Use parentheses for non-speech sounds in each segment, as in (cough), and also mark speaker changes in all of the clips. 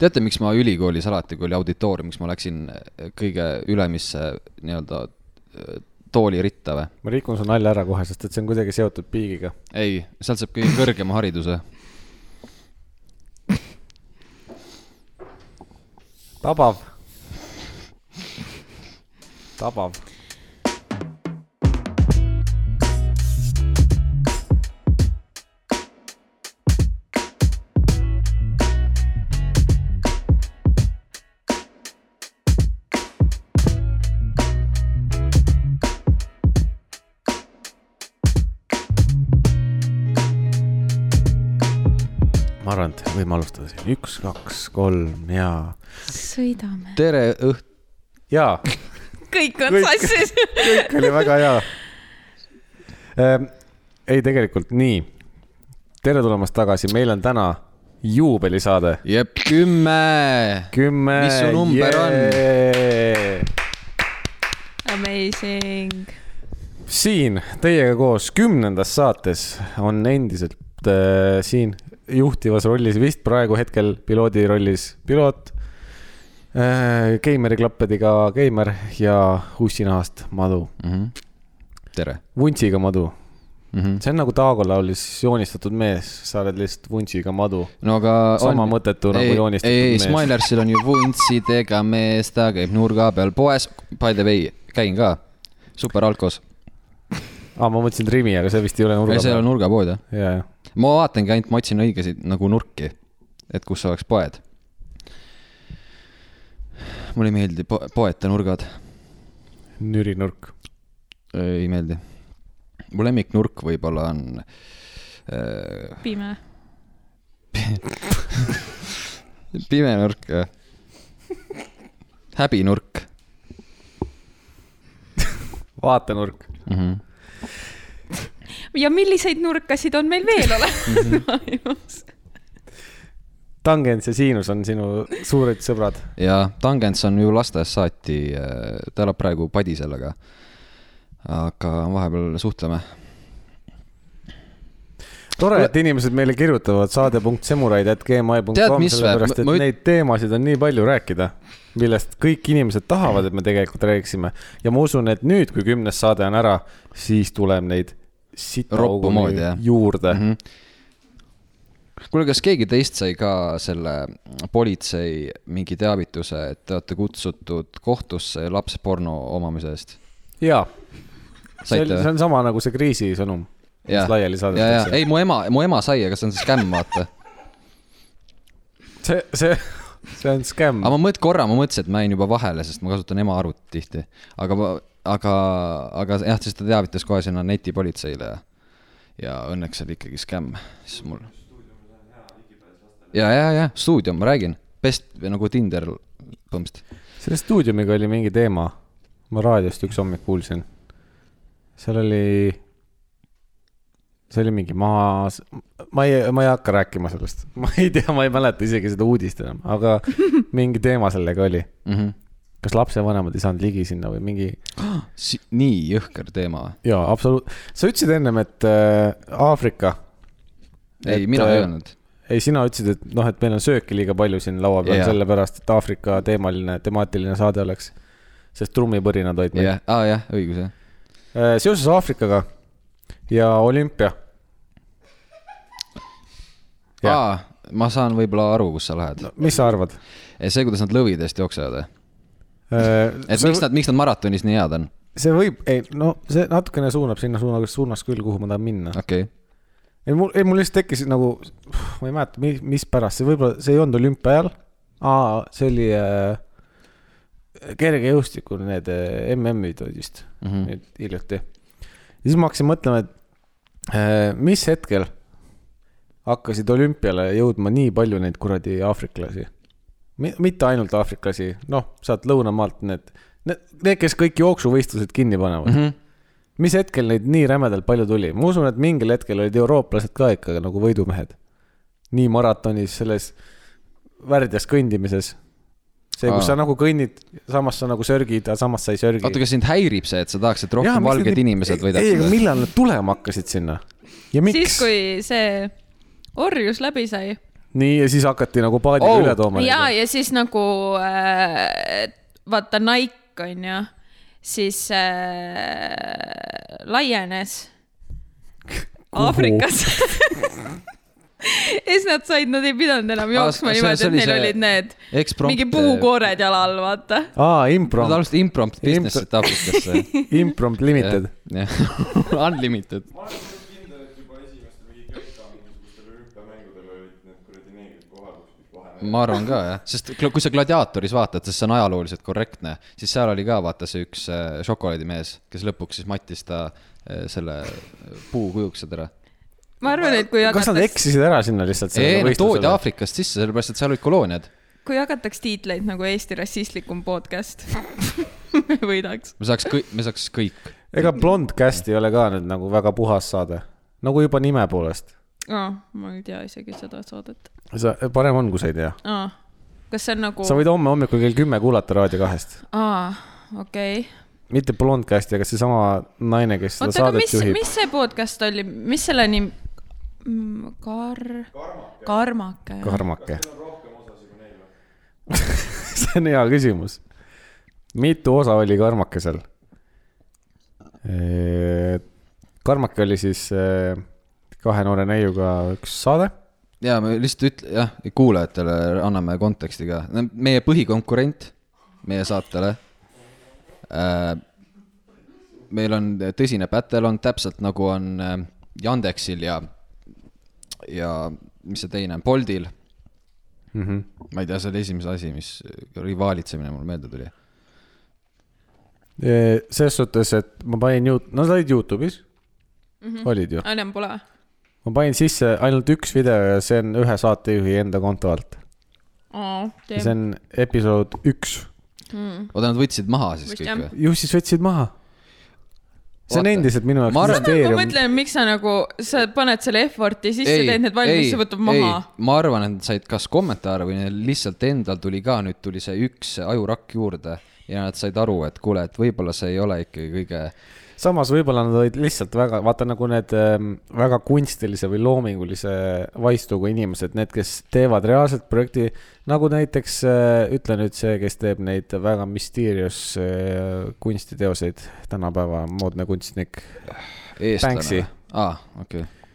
Speaker 1: teate , miks ma ülikoolis alati , kui oli auditoorium , miks ma läksin eh, kõige ülemisse nii-öelda äh, tooli ritta või ?
Speaker 2: ma rikun su nalja ära kohe , sest et see on kuidagi seotud piigiga .
Speaker 1: ei , sealt saab kõige kõrgema hariduse .
Speaker 2: tabav . tabav . ma arvan , et võime alustada siin , üks , kaks , kolm ja ,
Speaker 3: sõidame .
Speaker 1: tere õht- ,
Speaker 2: ja
Speaker 3: kõik on
Speaker 2: Kõik.
Speaker 3: sassis .
Speaker 2: kõik oli väga hea ähm, . ei , tegelikult nii . tere tulemast tagasi , meil on täna juubelisaade .
Speaker 1: jep , kümme .
Speaker 2: kümme .
Speaker 1: Mis su number
Speaker 2: on ?
Speaker 3: Amazing .
Speaker 2: siin teiega koos kümnendas saates on endiselt äh, siin juhtivas rollis , vist praegu hetkel piloodi rollis piloot äh, . Keimeri klappedega Keimer ja ussinahast Madu ,
Speaker 1: Mhm. tere .
Speaker 2: vuntsiga Madu .
Speaker 1: Mhm.
Speaker 2: see on nagu Taago laulis joonistatud mees , sa oled lihtsalt vuntsiga Madu .
Speaker 1: no aga .
Speaker 2: sama mõttetu nagu joonistatud
Speaker 1: ei , ei ,
Speaker 2: mees.
Speaker 1: Smilersil on ju vuntsidega mees , ta käib nurga peal poes . By the way , käin ka . superalkos .
Speaker 2: aa , ma mõtlesin Trimi , aga see vist ei ole
Speaker 1: ei ,
Speaker 2: nurga
Speaker 1: see ei ole
Speaker 2: peal .
Speaker 1: nurgapood jah .
Speaker 2: ja , ja ,
Speaker 1: ma vaatangi ainult , ma otsin õigesid nagu nurki , et kus oleks poed . mulle ei meeldi po poeta nurgad ,
Speaker 2: nürinurk .
Speaker 1: ei meeldi . mu lemmiknurk võib-olla on äh,
Speaker 3: pime .
Speaker 1: pime nurk , häbinurk
Speaker 2: vaatenurk .
Speaker 1: mm . -hmm.
Speaker 3: ja milliseid nurkasid on meil veel (laughs) olemas ?
Speaker 2: tangens ja siinus on sinu suured sõbrad .
Speaker 1: ja Tangents on ju lastest saati , ta elab praegu Padisel , aga , aga vahepeal suhtleme .
Speaker 2: tore , et inimesed meile kirjutavad
Speaker 1: Tead,
Speaker 2: saade.semuraid.gmail.com ,
Speaker 1: mis või?
Speaker 2: sellepärast et
Speaker 1: Ma- ma üt-
Speaker 2: neid teemasid on nii palju rääkida , millest kõik inimesed tahavad , et me tegelikult räägiksime . ja ma usun , et nüüd , kui kümnes saade on ära , siis tuleb neid sita
Speaker 1: Roppu
Speaker 2: koguni
Speaker 1: moodi, jah. Mhm.
Speaker 2: juurde mm . -hmm.
Speaker 1: kuule , kas keegi teist sai ka selle politsei mingi teavituse , et te olete kutsutud kohtusse lapsporno omamise eest ?
Speaker 2: ja , see
Speaker 1: saite
Speaker 2: on , see
Speaker 1: või ?
Speaker 2: on sama nagu see kriisisõnum , mis
Speaker 1: ja ,
Speaker 2: laiali
Speaker 1: ja
Speaker 2: saadetakse .
Speaker 1: ei , mu ema , mu ema sai , aga see on see skämm , vaata .
Speaker 2: see , see , (laughs) see on skäm
Speaker 1: aga . ma mõt- , korra ma mõtlesin , et ma jäin juba vahele , sest ma kasutan ema arvutit tihti . aga , aga , aga jah , siis ta teavitas kohe sinna netipolitseile ja , ja õnneks oli ikkagi skämm , siis mul . ja , ja , ja stuudio , ma räägin , best või nagu Tinder põhimõtteliselt .
Speaker 2: selle stuudiumiga oli mingi teema , ma raadiost üks hommik kuulsin . seal oli , see oli mingi maa , ma ei , ma ei hakka rääkima sellest , (laughs) ma ei tea , ma ei mäleta isegi seda uudist enam ,
Speaker 1: (laughs)
Speaker 2: aga mingi teema sellega oli .
Speaker 1: Mm -hmm.
Speaker 2: kas lapsevanemad ei saanud ligi sinna või mingi ,
Speaker 1: (gasps) si nii jõhker teema .
Speaker 2: jaa , absoluut , sa ütlesid ennem , et äh, Aafrika .
Speaker 1: ei , mina
Speaker 2: äh,
Speaker 1: ei . öelnud .
Speaker 2: ei , sina ütlesid , et noh , et meil on sööki liiga palju siin laua
Speaker 1: Jaa.
Speaker 2: peal yeah. , sellepärast et Aafrika teemaline , temaatiline saade oleks . sest trummipõrinad olid meil
Speaker 1: jah , aa jah , õigus jah .
Speaker 2: Äh, seoses Aafrikaga ja olümpia . Jah.
Speaker 1: aa , Ah, ma saan võib-olla aru , kus sa lähed no. .
Speaker 2: mis sa arvad ?
Speaker 1: see , kuidas nad lõvidest jooksevad , et
Speaker 2: Äh, see
Speaker 1: miks nad , miks nad maratonis nii head on ?
Speaker 2: see võib , ei no see natukene suunab sinna suunas , suunas küll , kuhu ma tahan minna .
Speaker 1: okei okay. ,
Speaker 2: ei mul , ei mul lihtsalt tekkis nagu , ma ei mäleta , mis , mispärast , see võib-olla , see ei olnud olümpia ajal . aa , see oli äh, kergejõustikul need äh, MM-id olid vist mm
Speaker 1: Mhm.
Speaker 2: -hmm. nüüd hiljuti . ja siis ma hakkasin mõtlema , et äh, mis hetkel hakkasid olümpiale jõudma nii palju neid kuradi aafriklasi . mitte ainult aafriklasi , noh , sealt lõunamaalt need, need , need , kes kõik jooksuvõistlused kinni panevad mm .
Speaker 1: Mhm.
Speaker 2: -hmm. mis hetkel neid nii rämedalt palju tuli , ma usun , et mingil hetkel olid eurooplased ka ikka nagu võidumehed . nii maratonis , selles värdjas kõndimises . see ,
Speaker 1: Aa.
Speaker 2: kus sa nagu kõnnid , samas sa nagu sörgid , aga samas sa ei sörgi
Speaker 1: oota , kas sind häirib see , et sa tahaks , et
Speaker 2: Jaa,
Speaker 1: rohkem
Speaker 2: miks nad
Speaker 1: valged
Speaker 2: nii-
Speaker 1: inimesed
Speaker 2: ei , aga
Speaker 1: võidaksid ?
Speaker 2: millal nad tulema hakkasid sinna ja miks
Speaker 3: siis ,? kui see orjus läbi sai ,
Speaker 2: nii , ja siis hakati nagu paadile
Speaker 1: Oh!
Speaker 2: oh. üle tooma .
Speaker 3: ja , ja siis nagu äh, vaata Nike on ju , siis äh, laienes Aafrikas . (laughs) ja siis nad said , nad ei pidanud enam
Speaker 1: Aa,
Speaker 3: jooksma
Speaker 1: see-
Speaker 3: niimoodi ,
Speaker 1: see
Speaker 3: et
Speaker 1: oli
Speaker 3: neil
Speaker 1: see
Speaker 3: olid need
Speaker 1: Eksprompt . äh,
Speaker 3: mingi puukoored jala all , vaata .
Speaker 2: aa ,
Speaker 1: Nad
Speaker 2: imprompt ,
Speaker 1: alustasid imprompt business'it
Speaker 2: (laughs)
Speaker 1: Aafrikasse .
Speaker 2: imprompt
Speaker 1: (laughs)
Speaker 2: limited .
Speaker 1: jah , (laughs) unlimited .
Speaker 4: ma olen suht kindel , et juba esimestel mingi Kreeka mingisugustel olümpiamängudel olid need kuradi neegrid kohal kuskil vahel .
Speaker 1: ma arvan ka jah , sest gl- kui sa Gladiatoris vaatad , sest see on ajalooliselt korrektne , siis seal oli ka vaata see üks äh, šokolaadimees , kes lõpuks siis mattis ta äh, selle puu kujuksed ära .
Speaker 3: ma arvan , et kui
Speaker 2: kas nad
Speaker 3: jagatakse ,
Speaker 2: eksisid ära sinna lihtsalt ?
Speaker 1: ei , nad toodi . Aafrikast sisse , sellepärast et seal olid kolooniad .
Speaker 3: kui jagatakse tiitleid nagu Eesti rassistlikum podcast , (laughs) me võidaks .
Speaker 1: me saaks kõik , me saaks kõik .
Speaker 2: ega Blondcast ei ole ka nüüd nagu väga puhas saade , nagu juba nime poolest .
Speaker 3: aa , ma ei tea isegi seda saadet .
Speaker 2: sa , parem on , kui sa ei tea .
Speaker 3: aa , kas see on nagu ,
Speaker 2: sa võid homme hommikul kell kümme kuulata Raadio kahest ,
Speaker 3: aa , okei okay. .
Speaker 2: mitte Blondcasti , aga seesama naine , kes seda
Speaker 3: oota , aga
Speaker 2: saadet
Speaker 3: mis ,
Speaker 2: juhib .
Speaker 3: mis see podcast oli , mis selle nimi , kar- , karmake .
Speaker 2: karmake . (laughs) see on hea küsimus . mitu osa oli karmakesel ?
Speaker 1: Äh,
Speaker 2: karmake oli siis eh, kahe noore neiuga üks saade .
Speaker 1: ja me lihtsalt ütle- , jah , kuulajatele anname konteksti ka . meie põhikonkurent meie saatele äh, . meil on tõsine battle on täpselt nagu on äh, Yandexil ja , ja mis see teine on , Boltil . ma ei tea , see oli esimese asi , mis rivaalitsemine mul meelde tuli .
Speaker 2: Äh, selles suhtes , et ma panin ju , nad olid Youtube'is mm , -hmm. olid ju .
Speaker 3: enam pole .
Speaker 2: ma panin sisse ainult üks video ja see on ühe saatejuhi enda konto alt .
Speaker 3: aa , Mm.
Speaker 2: see
Speaker 3: teeme .
Speaker 2: on episood üks .
Speaker 1: oota , nad võtsid maha siis
Speaker 3: Vist
Speaker 1: kõik
Speaker 3: jah.
Speaker 1: või ?
Speaker 2: ju siis võtsid maha . see on
Speaker 1: Vaata.
Speaker 2: endiselt minu
Speaker 1: Ma
Speaker 2: jaoks
Speaker 1: arvan-
Speaker 3: ma
Speaker 2: müsteerium .
Speaker 3: mõtlen , miks sa nagu , sa paned selle effort'i sisse , teed need valmis , see võtab maha ..
Speaker 1: ma arvan , et nad said kas kommentaare või neil lihtsalt endal tuli ka , nüüd tuli see üks ajurakk juurde ja nad said aru , et kuule , et võib-olla see ei ole ikkagi kõige ,
Speaker 2: samas võib-olla nad olid lihtsalt väga , vaata nagu need ähm, väga kunstilise või loomingulise vaistuga inimesed , need , kes teevad reaalselt projekti , nagu näiteks äh, ütle nüüd see , kes teeb neid väga mysterious äh, kunstiteoseid , tänapäeva moodne kunstnik , Banksy.
Speaker 1: eestlane . aa , okei okay. .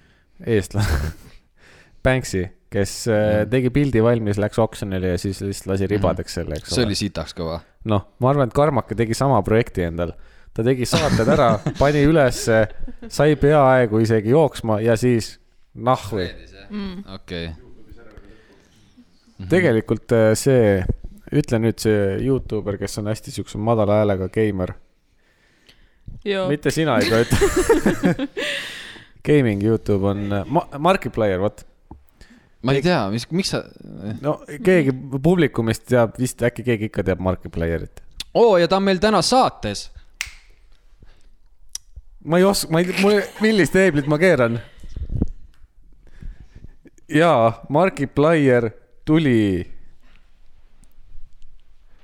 Speaker 2: eestlane (laughs) Banksy , kes äh,
Speaker 1: Jah.
Speaker 2: tegi pildi valmis , läks oksjonile ja siis lihtsalt lasi ribadeks selle , eks
Speaker 1: see
Speaker 2: ole
Speaker 1: oli . sitaks kõva .
Speaker 2: noh , ma arvan , et Karmake tegi sama projekti endal . ta tegi saated ära , pani ülesse , sai peaaegu isegi jooksma ja siis nahvi .
Speaker 3: Mm.
Speaker 1: okei ,
Speaker 2: tegelikult äh, see , ütle nüüd see Youtuber , kes on hästi siukse madala häälega geimer , mitte sina ei toeta . Gaming Youtube on äh, ma, , Markiplier , vot .
Speaker 1: ma ei tea , mis , miks sa ,
Speaker 2: no keegi publikumist teab vist , äkki keegi ikka teab Markiplierit .
Speaker 1: oo ja ta on meil täna saates .
Speaker 2: ma ei oska , ma ei , mul , millist heeblit ma keeran ? jaa , Markiplier tuli .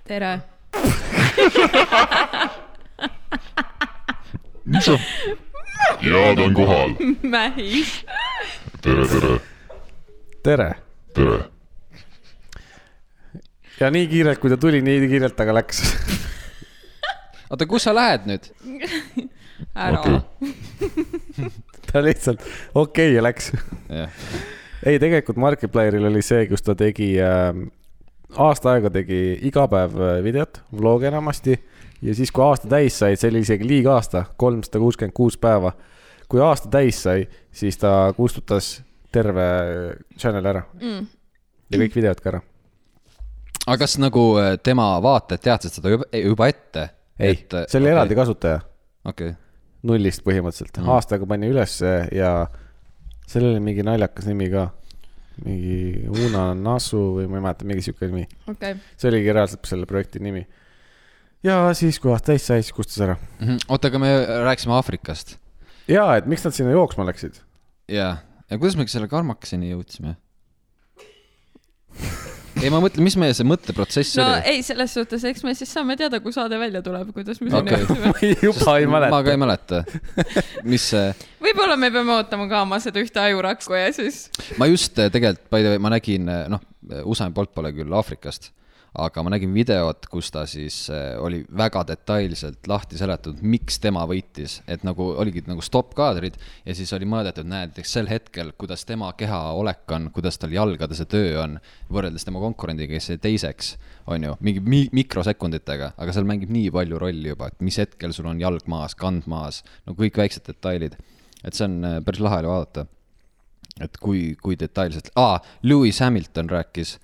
Speaker 3: tere . (laughs)
Speaker 4: jaa , ta on kohal .
Speaker 3: Mähis .
Speaker 4: tere , tere ,
Speaker 2: tere .
Speaker 4: tere .
Speaker 2: ja nii kiirelt , kui ta tuli , nii kiirelt ta ka läks . (laughs)
Speaker 1: oota , kus sa lähed nüüd ?
Speaker 3: ära .
Speaker 2: ta lihtsalt okei okay, ja läks .
Speaker 1: jah ,
Speaker 2: ei , tegelikult Markiplieril oli see , kus ta tegi äh, , aasta aega tegi iga päev äh, videot , vlog enamasti . ja siis , kui aasta täis sai , see oli isegi liiga aasta , kolmsada kuuskümmend kuus päeva . kui aasta täis sai , siis ta kustutas terve äh, channel ära mm. . ja kõik videod ka ära .
Speaker 1: aga kas nagu äh, tema vaatajad teadsid seda juba, juba ette ?
Speaker 2: ei , see oli eraldi . kasutaja ,
Speaker 1: okei okay. ,
Speaker 2: nullist põhimõtteliselt mm. , aastaga pani ülesse ja sellel oli mingi naljakas nimi ka mingi Una Nasu või ma ei mäleta , mingi sihuke nimi .
Speaker 3: okei .
Speaker 2: see oligi reaalselt selle projekti nimi . ja siis , kui aasta täis sai , siis kustus ära .
Speaker 1: Mhm. oota , aga me rääkisime Aafrikast
Speaker 2: ja , et miks nad sinna jooksma (laughs) läksid ?
Speaker 1: jaa , ja kuidas me selle karmakeseni jõudsime ? ei , ma mõtlen , mis meie see mõtteprotsess
Speaker 3: no
Speaker 1: oli .
Speaker 3: ei , selles suhtes , eks me siis saame teada , kui saade välja tuleb , kuidas me sinna
Speaker 1: Okei.
Speaker 2: (laughs)
Speaker 3: jõudsime .
Speaker 2: juba ei
Speaker 1: ma ka ei mäleta , mis see ,
Speaker 3: või võib-olla me peame ootama ka oma seda ühte ajurakku ja siis
Speaker 1: ma just eh, tegelikult , by the way , ma nägin , noh , Usain Bolt pole küll Aafrikast , aga ma nägin videot , kus ta siis eh, oli väga detailselt lahti seletatud , miks tema võitis , et nagu oligi nagu stopp-kaadrid ja siis oli mõõdetud , näed , sel hetkel , kuidas tema keha olek on , kuidas tal jalgade see töö on , võrreldes tema konkurendiga , kes jäi teiseks , on ju , mingi mi- , mikrosekunditega , aga seal mängib nii palju rolli juba , et mis hetkel sul on jalg maas , kand maas , no kõik väiksed detailid . et see on eh, päris lahe oli vaadata et kui , kui detailselt ah, , Lewis Hamilton rääkis ,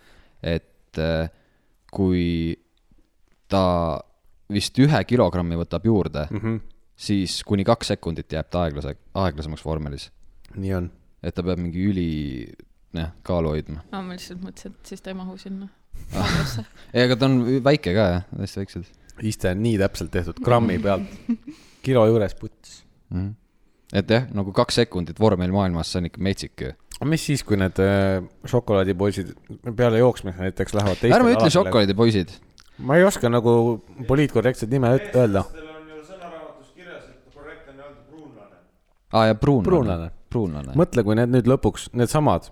Speaker 1: et äh, kui ta vist ühe kilogrammi võtab juurde mm ,
Speaker 2: Mhm.
Speaker 1: -hmm. siis kuni kaks sekundit jääb ta aeglase , aeglasemaks vormelis .
Speaker 2: nii on .
Speaker 1: et ta peab mingi üli , jah , kaalu hoidma .
Speaker 3: no, . Ah, ma lihtsalt mõtlesin , et siis ta ei mahu sinna .
Speaker 1: Ah. ei , aga ta on väike ka jah , hästi väiksed
Speaker 2: iste on nii täpselt tehtud , grammi pealt , kilo juures puts .
Speaker 1: mm . -hmm. et jah , nagu kaks sekundit vormel maailmas , see on ikka metsik ju .
Speaker 2: aga mis siis , kui need äh, šokolaadipoisid peale jooksmist näiteks lähevad teistele
Speaker 1: ärme ütle . šokolaadipoisid .
Speaker 2: ma ei oska nagu poliitkorrektset nime üt- öelda .
Speaker 4: eestlastel on ju sõnaraamatus kirjas , et korrektne on öelda pruunlane .
Speaker 1: aa ah, ja pruunlane .
Speaker 2: Pruunlane.
Speaker 1: pruunlane .
Speaker 2: mõtle , kui need nüüd lõpuks , needsamad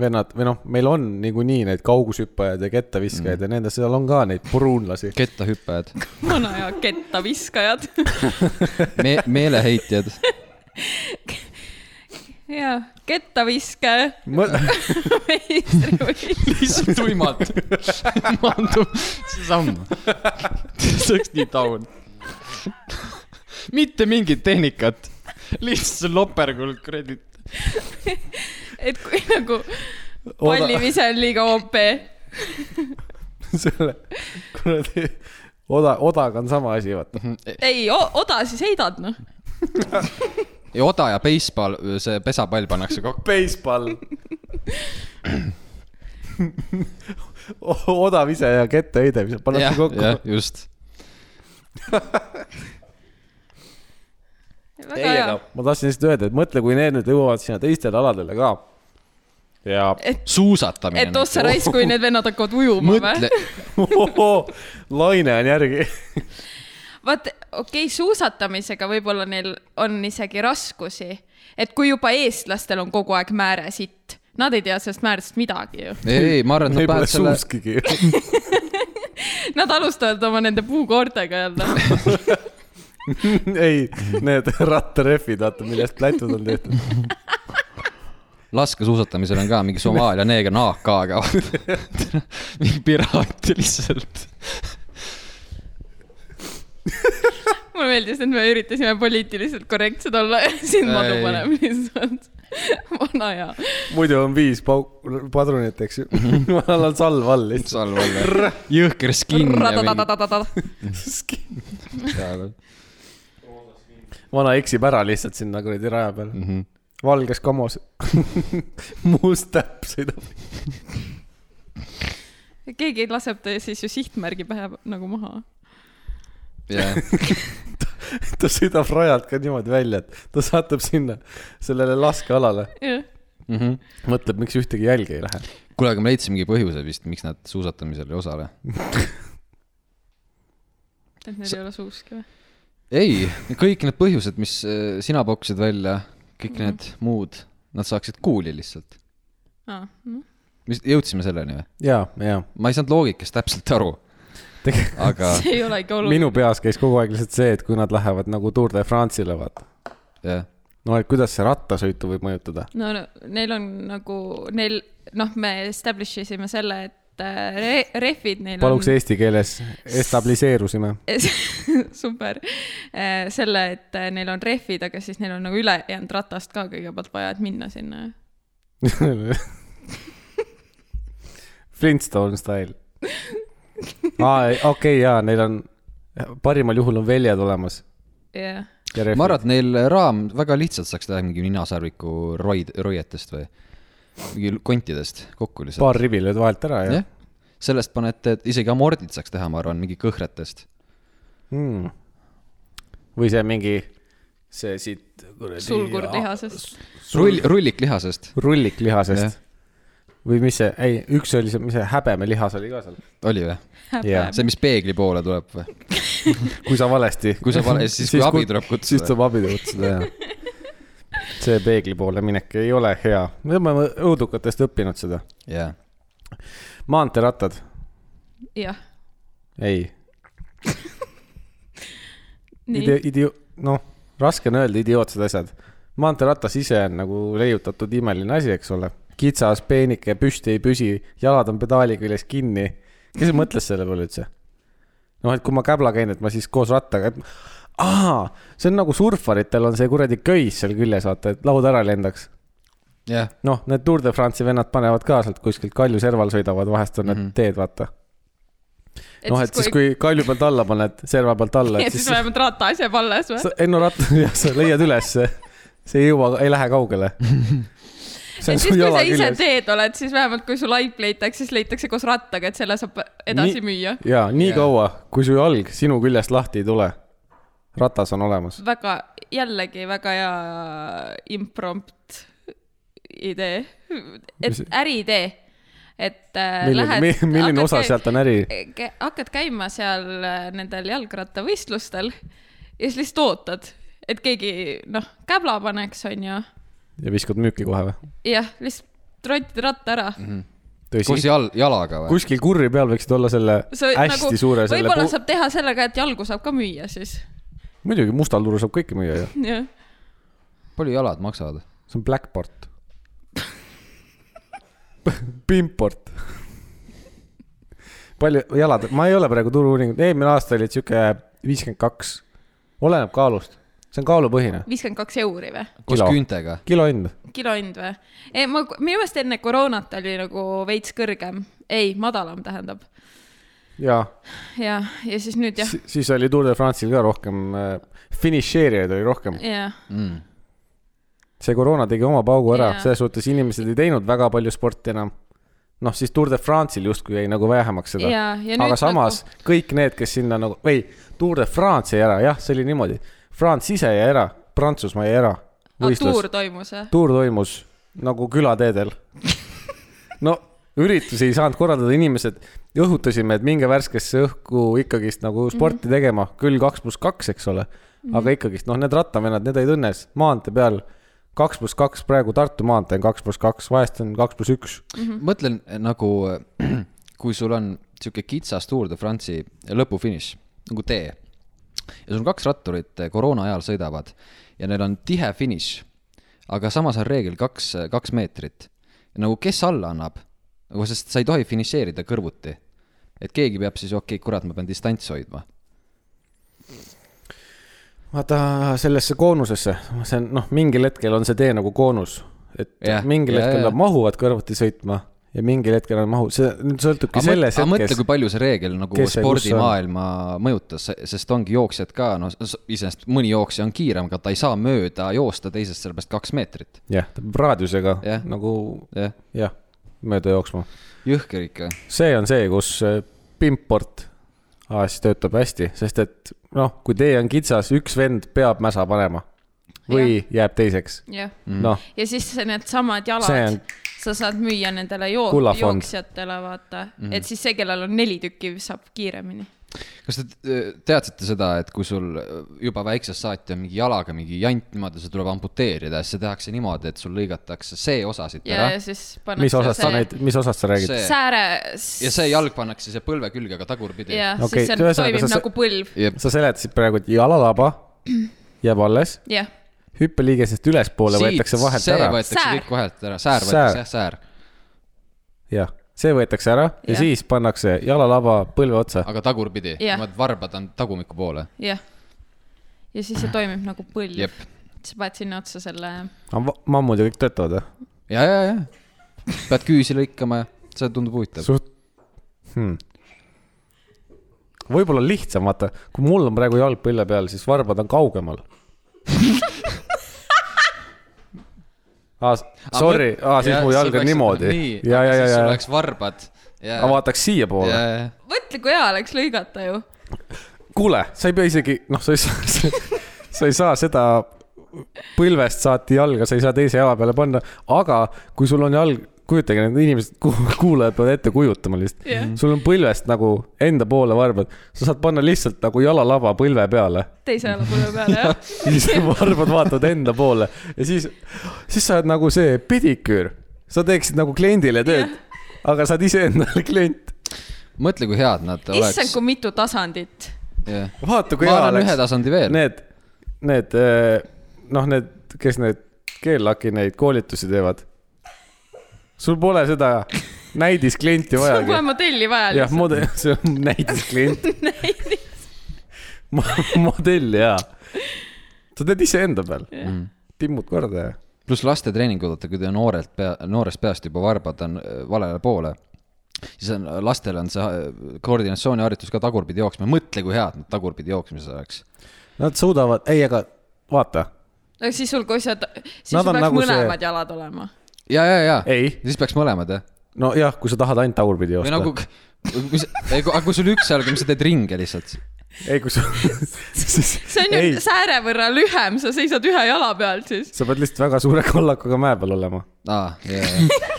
Speaker 2: vennad või noh , meil on niikuinii need kaugushüppajad ja kettaviskajad mm. ja nende seal on ka neid pruunlasi .
Speaker 1: kettahüppajad ,
Speaker 3: vana ja kettaviskajad .
Speaker 1: me- , meeleheitjad
Speaker 3: ja kettaviske
Speaker 2: ma
Speaker 3: meistrivõistlus .
Speaker 1: lihtsalt tuimalt maandub see samm . see oleks nii taun . mitte mingit tehnikat , lihtsalt lopergul kuradi .
Speaker 3: (laughs) et kui nagu pallimise on liiga OP .
Speaker 2: selle kuradi oda , odaga on sama asi , vaata .
Speaker 3: ei , oda siis heidad noh .
Speaker 1: ja oda ja baseball , see pesapall pannakse kokku .
Speaker 2: Baseball . (clears throat) odav ise ja kettaheide , mis pannakse kokku .,
Speaker 1: just .
Speaker 3: väga hea .
Speaker 2: ma tahtsin lihtsalt öelda , et mõtle , kui need nüüd jõuavad sinna teistele aladele ka . ja (laughs)
Speaker 1: suusatamine .
Speaker 3: et ossa raisk , kui need vennad hakkavad ujuma või
Speaker 1: mõtle ?,
Speaker 2: laine on järgi .
Speaker 3: vaat okei okay, , suusatamisega võib-olla neil on isegi raskusi , et kui juba eestlastel on kogu aeg määre sitt , nad ei tea sellest määrest midagi ju .
Speaker 1: ei , ei , ma arvan , et
Speaker 2: meil
Speaker 1: nad
Speaker 2: pole
Speaker 1: panevad selle ,
Speaker 2: suuskigi .
Speaker 3: Nad alustavad oma nende puukoortega jälle .
Speaker 2: (laughs) ei , need rattarehvid , vaata , millest lätud on tehtud .
Speaker 1: laskesuusatamisel on ka mingi Somaalia neeger on AK-ga . mingi piraat lihtsalt .
Speaker 3: mulle meeldis , et me üritasime poliitiliselt korrektsed olla ja siin madu
Speaker 1: Ei.
Speaker 3: paneb lihtsalt . vana hea .
Speaker 2: muidu on viis pau- , padrunit , eks ju . (laughs) ma annan salv all lihtsalt .
Speaker 1: salv alla , jõhker skin ja mingi
Speaker 2: vana eksib ära lihtsalt sinna kuradi raja peale mm . -hmm. valges kamos . (laughs) must täpp sõidab .
Speaker 3: keegi laseb ta siis ju sihtmärgi pähe nagu maha .
Speaker 1: jah ,
Speaker 2: ta sõidab rajalt ka niimoodi välja , et ta satub sinna sellele laskealale .
Speaker 1: mhmh .
Speaker 2: mõtleb , miks ühtegi jälgi ei lähe .
Speaker 1: kuule , aga me leidsimegi põhjuse vist , miks nad suusatamisel ei osale .
Speaker 3: et neil ei ole suuski või ?
Speaker 1: ei , kõik need põhjused , mis äh, sina pakkusid välja , kõik need muud , nad saaksid kuuli lihtsalt .
Speaker 3: aa , noh .
Speaker 1: mis , jõudsime selleni või ?
Speaker 2: ja , ja
Speaker 1: ma ei saanud loogikast täpselt aru ,
Speaker 2: tegelikult
Speaker 3: (laughs)
Speaker 1: aga
Speaker 3: see ei olegi oluline .
Speaker 2: minu peas käis kogu aeg lihtsalt see , et kui nad lähevad nagu Tour de France'ile , vaata .
Speaker 1: jah ,
Speaker 2: no et kuidas see rattasõitu võib mõjutada .
Speaker 3: no no, neil on nagu , neil , noh , me establish isime selle , et äh, re- , rehvid neil
Speaker 2: paluks
Speaker 3: on .
Speaker 2: eesti keeles establiseerusime .
Speaker 3: (laughs) super , selle , et äh, neil on rehvid , aga siis neil on nagu ülejäänud ratast ka kõigepealt vaja , et minna sinna .
Speaker 2: Flintstone style . aa , okei okay, , jaa , neil on , parimal juhul on väljad olemas .
Speaker 3: jah ,
Speaker 1: ma arvan , et neil raam väga lihtsalt saaks teha mingi ninasarviku roid- , roietest või mingi kontidest kokku lihtsalt .
Speaker 2: paar rivi lööd vahelt ära ja
Speaker 1: jah , sellest panete , et isegi amordid saaks teha , ma arvan , mingi kõhretest .
Speaker 2: hmm. . või see mingi , see siit kuradi .
Speaker 3: sulgurlihasest .
Speaker 1: rull , rulliklihasest Jah.
Speaker 2: rulliklihasest . või mis see , ei , üks oli see , mis see häbemelihas oli ka seal .
Speaker 1: oli või ?
Speaker 2: jaa ,
Speaker 1: see , mis peegli poole tuleb või ?
Speaker 2: kui sa valesti .
Speaker 1: Kui sa vale- siis kui abi tuleb kutsuda.
Speaker 2: siis tuleb abi kutsuda , jah . see peegli poole minek ei ole hea . me oleme õudukatest õppinud seda .
Speaker 1: jah .
Speaker 2: maanteerattad ,
Speaker 3: jah ,
Speaker 2: ei .
Speaker 3: nii
Speaker 2: Ide- , idio- , noh , raske on öelda idiootsed asjad . maanteeratas ise on nagu leiutatud imeline asi , eks ole . kitsas , peenike , püsti ei püsi , jalad on pedaali küljes kinni . kes mõtles selle peale üldse ? noh , et kui ma käbla käin , et ma siis koos rattaga , et aa , see on nagu surfaritel on see kuradi köis seal küljes , vaata , et laud ära ei lendaks .
Speaker 1: jah ,
Speaker 2: noh , need Tour de France'i vennad panevad ka sealt kuskilt kalju serval sõidavad , vahest on need mm
Speaker 1: Mhm.
Speaker 2: -hmm. teed , vaata . noh , et siis kui kalju pealt alla paned , serva pealt
Speaker 3: (laughs)
Speaker 2: (laughs) alla ,
Speaker 3: et siis vähemalt ratas jääb alles või ?
Speaker 2: sa , Enno Ratta , (laughs) jah , sa leiad ülesse . see ei jõua , ei lähe kaugele . see
Speaker 3: et siis , kui sa ise . teed oled , siis vähemalt kui su laip leitakse , siis leitakse koos rattaga , et selle saab edasi
Speaker 2: Nii-
Speaker 3: Nii... müüa .
Speaker 2: ja nii
Speaker 1: Jaa.
Speaker 2: yeah. kaua , kui su jalg sinu küljest lahti ei tule , ratas on olemas .
Speaker 3: väga , jällegi väga hea imprompt idee , et
Speaker 2: Mis-
Speaker 3: äriidee , et äh,
Speaker 2: milline ,
Speaker 3: lähed .
Speaker 2: milline osa käi... sealt on äri ?
Speaker 3: Ke- hakkad käima seal äh, nendel jalgrattavõistlustel ja siis lihtsalt ootad , et keegi noh , käbla paneks , onju .
Speaker 2: ja viskad müüki kohe või ?
Speaker 3: jah , lihtsalt rottid ratta ära .
Speaker 2: Mhm.
Speaker 1: koos
Speaker 2: tõsi ?
Speaker 1: jal- , jalaga või ?
Speaker 2: kuskil kurri peal võiksid olla selle
Speaker 3: sa
Speaker 2: see, hästi nagu, suure selle
Speaker 3: võib-olla
Speaker 2: pu...
Speaker 3: pu... saab teha sellega , et jalgu saab ka müüa siis .
Speaker 2: saab... , muidugi mustal turul saab kõike müüa ju .
Speaker 3: jah ,
Speaker 1: palju jalad maksavad ?
Speaker 2: see on Blackport . Pimport . palju jalad , ma ei ole praegu turu-uuringut , eelmine aasta olid sihuke viiskümmend kaks . oleneb kaalust , see on kaalupõhine ,
Speaker 3: viiskümmend kaks euri või ?
Speaker 1: koos
Speaker 2: Kilo.
Speaker 1: küüntega ?
Speaker 2: kilo hind .
Speaker 3: kilo hind või ? ei , ma , minu meelest enne koroonat oli nagu veits kõrgem , ei , madalam tähendab .
Speaker 2: ja,
Speaker 3: ja , ja siis nüüd
Speaker 2: ja.
Speaker 3: jah ,
Speaker 2: Si siis oli Tour de France'il ka rohkem , finišeerijaid oli rohkem .
Speaker 3: ja ,
Speaker 2: see koroona tegi oma paugu ära
Speaker 3: Jaa. ,
Speaker 2: selles suhtes inimesed ei teinud väga palju sporti enam . noh , siis Tour de France'il justkui jäi nagu vähemaks seda .
Speaker 3: ja , ja nüüd
Speaker 2: aga samas nagu... kõik need , kes sinna nagu , ei , Tour de France jäi ära , jah , see oli niimoodi . France ise jäi ära , Prantsusmaa jäi ära .
Speaker 3: nagu ,
Speaker 2: võistlus
Speaker 3: tuur , toimus jah ?
Speaker 2: tuur toimus nagu külateedel . no üritusi ei saanud korraldada , inimesed õhutasime , et minge värskesse õhku ikkagist nagu sporti mm -hmm. tegema , küll kaks pluss kaks , eks ole . aga ikkagist , noh , need rattavennad , need olid õnnes maantee peal kaks pluss kaks , praegu Tartu maantee on kaks pluss kaks , vahest on kaks pluss üks .
Speaker 1: mõtlen eh, nagu , (clears throat) kui sul on sihuke kitsas Tour de France'i lõpufiniš , nagu tee . ja sul on kaks ratturit eh, koroona ajal sõidavad ja neil on tihe finiš . aga samas on reegel kaks , kaks meetrit . nagu kes alla annab , nagu sest sa ei tohi finišeerida kõrvuti . et keegi peab siis , okei okay, , kurat , ma pean distants hoidma .
Speaker 2: vaata sellesse koonusesse , see on noh , mingil hetkel on see tee nagu koonus , et ja,
Speaker 1: Jah,
Speaker 2: mingil
Speaker 1: ja,
Speaker 2: ja, hetkel
Speaker 1: ja.
Speaker 2: nad mahuvad kõrvuti sõitma ja mingil hetkel on mahu , see nüüd sõltubki selles
Speaker 1: aga mõtle ,
Speaker 2: hetkes
Speaker 1: kui . palju see reegel nagu
Speaker 2: kes ja kus
Speaker 1: spordimaailma mõjutas , sest ongi jooksjad ka , no s- iseenesest mõni jooksja on kiirem , aga ta ei saa mööda joosta teisest sellepärast kaks meetrit ,
Speaker 2: jah , ta peab raadiusega ja.
Speaker 1: Jah.
Speaker 2: nagu
Speaker 1: jah ,
Speaker 2: jah , mööda jooksma .
Speaker 1: jõhker ikka .
Speaker 2: see on see , kus äh, pimport AS töötab hästi , sest et noh , kui tee on kitsas , üks vend peab mäsa panema või ja. jääb teiseks ,
Speaker 3: jah ,
Speaker 2: noh ,
Speaker 3: ja siis needsamad
Speaker 2: See
Speaker 3: jalad
Speaker 2: on- ,
Speaker 3: sa saad müüa nendele joo- ,
Speaker 2: Kullafond. Mhm.
Speaker 3: jooksjatele , vaata mm , -hmm. et siis see , kellel on neli tükki , saab kiiremini .
Speaker 1: kas te t- teadsite seda , et kui sul juba väiksest saati on mingi jalaga mingi jant niimoodi , see tuleb amputeerida , siis see tehakse niimoodi , et sul lõigatakse see osa siit
Speaker 3: ja ,
Speaker 1: ära
Speaker 3: ja siis pannakse
Speaker 2: mis osast sa
Speaker 3: see
Speaker 2: neid , mis osast sa räägid ?
Speaker 1: see,
Speaker 3: sääre .
Speaker 1: ja see . jalg pannakse siia põlve külge , aga tagurpidi .
Speaker 3: jah ,
Speaker 2: Okei,
Speaker 3: siis see
Speaker 2: ühesõnaga,
Speaker 3: toimib
Speaker 2: sa- sa-
Speaker 3: nagu põlv ,
Speaker 1: jep ,
Speaker 2: sa seletasid praegu , et jalalaba
Speaker 1: (clears throat)
Speaker 2: jääb alles
Speaker 3: jah .
Speaker 2: hüppeliigesest ülespoole
Speaker 1: Siit
Speaker 2: võetakse vahelt
Speaker 1: see
Speaker 2: ära .
Speaker 1: võetakse
Speaker 3: Säär.
Speaker 1: kõik vahelt ära , säär
Speaker 2: Säär.
Speaker 1: võetakse jah , säär ,
Speaker 2: jah , see võetakse ära ja, ja
Speaker 3: Jah.
Speaker 2: siis pannakse jalalaba põlve otsa .
Speaker 1: aga tagurpidi ,
Speaker 3: Jah.
Speaker 1: niimoodi varbad on tagumiku poole ,
Speaker 3: jah . ja siis see toimib nagu põlv .
Speaker 1: jep
Speaker 3: sa paned sinna otsa selle ,
Speaker 2: mammud ja kõik töötavad või ?
Speaker 1: ja , ja , ja pead küüsi lõikama ja see tundub huvitav .
Speaker 2: suht hmm. . võib-olla on lihtsam , vaata , kui mul on praegu jalg põlve peal , siis varbad on kaugemal ah, . Sorry , ah, siis mu jalg on niimoodi . ja , ja , ja ,
Speaker 1: sul
Speaker 2: ja ,
Speaker 1: oleks varbad .
Speaker 2: aga vaataks siiapoole .
Speaker 3: mõtle , kui hea oleks lõigata ju .
Speaker 2: kuule , sa ei pea isegi , noh , sa ei saa , (laughs) sa ei saa seda põlvest saati jalga , sa ei saa teise jala peale panna , aga kui sul on jalg , kujutage , need inimesed , kuulajad peavad ette kujutama lihtsalt
Speaker 3: Jah.
Speaker 2: yeah. . sul on põlvest nagu enda poole varbad , sa saad panna lihtsalt nagu jalalaba põlve peale .
Speaker 3: teise jalapõlve
Speaker 2: (laughs)
Speaker 3: peale , jah .
Speaker 2: ja siis varbad vaatavad enda poole ja siis , siis sa oled nagu see pediküür . sa teeksid nagu kliendile tööd yeah. , aga sa oled iseendale klient .
Speaker 1: mõtle , kui head nad
Speaker 3: issand ,
Speaker 1: oleks .
Speaker 3: kui mitu tasandit .
Speaker 1: ma
Speaker 2: vaata , kui hea
Speaker 1: arvan ühe
Speaker 2: oleks .
Speaker 1: tasandi veel .
Speaker 2: Need , need , noh , need , kes need keellaki neid koolitusi teevad . sul pole seda näidisklienti
Speaker 3: (laughs) sul pole
Speaker 2: vajagi .
Speaker 3: modelli vaja
Speaker 2: jah ,
Speaker 3: lihtsalt .
Speaker 2: modell , (laughs) see on näidisklient . modell jaa . sa teed iseenda peal ,
Speaker 1: Mm.
Speaker 2: timmud korda ja .
Speaker 1: pluss laste treeningud , vaata kui teie noorelt pea , noorest peast juba varbad on äh, valele poole , siis on , lastel on see äh, koordinatsiooniharjutus ka tagurpidi jooksma , mõtle , kui head nad tagurpidi jooksmises oleks .
Speaker 2: Nad suudavad , ei , aga vaata ,
Speaker 3: aga siis sul , kui sa , siis
Speaker 2: Nad on
Speaker 3: sul peaks
Speaker 2: nagu see-
Speaker 3: mõlemad jalad olema .
Speaker 1: ja , ja , ja ,
Speaker 2: ei ,
Speaker 1: siis peaks mõlemad jah ,
Speaker 2: nojah , kui sa tahad ainult tagurpidi
Speaker 1: või
Speaker 2: joosta
Speaker 1: nagu
Speaker 2: nagu... .,
Speaker 1: mis , aga (laughs) kui sul üks jalg on , mis sa teed ringe lihtsalt .
Speaker 2: ei , kui sa , (laughs) siis ,
Speaker 3: see on
Speaker 2: ei
Speaker 3: ju , sääre võrra lühem , sa seisad ühe jala peal siis .
Speaker 2: sa pead lihtsalt väga suure kollakuga mäe peal olema .
Speaker 1: aa , ja , ja ,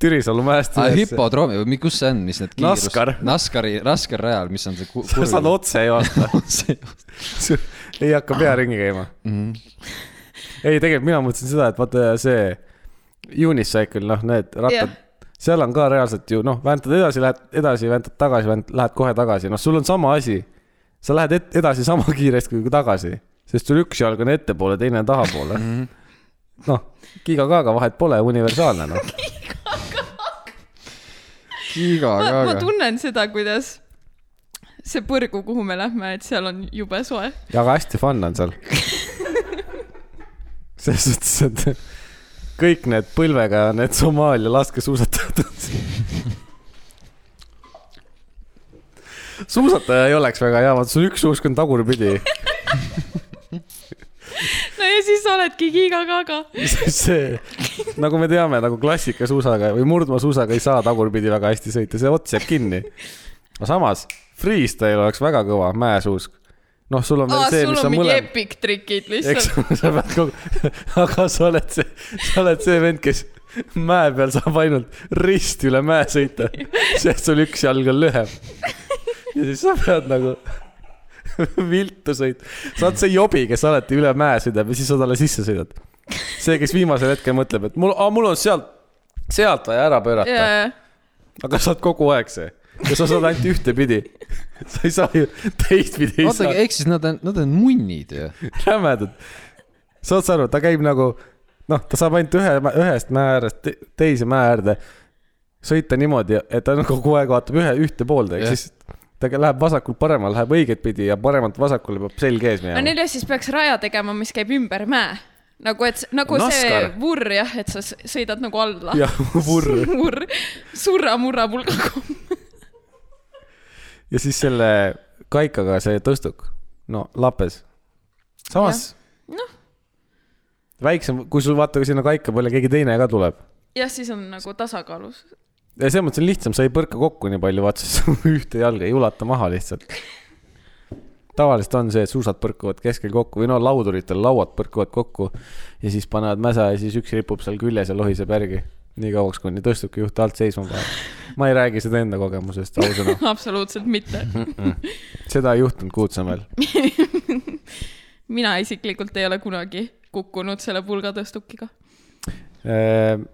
Speaker 2: Türisalu mäest
Speaker 1: ja . hipodroomi või mi- kus see on , mis need kiirus-
Speaker 2: Naskar.
Speaker 1: Naskari , Naskar rajal , mis on see ku-
Speaker 2: sa saad otse joosta ,
Speaker 1: kurv .
Speaker 2: ei hakka pea ringi käima . ei , tegelikult mina mõtlesin seda , et vaata see unicycle , noh , need rattad
Speaker 3: Jah. ,
Speaker 2: seal on ka reaalselt ju noh , väntad edasi , lähed edasi , väntad tagasi , lähed kohe tagasi , noh , sul on sama asi . sa lähed et, edasi sama (laughs) kiiresti kui tagasi , sest sul üks jalg on ettepoole , teine on tahapoole . noh , giga-gaga vahet pole , universaalne noh .
Speaker 1: kiiga ,
Speaker 3: ma , ma
Speaker 1: aga ,
Speaker 3: tunnen seda , kuidas see põrgu , kuhu me lähme , et seal on jube soe .
Speaker 2: ja aga hästi fun on
Speaker 3: (laughs)
Speaker 2: seal . selles suhtes , et kõik need põlvega need Somaalia laskesuusatajad on siin . suusataja ei oleks väga hea , vaata sul üks suusk on
Speaker 3: (laughs)
Speaker 2: tagurpidi ,
Speaker 3: no ja siis sa oledki kiiga-kaga .
Speaker 2: see nagu me teame , nagu klassikasuusaga või murdmaasuusaga ei saa tagurpidi väga hästi sõita , see ots jääb kinni . aga samas freestyle oleks väga kõva mäesuusk . noh , sul on veel
Speaker 3: aa ,
Speaker 2: see ,
Speaker 3: sul
Speaker 2: mis
Speaker 3: on
Speaker 2: on
Speaker 3: mingi
Speaker 2: mõlem-
Speaker 3: epic trikid
Speaker 2: eks
Speaker 3: lihtsalt .
Speaker 2: (laughs) sa pead kogu , aga sa oled see , sa oled see vend , kes mäe peal saab ainult risti üle mäe sõita , sest sul üks jalg on lühem . ja siis sa pead nagu (laughs) viltu sõitma , sa oled see jobi , kes alati üle mäe sõidab ja siis sa talle sisse sõidad . see , kes viimasel hetkel mõtleb , et mul , mul on sealt , sealt vaja ära pöörata , aga sa oled kogu aeg see ja sa saad ainult ühtepidi . sa ei saa ju teistpidi ei saa
Speaker 1: oota , ehk siis nad on , nad on munnid ju .
Speaker 2: (laughs) rämedad . saad sa aru , ta käib nagu noh , ta saab ainult ühe , ühest mäe äärest te- teise mäe äärde sõita niimoodi , et ta nagu kogu aeg vaatab ühe , ühte poolde ,
Speaker 1: Jah.
Speaker 2: ehk siis ta kä- läheb vasakult paremale , läheb õiget pidi ja paremalt vasakule peab selg ees
Speaker 3: no
Speaker 2: minema .
Speaker 3: neil jah siis peaks raja tegema , mis käib ümber mäe . nagu , et s- nagu see
Speaker 2: Naskar.
Speaker 3: vurr jah , et sa s- sõidad nagu alla .
Speaker 2: jah , (laughs) vurr
Speaker 3: (laughs) vurr , surra-murra pulgaga .
Speaker 2: ja siis selle kaikaga see tõstuk , no lapes . samas .
Speaker 3: Noh. .
Speaker 2: väiksem , kui sul vaata , kui sinna kaika peale keegi teine ka tuleb .
Speaker 3: jah , siis on nagu tasakaalus . (laughs)
Speaker 2: ja selles mõttes on lihtsam , sa ei põrka kokku nii palju , vaata , (laughs) sa ühte jalga ei ulata maha lihtsalt . tavaliselt on see , et suusad põrkuvad keskel kokku või no lauduritel lauad põrkuvad kokku ja siis panevad mäsa ja siis üks ripub seal küljes ja lohiseb järgi nii kauaks , kuni tõstukijuht alt seisma paneb . ma ei räägi seda enda kogemusest ausõna ,
Speaker 3: absoluutselt
Speaker 2: (laughs)
Speaker 3: mitte .
Speaker 2: seda ei juhtunud Kuutsamäel .
Speaker 3: mina isiklikult ei ole kunagi kukkunud selle pulgatõstukiga .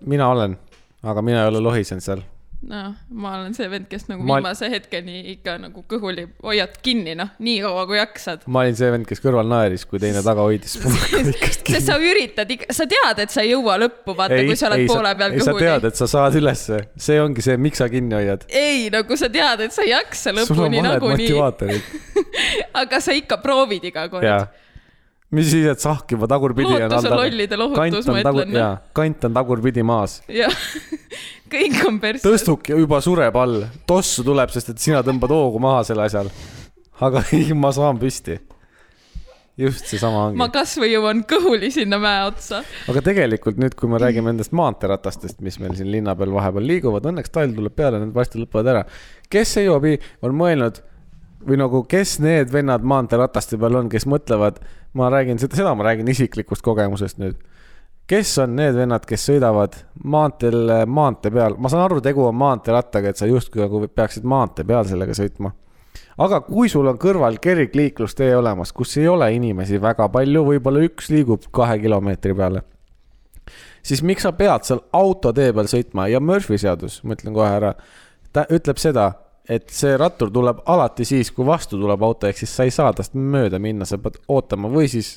Speaker 2: mina olen , aga mina ei ole lohisenud seal .
Speaker 3: noh , ma olen see vend , kes nagu
Speaker 2: Ma-
Speaker 3: ma... viimase hetkeni ikka nagu kõhuli hoiad kinni , noh , nii kaua kui jaksad .
Speaker 2: ma olin see vend , kes kõrval naeris , kui teine taga hoidis .
Speaker 3: sest sa üritad , sa tead , et sa ei jõua lõppu , (laughs) vaata , kui sa oled ei, poole peal
Speaker 2: ei , sa
Speaker 3: kõhuli
Speaker 2: tead , et sa saad ülesse , see ongi see , miks sa kinni hoiad .
Speaker 3: ei , nagu sa tead , et sa ei jaksa
Speaker 2: sul on
Speaker 3: lõpuni
Speaker 2: vahed
Speaker 3: nagunii , (laughs)
Speaker 2: motivaatorid
Speaker 3: aga sa ikka proovid iga kord .
Speaker 2: ja mis siis , et sahk juba tagurpidi
Speaker 3: lootus on
Speaker 2: all-
Speaker 3: lollide lohutus ,
Speaker 2: kant
Speaker 3: ma
Speaker 2: on tagur-
Speaker 3: ütlen .
Speaker 2: jaa , kant on tagurpidi maas ,
Speaker 3: jah , (laughs) kõik on persse .
Speaker 2: tõstuk juba sureb all , tossu tuleb , sest et sina tõmbad hoogu maha sel asjal . aga (laughs) ei , ma saan püsti . just seesama
Speaker 3: ma
Speaker 2: ongi ,
Speaker 3: kasvõi jõuan kõhuli sinna mäe otsa .
Speaker 2: aga tegelikult nüüd , kui me räägime nendest maanteeratastest , mis meil siin linna peal vahepeal liiguvad , õnneks talv tuleb peale , need varsti lõpevad ära . kes ei joobi , on mõelnud või nagu , kes need vennad maanteerataste peal on , kes mõtlevad , ma räägin seda , seda ma räägin isiklikust kogemusest nüüd . kes on need vennad , kes sõidavad maanteel , maantee peal , ma saan aru , tegu on maanteerattaga , et sa justkui nagu peaksid maantee peal sellega sõitma . aga kui sul on kõrval kergliiklustee olemas , kus ei ole inimesi väga palju , võib-olla üks liigub kahe kilomeetri peale , siis miks sa pead seal autotee peal sõitma ja Murphy seadus , ma ütlen kohe ära , ta ütleb seda , et see rattur tuleb alati siis , kui vastu tuleb auto , ehk siis sa ei saa tast mööda minna , sa pead ootama või siis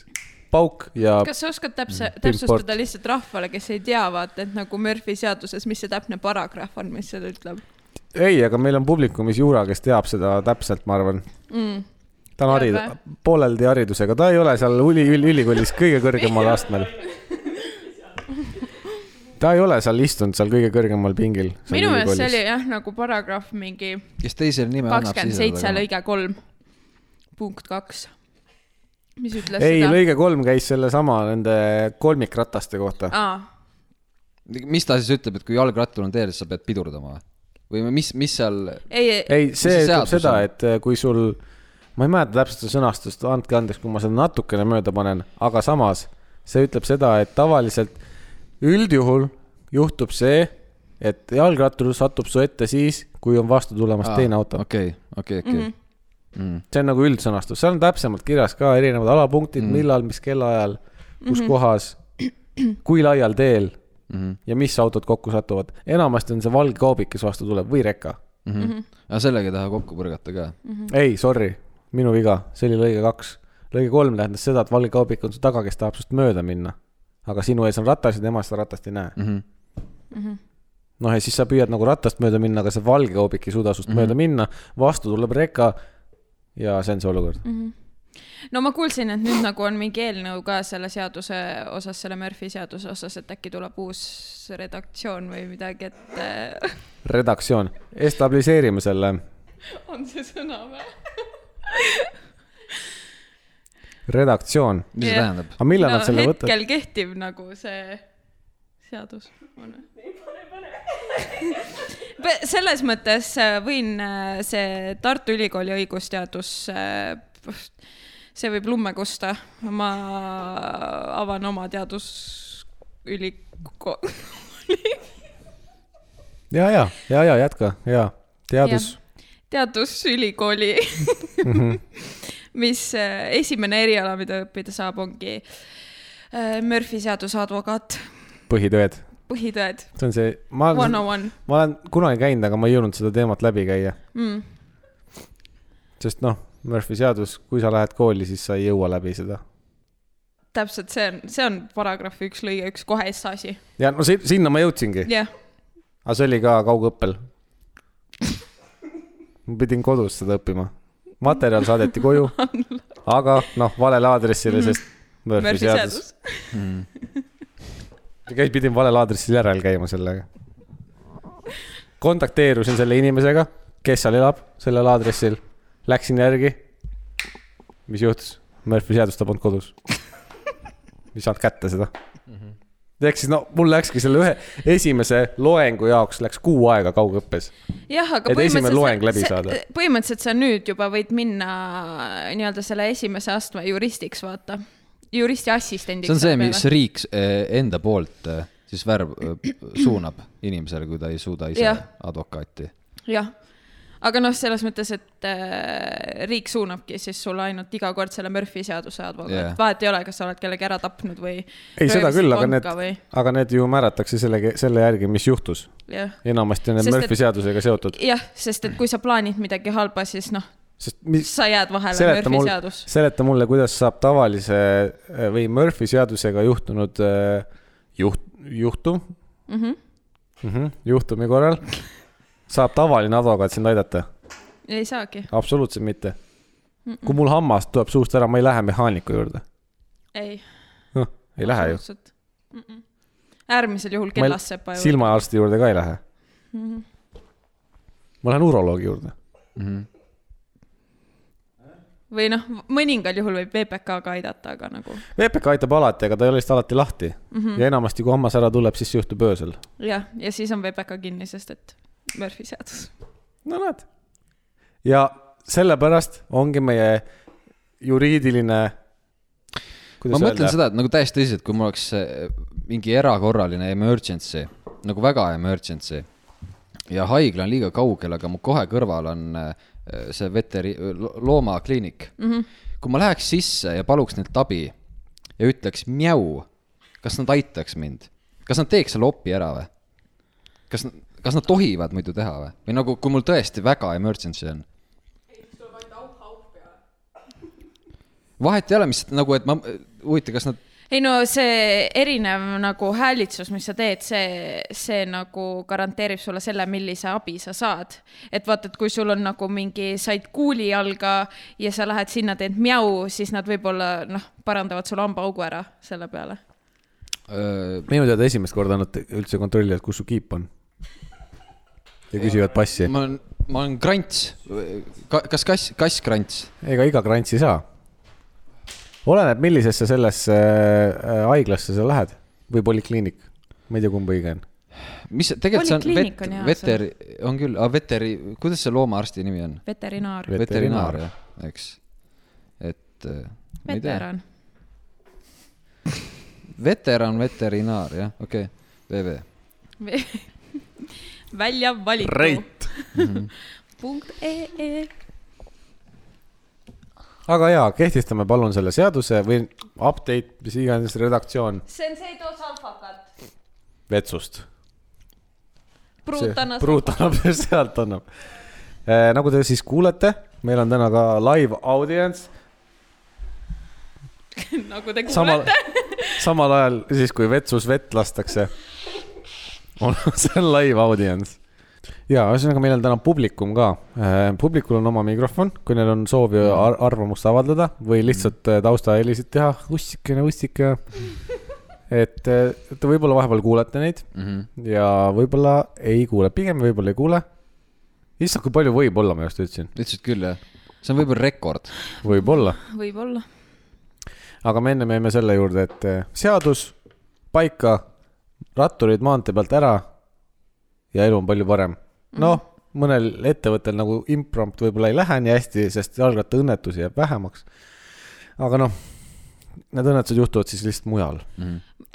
Speaker 2: pauk ja
Speaker 3: kas sa oskad täpse ,
Speaker 2: Pimport.
Speaker 3: täpsustada lihtsalt rahvale , kes ei tea , vaata , et nagu Murphy seaduses , mis see täpne paragrahv on , mis seda ütleb
Speaker 2: ei , aga meil on publikumis Juura , kes teab seda täpselt , ma arvan .
Speaker 3: mm. ?
Speaker 2: ta on harid-
Speaker 3: Jah, ,
Speaker 2: pooleldi haridusega , ta ei ole seal uli- , üli- , ülikoolis kõige kõrgemal
Speaker 3: (laughs)
Speaker 2: astmel . ta ei ole seal istunud seal kõige kõrgemal pingil .
Speaker 3: minu meelest see oli . jah , nagu paragrahv mingi
Speaker 1: kes teisele nime annab ,
Speaker 3: kakskümmend
Speaker 1: siis
Speaker 3: seitse . lõige kolm , punkt kaks . mis ütles
Speaker 2: ei ,
Speaker 3: seda ?
Speaker 2: lõige kolm käis sellesama nende kolmikrataste kohta .
Speaker 3: aa ,
Speaker 1: mis ta siis ütleb , et kui jalgrattur on teel , siis sa pead pidurdama või ? või mis , mis seal ,
Speaker 3: ei , ei ,
Speaker 2: ei , see
Speaker 1: see
Speaker 2: ütleb
Speaker 1: seadus
Speaker 2: seda
Speaker 1: on? ,
Speaker 2: et äh, kui sul , ma ei mäleta täpselt seda sõnastust , andke andeks , kui ma seda natukene mööda panen , aga samas see ütleb seda , et tavaliselt üldjuhul juhtub see , et jalgrattur satub su ette siis , kui on vastu tulemas
Speaker 1: Aa,
Speaker 2: ah, teine auto okay. .
Speaker 1: okei , okei ,
Speaker 3: Mhm,
Speaker 1: okei .
Speaker 2: see on nagu üldsõnastus , seal on täpsemalt kirjas ka erinevad alapunktid mm. , millal , mis kellaajal , kus kohas , kui laial teel ja mis autod kokku satuvad . enamasti on see valge kaubik , kes vastu tuleb või reka
Speaker 1: Mhm.
Speaker 3: mhm.
Speaker 1: aga sellega ei taha kokku põrgata ka .
Speaker 2: ei , sorry , minu viga , see oli lõige kaks . lõige kolm tähendas seda , et valge kaubik on su taga , kes tahab sinust mööda minna . aga sinu ees on ratas ja tema seda ratast ei näe . noh , ja siis sa püüad nagu ratast mööda minna , aga see valge kaubik ei suuda sinust mm -hmm. mööda minna , vastu tuleb reka ja see on see olukord mm .
Speaker 3: no ma kuulsin , et nüüd nagu on mingi eelnõu ka selle seaduse osas , selle Murphy seaduse osas , et äkki tuleb uus redaktsioon või midagi , et äh, (laughs)
Speaker 2: -hmm. redaktsioon , establiseerime selle
Speaker 3: on see sõna või ?
Speaker 2: redaktsioon .
Speaker 1: mis see
Speaker 3: Jah.
Speaker 1: tähendab ?
Speaker 2: aga millal no, nad selle
Speaker 3: hetkel
Speaker 2: võtavad ?
Speaker 3: võtad? kehtib nagu see seadus on . selles mõttes äh, võin äh, see Tartu Ülikooli õigusteadus , see võib lumme kusta , ma avan oma teadusülikooli
Speaker 2: ja , ja , ja , ja jätka ja teadus , Mhm.
Speaker 3: teadusülikooli , mis äh, esimene eriala , mida õppida saab , ongi äh, Murphy seaduse advokaat ,
Speaker 2: põhitõed ,
Speaker 3: põhitõed ,
Speaker 2: see on see , ma ,
Speaker 3: one on one
Speaker 2: ma olen kunagi käinud , aga ma ei jõudnud seda teemat läbi käia .
Speaker 3: mm. .
Speaker 2: sest noh , Murphy seadus , kui sa lähed kooli , siis sa ei jõua läbi seda .
Speaker 3: täpselt , see on , see on paragrahv üks lõige üks kohe essaaži ,
Speaker 2: ja no si- sinna ma jõudsingi ,
Speaker 3: jah .
Speaker 2: aga see oli ka kaugõppel . ma pidin kodus seda õppima . materjal saadeti (laughs) koju , aga noh , valele aadressile , sest Murphy
Speaker 3: Murphy
Speaker 2: seadus .
Speaker 3: seadus .
Speaker 2: käis , pidin valel aadressil järel käima sellega . kontakteerusin selle inimesega , kes seal elab , sellel aadressil . Läksin järgi . mis juhtus ? Murphy seadust ta polnud kodus . ei saanud kätte seda . ehk siis no mul läkski selle ühe esimese loengu jaoks läks kuu aega kaugõppes .
Speaker 3: jah , aga
Speaker 2: Et esimene loeng läbi
Speaker 3: see-
Speaker 2: saada.
Speaker 3: põhimõtteliselt sa nüüd juba võid minna äh, nii-öelda selle esimese astme juristiks , vaata . juristi assistendiks .
Speaker 1: see on see , mis riik eh, enda poolt eh, siis värv eh, suunab inimesele , kui ta ei suuda ise
Speaker 3: Jah.
Speaker 1: advokaati .
Speaker 3: jah , aga noh , selles mõttes , et äh, riik suunabki siis sulle ainult iga kord selle Murphy seaduse advokaat yeah.
Speaker 1: Jah. ,
Speaker 3: vahet ei ole , kas sa oled kellegi ära tapnud või .
Speaker 2: ei , seda küll , aga need ,
Speaker 3: või... .
Speaker 2: aga need ju määratakse selle , selle järgi , mis juhtus .
Speaker 3: jah
Speaker 2: enamasti on need
Speaker 3: Sest et-
Speaker 2: Murphy seadusega seotud ,
Speaker 3: jah , sest et kui sa plaanid midagi halba , siis noh ,
Speaker 2: sest mis ,
Speaker 3: sa jääd vahele ,
Speaker 2: seleta
Speaker 3: Murphy mul...
Speaker 2: mul-
Speaker 3: seadus .
Speaker 2: seleta mulle , kuidas saab tavalise äh, või Murphy seadusega juhtunud äh, juht , juhtum
Speaker 3: Mm -hmm.
Speaker 2: mm , -hmm. juhtumi korral saab tavaline advokaat sind aidata ?
Speaker 3: ei saagi ,
Speaker 2: absoluutselt mitte . kui mul hammas tuleb suust ära , ma ei lähe mehaaniku juurde .
Speaker 3: ei .
Speaker 2: noh , ei lähe ju .
Speaker 3: mm . -mm. äärmisel juhul
Speaker 2: Ma ei- Mhm.
Speaker 3: kellassepa ju .
Speaker 2: silmaarsti juurde ka ei lähe . ma lähen uroloogi juurde .
Speaker 1: Mhm.
Speaker 3: või noh , mõningal juhul võib VPK-ga aidata , aga nagu
Speaker 2: VPK aitab alati , aga ta ei ole vist alati lahti mm . -hmm. ja enamasti , kui hammas ära tuleb , siis see juhtub öösel .
Speaker 3: jah , ja siis on VPK kinni , sest et Murphy seadus .
Speaker 2: no näed . ja sellepärast ongi meie juriidiline
Speaker 1: ma mõtlen seda , et nagu täiesti tõsiselt , kui mul oleks äh, mingi erakorraline emergency , nagu väga emergency ja haigla on liiga kaugel , aga mu kohe kõrval on äh, see veteri- , loomakliinik mm . -hmm. kui ma läheks sisse ja paluks neilt abi ja ütleks mjau , kas nad aitaks mind , kas nad teeks selle opi ära või ? kas , kas nad tohivad muidu teha või ? või nagu , kui mul tõesti väga emergency on vahet ei ole , mis nagu , et ma , huvitav , kas nad ,
Speaker 3: ei no see erinev nagu häälitsus , mis sa teed , see , see nagu garanteerib sulle selle , millise abi sa saad . et vaata , et kui sul on nagu mingi , said kuuli jalga ja sa lähed sinna , teed mjau , siis nad võib-olla noh , parandavad sulle hambaaugu ära selle peale .
Speaker 2: minu teada esimest korda nad üldse kontrollivad , kus su kiip on . ja küsivad passi .
Speaker 1: ma olen , ma olen krants Ka, , kas kass , kass krants ?
Speaker 2: ega iga krants ei saa . oleneb , millisesse sellesse äh, haiglasse sa lähed või polikliinik . ma ei tea , kumb õige on .
Speaker 1: mis see- tegelikult see on
Speaker 3: Polikliinik
Speaker 1: vet-
Speaker 3: on hea ,
Speaker 1: veteri , on küll , aga veteri , kuidas see loomaarsti nimi on ?
Speaker 3: veterinaar ,
Speaker 2: Vet- Veterinaar.
Speaker 1: veterinaar , jah , eks . et äh, ma ei tea ,
Speaker 3: veteran . (laughs)
Speaker 1: veteran , veterinaar , jah , okei okay. , VV .
Speaker 3: välja valitu . punkt E ee .
Speaker 2: aga jaa , kehtestame palun selle seaduse või update , mis iganes redaktsioon
Speaker 3: see on see , too salfakat .
Speaker 2: vetsust .
Speaker 3: pruut annas .
Speaker 2: pruut annab , (laughs) sealt annab . nagu te siis kuulete , meil on täna ka live audience .
Speaker 3: nagu te
Speaker 2: samal
Speaker 3: kuulete .,
Speaker 2: (laughs) samal ajal siis , kui vetsus vett lastakse , on (laughs) see on live audience . ja ühesõnaga , meil on täna publikum ka . publikul on oma mikrofon , kui neil on soovi ar arvamust avaldada või lihtsalt eh, taustahelisid teha , ussikene , ussike . et eh, te võib-olla vahepeal kuulete neid ja võib-olla ei kuule , pigem võib-olla ei kuule . issand , kui palju võib-olla ma just ütlesin ,
Speaker 1: ütlesid küll , jah ? see on võib-olla rekord .
Speaker 2: võib-olla
Speaker 3: võib-olla .
Speaker 2: aga me ennem jäime selle juurde , et eh, seadus paika , ratturid maantee pealt ära ja elu on palju parem . noh ,
Speaker 3: Mhm.
Speaker 2: mõnel ettevõttel nagu imprompt võib-olla ei lähe nii hästi , sest jalgrattaõnnetusi jääb vähemaks . aga noh , need õnnetused juhtuvad siis lihtsalt mujal .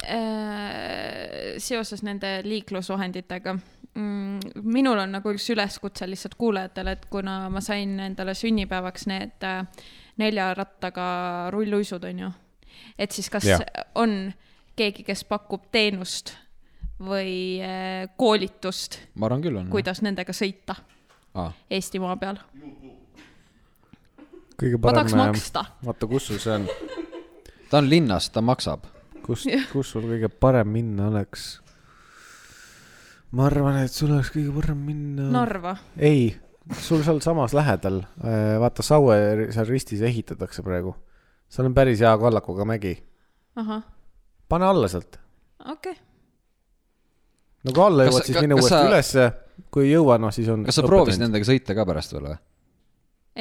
Speaker 3: Äh, seoses nende liiklusvahenditega mm, . minul on nagu üks üleskutse lihtsalt kuulajatele , et kuna ma sain endale sünnipäevaks need äh, nelja rattaga rulluisud , onju . et siis kas ja.
Speaker 2: Jah.
Speaker 3: on keegi , kes pakub teenust või äh, koolitust ,
Speaker 1: ma arvan küll , on .
Speaker 3: kuidas nendega sõita
Speaker 1: Ah,
Speaker 3: Eestimaa peal ?
Speaker 2: kõige
Speaker 3: ma tahaks
Speaker 2: parem ,
Speaker 3: maksta .
Speaker 2: vaata , kus sul see on ,
Speaker 1: ta on linnas , ta maksab .
Speaker 2: kus , kus sul kõige parem minna oleks ? ma arvan , et sul oleks kõige parem minna .
Speaker 3: Narva .
Speaker 2: ei , sul sealsamas lähedal , vaata Saue ri- seal ristis ehitatakse praegu . seal on päris hea kallakuga mägi ,
Speaker 3: ahah ,
Speaker 2: pane alla sealt .
Speaker 3: okei okay. .
Speaker 2: no kui alla
Speaker 1: Kas-
Speaker 2: jõuad , siis
Speaker 1: ka-
Speaker 2: mine
Speaker 1: kas
Speaker 2: uuesti
Speaker 1: sa-
Speaker 2: sa... ülesse , kui ei jõua , noh siis on .
Speaker 1: kas sa proovisid ? nendega sõita ka pärast veel või ?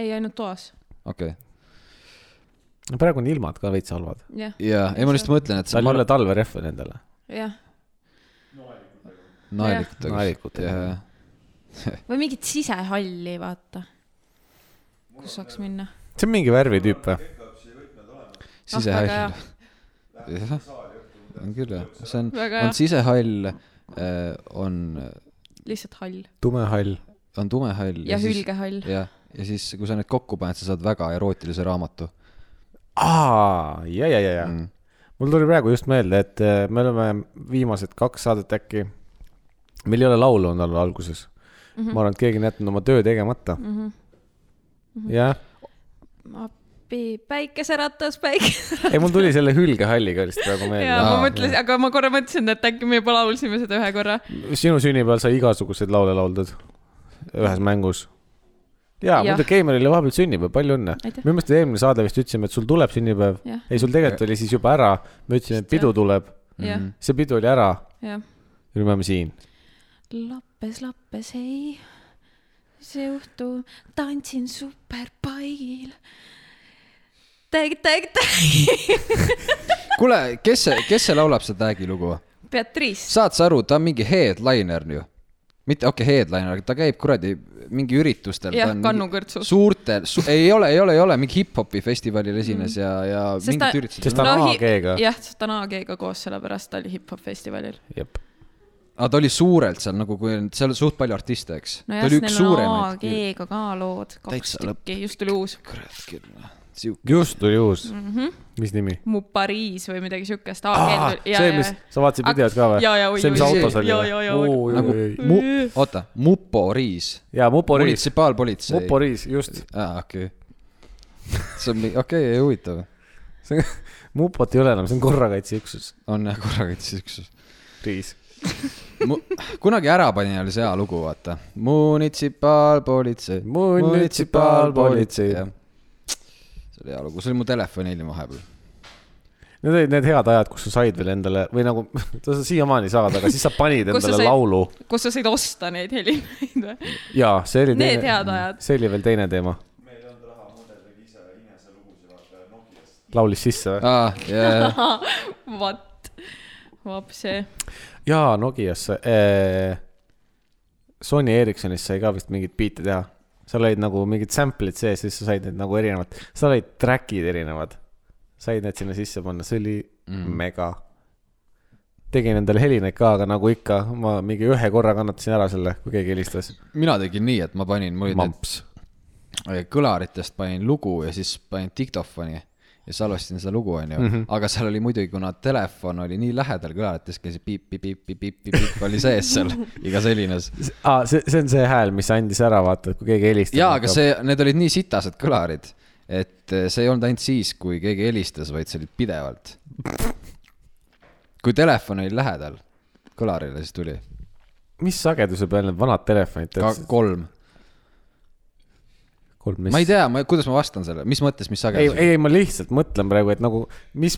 Speaker 3: ei , ainult toas ,
Speaker 1: okei okay. .
Speaker 2: praegu on ilmad ka veits halvad ,
Speaker 3: jah ,
Speaker 1: jaa , ei ma lihtsalt mõtlen , et
Speaker 2: seal ei ole talverehve nendele .
Speaker 3: jah .
Speaker 1: naelikutega .
Speaker 2: Naelikutega.
Speaker 1: jajah .
Speaker 3: või mingit sisehalli , vaata . kus saaks minna .
Speaker 2: see on mingi värvitüüp või ?
Speaker 3: Ah,
Speaker 1: sisehall . jah , on küll jah , see on ,
Speaker 3: Väga hea.
Speaker 1: on sisehall , on ,
Speaker 3: lihtsalt hall
Speaker 2: tumehall .
Speaker 1: on tumehall .
Speaker 3: ja, ja hülgehall .
Speaker 1: jah , ja siis , kui sa need kokku paned , sa saad väga erootilise raamatu .
Speaker 2: aa , ja , ja , ja , ja mm. . mul tuli praegu just meelde , et eh, me oleme viimased kaks saadet äkki , meil ei ole laulu olnud al- alguses mm .
Speaker 3: Mhm.
Speaker 2: -hmm. ma arvan , et keegi on jätnud oma töö tegemata mm .
Speaker 3: Mhm.
Speaker 2: -hmm. jah
Speaker 3: appi , päikeseratas , päikeseratas .
Speaker 2: ei , mul tuli selle hülgehalliga lihtsalt praegu
Speaker 3: ja
Speaker 2: meelde .
Speaker 3: ma
Speaker 1: Aa,
Speaker 3: mõtlesin , aga ma korra mõtlesin , et äkki me juba laulsime seda ühe korra .
Speaker 2: sinu sünnipäeval sai igasuguseid laule lauldud ühes mängus . ja, ja.
Speaker 3: Jah.
Speaker 2: muide , Keimar oli vahepeal sünnipäev , palju õnne .
Speaker 3: Aitäh.
Speaker 2: minu meelest eelmine saade vist ütlesime , et sul tuleb sünnipäev .
Speaker 3: Jah.
Speaker 2: ei , sul tegelikult oli siis juba ära , me ütlesime , et pidu tuleb ,
Speaker 1: Mhm.
Speaker 3: jah ,
Speaker 2: see pidu oli ära ja
Speaker 3: jah .
Speaker 2: nüüd me oleme siin .
Speaker 3: lappes , lappes , ei , see õhtu tantsin superpaigil . täg , täg , täg .
Speaker 1: kuule , kes see , kes see laulab seda täägi lugu ?
Speaker 3: Beatrice ,
Speaker 1: saad sa aru , ta on mingi headliner ju . mitte okei okay, , headliner , ta käib kuradi mingi üritustel .
Speaker 3: Jah, kannukõrtsus.
Speaker 1: suurtel su, , ei ole , ei ole , ei ole , mingi hip-hopi festivalil esines ja , ja
Speaker 3: Mm. Sest
Speaker 1: mingit
Speaker 3: ta-
Speaker 1: üritusel .
Speaker 2: sest ta on AG-ga .
Speaker 3: jah , sest ta on AG-ga koos , sellepärast ta oli hip-hop festivalil .
Speaker 2: jep .
Speaker 1: aga ta oli suurelt seal nagu , kui on- seal on suht palju artiste , eks .
Speaker 3: nojah ,
Speaker 1: ta oli
Speaker 3: sest
Speaker 1: üks
Speaker 3: neil on
Speaker 1: suuremaid .
Speaker 3: AG-ga ka lood , kaks
Speaker 1: Täitsa lõpp.
Speaker 3: tükki , just tuli uus .
Speaker 1: kurat küll , siuke .
Speaker 2: just tuli uus mm .
Speaker 3: Mhm.
Speaker 2: -hmm. mis nimi ?
Speaker 3: mu Pariis või midagi siukest .
Speaker 2: see , mis , sa vaatasid
Speaker 3: Ak-
Speaker 2: videot ka või
Speaker 3: jaa, jaa, oi, ?
Speaker 2: see , mis
Speaker 1: oi,
Speaker 2: autos
Speaker 1: oi,
Speaker 2: oli
Speaker 3: jaa, jaa, jaa, oi.
Speaker 1: Nagu-
Speaker 2: või ?
Speaker 1: oota , Mupo Riis .
Speaker 2: jaa , Muporiis ,
Speaker 1: munitsipaalpolitsei .
Speaker 2: Muporiis , just .
Speaker 1: aa , okei . see on , okei , huvitav .
Speaker 2: (laughs) Mupot ei ole enam , see on korrakaitseüksus .
Speaker 1: on jah , korrakaitseüksus .
Speaker 2: Riis .
Speaker 1: mu , kunagi Ärapanija oli see hea lugu , vaata . munitsipaalpolitsei .
Speaker 2: Munitsipaalpolitsei.
Speaker 1: jah. see oli hea lugu , see oli mu telefoni ilm vahepeal .
Speaker 2: Need olid need head ajad , kus sa said veel endale või nagu , (laughs) sa siiamaani saad , aga siis sa panid
Speaker 3: Kus sa
Speaker 2: endale
Speaker 3: said-
Speaker 2: laulu .
Speaker 3: kus sa said osta neid helineid või ?
Speaker 2: jaa , see oli teine ,
Speaker 3: Need head ajad .
Speaker 2: see oli veel teine teema .
Speaker 4: meil ei olnud raha , mudel tegi ise eneselugusid , vaata Nokiast .
Speaker 2: laulis sisse või ?
Speaker 1: aa , jajah .
Speaker 3: Vat , vapsi .
Speaker 2: jaa , Nokiasse äh, . Sony Ericssonis sai ka vist mingeid biite teha . seal olid nagu mingid sample'id sees , siis sa said need nagu erinevad , seal olid track'id erinevad . said need sinna sisse panna , see oli mm. mega . tegin endale helineid ka , aga nagu ikka , ma mingi ühe korra kannatasin ära selle , kui keegi helistas .
Speaker 1: mina tegin nii , et ma panin , mul olid
Speaker 2: mamps .
Speaker 1: need kõlaritest panin lugu ja siis panin diktofoni ja salvestasin seda lugu ,
Speaker 2: Mhm.
Speaker 1: onju . aga seal oli muidugi , kuna telefon oli nii lähedal kõlarites , käis piip , piip , piip , piip , piip , piip , piip oli sees
Speaker 2: (laughs)
Speaker 1: seal igas helines
Speaker 2: aa , see , see on see hääl , mis andis ära , vaata , kui keegi helistas .
Speaker 1: jaa , aga . see , need olid nii sitased kõlarid , et eh, see ei olnud ainult siis , kui keegi helistas , vaid see oli pidevalt . kui telefon oli lähedal kõlarile , siis tuli
Speaker 2: mis sageduse peal need vanad telefonid
Speaker 1: ka
Speaker 2: töötasid ?
Speaker 1: kolm .
Speaker 2: kolm
Speaker 1: ma ei tea , ma , kuidas ma vastan sellele , mis mõttes , mis
Speaker 2: ei ,
Speaker 1: sagedusega ?
Speaker 2: ei , ei ma lihtsalt mõtlen praegu , et nagu , mis ,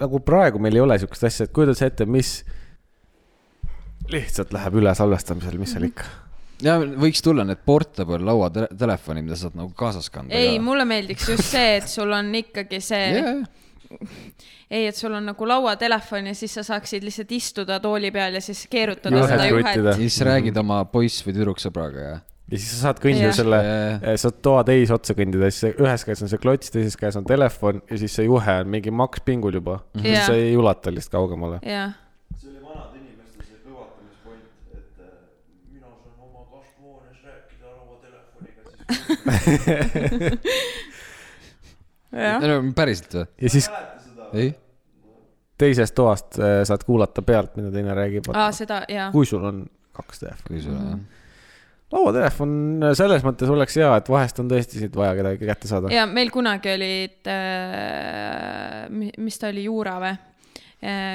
Speaker 2: nagu praegu meil ei ole siukest asja , et kujuta sa ette , mis lihtsalt läheb üle salvestamisel , mis
Speaker 3: Mhm.
Speaker 2: seal ikka .
Speaker 1: ja võiks tulla need portable lauatelefoni , mida saad nagu kaasas kanda .
Speaker 3: ei , mulle meeldiks just see , et sul on ikkagi see yeah. ,
Speaker 1: Yeah.
Speaker 3: ei , et sul on nagu lauatelefon ja siis sa saaksid lihtsalt istuda tooli peal ja siis keerutada
Speaker 2: Juhet
Speaker 3: juhet seda
Speaker 2: kruttida.
Speaker 3: juhet .
Speaker 1: siis räägid oma poiss või tüdruksõbraga ja
Speaker 2: ja siis sa saad kõndida
Speaker 3: Jah.
Speaker 2: selle äh,
Speaker 1: Jajah. ,
Speaker 2: saad toa teise otsa kõndida , siis see- ühes käes on see klots , teises käes on telefon ja siis see juhe on mingi makspingul juba mm . -hmm.
Speaker 3: Jah.
Speaker 2: siis sa ei ulata lihtsalt kaugemale .
Speaker 3: jah ,
Speaker 4: see oli vanade inimeste see kõvatamispoint , et äh, mina saan oma kasvuhoones rääkida oma telefoniga , siis
Speaker 2: (laughs)
Speaker 3: jah .
Speaker 1: päriselt või ?
Speaker 2: ja siis
Speaker 4: mäletad seda ?
Speaker 1: ei ?
Speaker 2: teisest toast äh, saad kuulata pealt , mida teine räägib .
Speaker 3: aa , seda , jaa .
Speaker 2: kui sul on kaks telefoni .
Speaker 1: kui sul on
Speaker 2: lauatelefon selles mõttes oleks hea , et vahest on tõesti siit vaja kedagi kätte saada .
Speaker 3: ja meil kunagi olid äh, , mis ta oli , juura või ?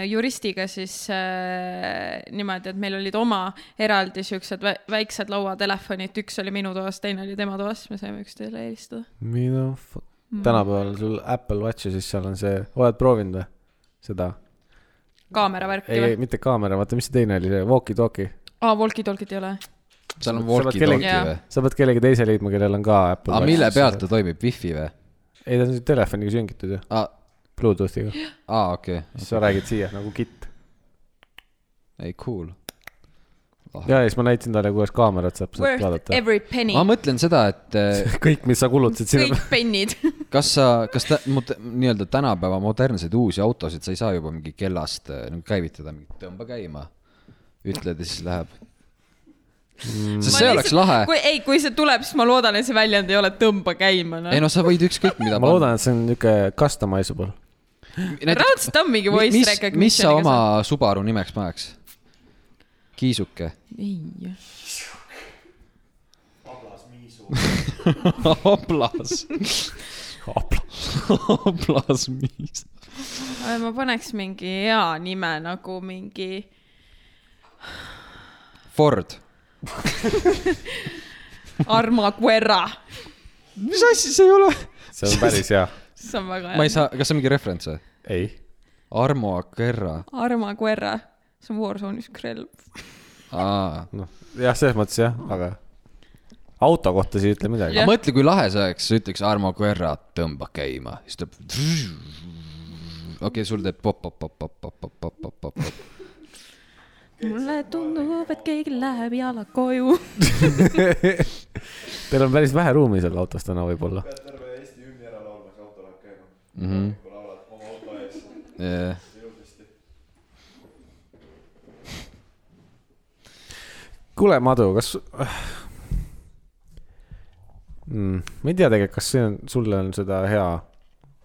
Speaker 3: juristiga siis äh, niimoodi , et meil olid oma eraldi siuksed vä- väiksed lauatelefonid , üks oli minu toas , teine oli tema toas , me saime üksteisele helistada .
Speaker 2: mida f- ,
Speaker 3: Mm.
Speaker 2: tänapäeval sul Apple Watchi , siis seal on see , oled proovinud või seda ?
Speaker 3: kaamera värki
Speaker 2: ei , ei
Speaker 3: või ?
Speaker 2: mitte kaamera , vaata , mis see teine oli , see walkie-talkie .
Speaker 3: aa , walkie-talkie't ei ole .
Speaker 1: jah , seal on
Speaker 2: Sa pead kellegi-
Speaker 1: walkie-talkie või
Speaker 3: Jaa. ?
Speaker 2: sa pead kellegi teise leidma , kellel on ka Apple
Speaker 1: aga mille pealt ? ta toimib , wifi või ?
Speaker 2: ei , ta on su telefoniga süngitud ju ,
Speaker 1: aa ,
Speaker 2: Bluetoothiga .
Speaker 1: aa , ah, okei okay. ,
Speaker 2: siis sa räägid siia nagu kitt .
Speaker 1: ei cool .
Speaker 2: ja , ja siis ma näitasin talle , kuidas kaamerat saab sealt
Speaker 3: Worth
Speaker 2: vaadata .
Speaker 3: every penny
Speaker 1: ma , mõtlen seda , et eh,
Speaker 2: (laughs) kõik , mis sa kulutasid sinna
Speaker 3: kõik . pennid .
Speaker 1: kas sa , kas ta, mot, nii-öelda tänapäeva modernseid uusi autosid sa ei saa juba mingi kellast eh, nagu käivitada , mingi tõmba käima , ütled ja siis läheb .
Speaker 2: Mm.
Speaker 1: sest see oleks lahe .
Speaker 3: kui , ei , kui see tuleb , siis ma loodan , et see väljend ei ole tõmba käima ,
Speaker 1: ei
Speaker 3: noh .
Speaker 1: no sa võid ükskõik mida
Speaker 2: ma . loodan , et see on niuke customizable .
Speaker 3: raudselt on mingi voice
Speaker 1: mis ,
Speaker 3: recognition .
Speaker 1: mis sa oma ? Subaru nimeks paneks ? kiisuke .
Speaker 3: ei ,
Speaker 1: (laughs) ablas . ablas , mis ?
Speaker 3: ma paneks mingi hea nime nagu mingi
Speaker 1: Ford .
Speaker 3: Arma Guerra .
Speaker 1: mis asi see ei ole ?
Speaker 2: see on päris
Speaker 1: (laughs)
Speaker 2: hea .
Speaker 3: see on väga
Speaker 1: ma
Speaker 3: hea
Speaker 1: ei . saa , kas see on mingi referents või ?
Speaker 2: ei .
Speaker 1: Armo Akerra .
Speaker 3: Arma Guerra , see on Warzone'is krelv .
Speaker 1: aa
Speaker 2: noh , jah , selles mõttes jah , aga auto kohta siis ei ütle midagi .
Speaker 1: aga
Speaker 3: Jah.
Speaker 1: mõtle , kui lahe see oleks , sa ütleks Armo Koera , tõmba käima , siis ta . okei , sul teeb pop , pop , pop , pop , pop , pop , pop , pop , pop , pop .
Speaker 3: mulle tundub , et keegi läheb jala koju .
Speaker 2: Teil on päris vähe ruumi seal autos täna võib-olla .
Speaker 4: pead terve Eesti hümni ära laulma , siis auto läheb käima .
Speaker 1: Mhm.
Speaker 4: kui laulad oma auto ees , siis
Speaker 1: jah .
Speaker 4: jõudlasti .
Speaker 2: kuule , Madu , kas mm, ? ma ei tea tegelikult , kas see on , sulle on seda hea ,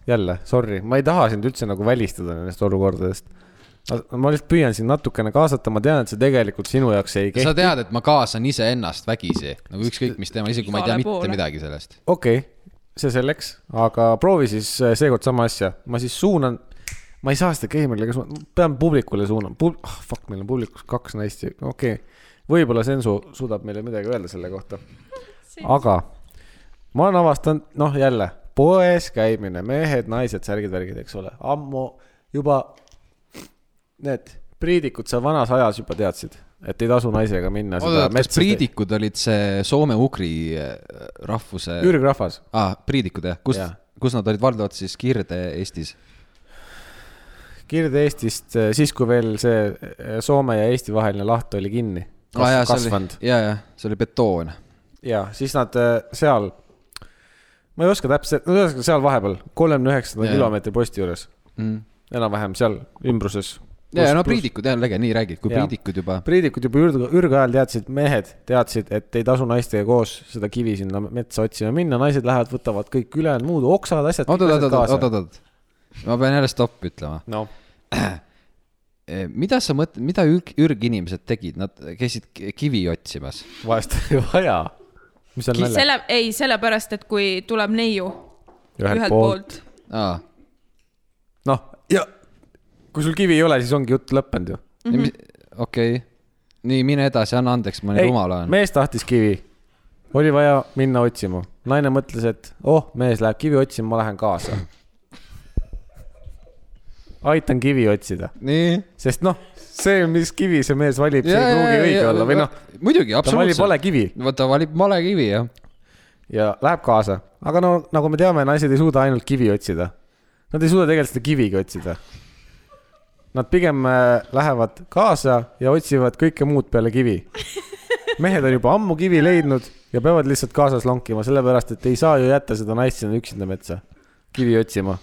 Speaker 2: jälle sorry , ma ei taha sind üldse nagu välistada nendest olukordadest . ma lihtsalt püüan sind natukene kaasata , ma tean , et see tegelikult sinu jaoks ei
Speaker 1: sa
Speaker 2: kehti .
Speaker 1: tead , et ma kaasan iseennast vägisi , nagu ükskõik mis teema , isegi kui ma ei tea
Speaker 3: Igale
Speaker 1: mitte
Speaker 3: poole.
Speaker 1: midagi sellest .
Speaker 2: okei okay, , see selleks , aga proovi siis äh, seekord sama asja , ma siis suunan . ma ei saa seda Keimrile , kas ma pean publikule suunama Pub... , ah oh, fuck , meil on publikus kaks naist , okei okay. . võib-olla Sensu suudab meile midagi öelda selle kohta . aga ma olen avastanud , noh jälle , poes käimine , mehed , naised , särgid-värgid , eks ole , ammu juba need priidikud seal vanas ajas juba teadsid , et ei tasu naisega minna .
Speaker 1: oota , kas priidikud olid see soome-ugri äh, rahvuse ?
Speaker 2: Jürg Rahvas
Speaker 1: aa , priidikud jah , kus
Speaker 2: Jah. ,
Speaker 1: kus nad olid valdavalt siis Kirde-Eestis ?
Speaker 2: Kirde-Eestist eh, siis , kui veel see eh, Soome ja Eesti vaheline laht oli kinni kas, ah, kasvanud
Speaker 1: ja , ja see oli betoon .
Speaker 2: ja siis nad eh, seal , ma ei oska täpselt , ühesõnaga seal vahepeal , kolmekümne
Speaker 1: Jaa.
Speaker 2: üheksanda
Speaker 1: Mm.
Speaker 2: kilomeetri posti juures , enam-vähem seal ümbruses .
Speaker 1: ja , no . priidikud jah , äge , nii räägid , kui
Speaker 2: Jaa.
Speaker 1: priidikud juba .
Speaker 2: priidikud juba ürg , ürgajal teadsid , mehed teadsid , et ei tasu naistega koos seda kivi sinna metsa otsima minna , naised lähevad , võtavad kõik ülejäänud muud oksad , asjad .
Speaker 1: oot , oot , oot , oot , oot , oot , ma pean jälle stopp ütlema .
Speaker 2: noh ,
Speaker 1: mida sa mõtled , mida ürg , ürginimesed tegid , nad käisid ki- kivi otsimas ?
Speaker 2: vahest oli vaja . mis seal nalja ,
Speaker 3: selle , ei , sellepärast , et kui tuleb neiu
Speaker 2: ühelt
Speaker 3: ühelt
Speaker 2: poolt
Speaker 3: poolt .
Speaker 1: aa ,
Speaker 2: noh , ja kui sul kivi ei ole , siis ongi jutt lõppenud ju .
Speaker 1: okei . nii , mine edasi , anna andeks , ma nii rumal olen .
Speaker 2: mees tahtis kivi , oli vaja minna otsima , naine mõtles , et oh , mees läheb kivi otsima , ma lähen kaasa . aitan kivi otsida ,
Speaker 1: nii .
Speaker 2: sest noh , see , mis kivi see mees valib , see ei pruugi õige olla või noh ,
Speaker 1: muidugi ,
Speaker 2: ta valib
Speaker 1: absoluutselt .
Speaker 2: vale kivi
Speaker 1: vaata , valib male kivi , jah .
Speaker 2: ja läheb kaasa , aga no nagu me teame , naised ei suuda ainult kivi otsida . Nad ei suuda tegelikult seda kivigi otsida . Nad pigem äh, lähevad kaasa ja otsivad kõike muud peale kivi . mehed on juba ammu kivi leidnud ja peavad lihtsalt kaasas lonkima , sellepärast et ei saa ju jätta seda naist sinna üksinda metsa kivi otsima .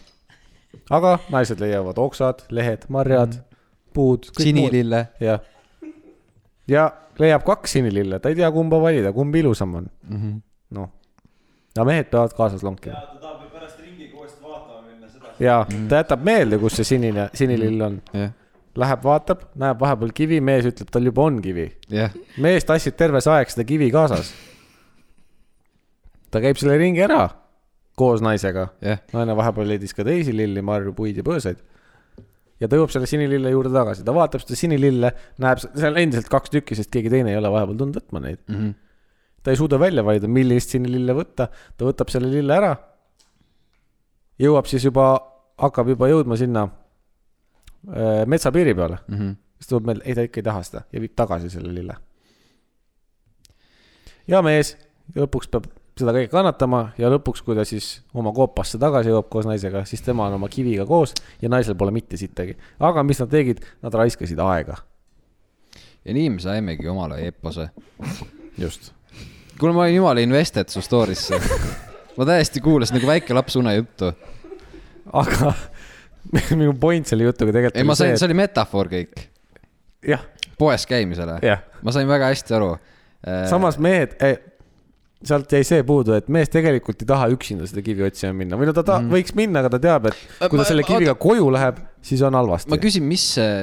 Speaker 2: aga naised leiavad oksad , lehed , marjad , puud .
Speaker 1: sinilille .
Speaker 2: jah . ja leiab kaks sinilille , ta ei tea , kumba valida , kumb ilusam on mm -hmm. . noh , aga mehed peavad kaasas lonkima
Speaker 4: ja ta tahab ju pärast ringiga uuesti vaatama minna seda .
Speaker 2: ja ta jätab meelde , kus see sinine , sinilill on .
Speaker 1: jah ,
Speaker 2: Läheb , vaatab , näeb vahepeal kivi , mees ütleb , tal juba on kivi .
Speaker 1: jah .
Speaker 2: mees tassib terve see aeg seda kivi kaasas . ta käib selle ringi ära koos naisega
Speaker 1: jah ,
Speaker 2: naine vahepeal leidis ka teisi lilli , marju , puid ja põõsaid . ja ta jõuab selle sinilille juurde tagasi , ta vaatab seda sinilille , näeb se- seal endiselt kaks tükki , sest keegi teine ei ole vahepeal tulnud võtma neid mm .
Speaker 1: Mhm.
Speaker 2: ta ei suuda välja valida , millist sinilille võtta , ta võtab selle lille ära . jõuab siis juba , hakkab juba jõudma sinna öö, metsapiiri peale mm .
Speaker 1: Mhm.
Speaker 2: siis tuleb meil , ei ta ikka ei taha seda ja viib tagasi selle lille . ja mees lõpuks peab seda kõike kannatama ja lõpuks , kui ta siis oma koopasse tagasi jõuab koos naisega , siis tema on oma kiviga koos ja naisel pole mitte sittagi . aga mis nad tegid , nad raiskasid aega .
Speaker 1: ja nii me saimegi omale epose .
Speaker 2: just .
Speaker 1: kuule , ma olin jumala invested su story'sse . ma täiesti kuulasin nagu väike laps unejuttu .
Speaker 2: aga (laughs) minu point selle jutuga tegelikult
Speaker 1: ei , ma sain , see
Speaker 2: see ,
Speaker 1: oli metafoor kõik ,
Speaker 2: et jah ,
Speaker 1: poes käimisele .
Speaker 2: jah ,
Speaker 1: ma sain väga hästi aru . Äh,
Speaker 2: samas mehed eh, , sealt jäi see puudu , et mees tegelikult ei taha üksinda seda kivi otsima minna või no ta, ta mm. võiks minna , aga ta teab , et
Speaker 1: Mhm.
Speaker 2: kui
Speaker 1: Äh, Ma-
Speaker 2: ta selle
Speaker 1: ma-
Speaker 2: kiviga koju läheb , siis on halvasti
Speaker 1: ma . küsin , mis see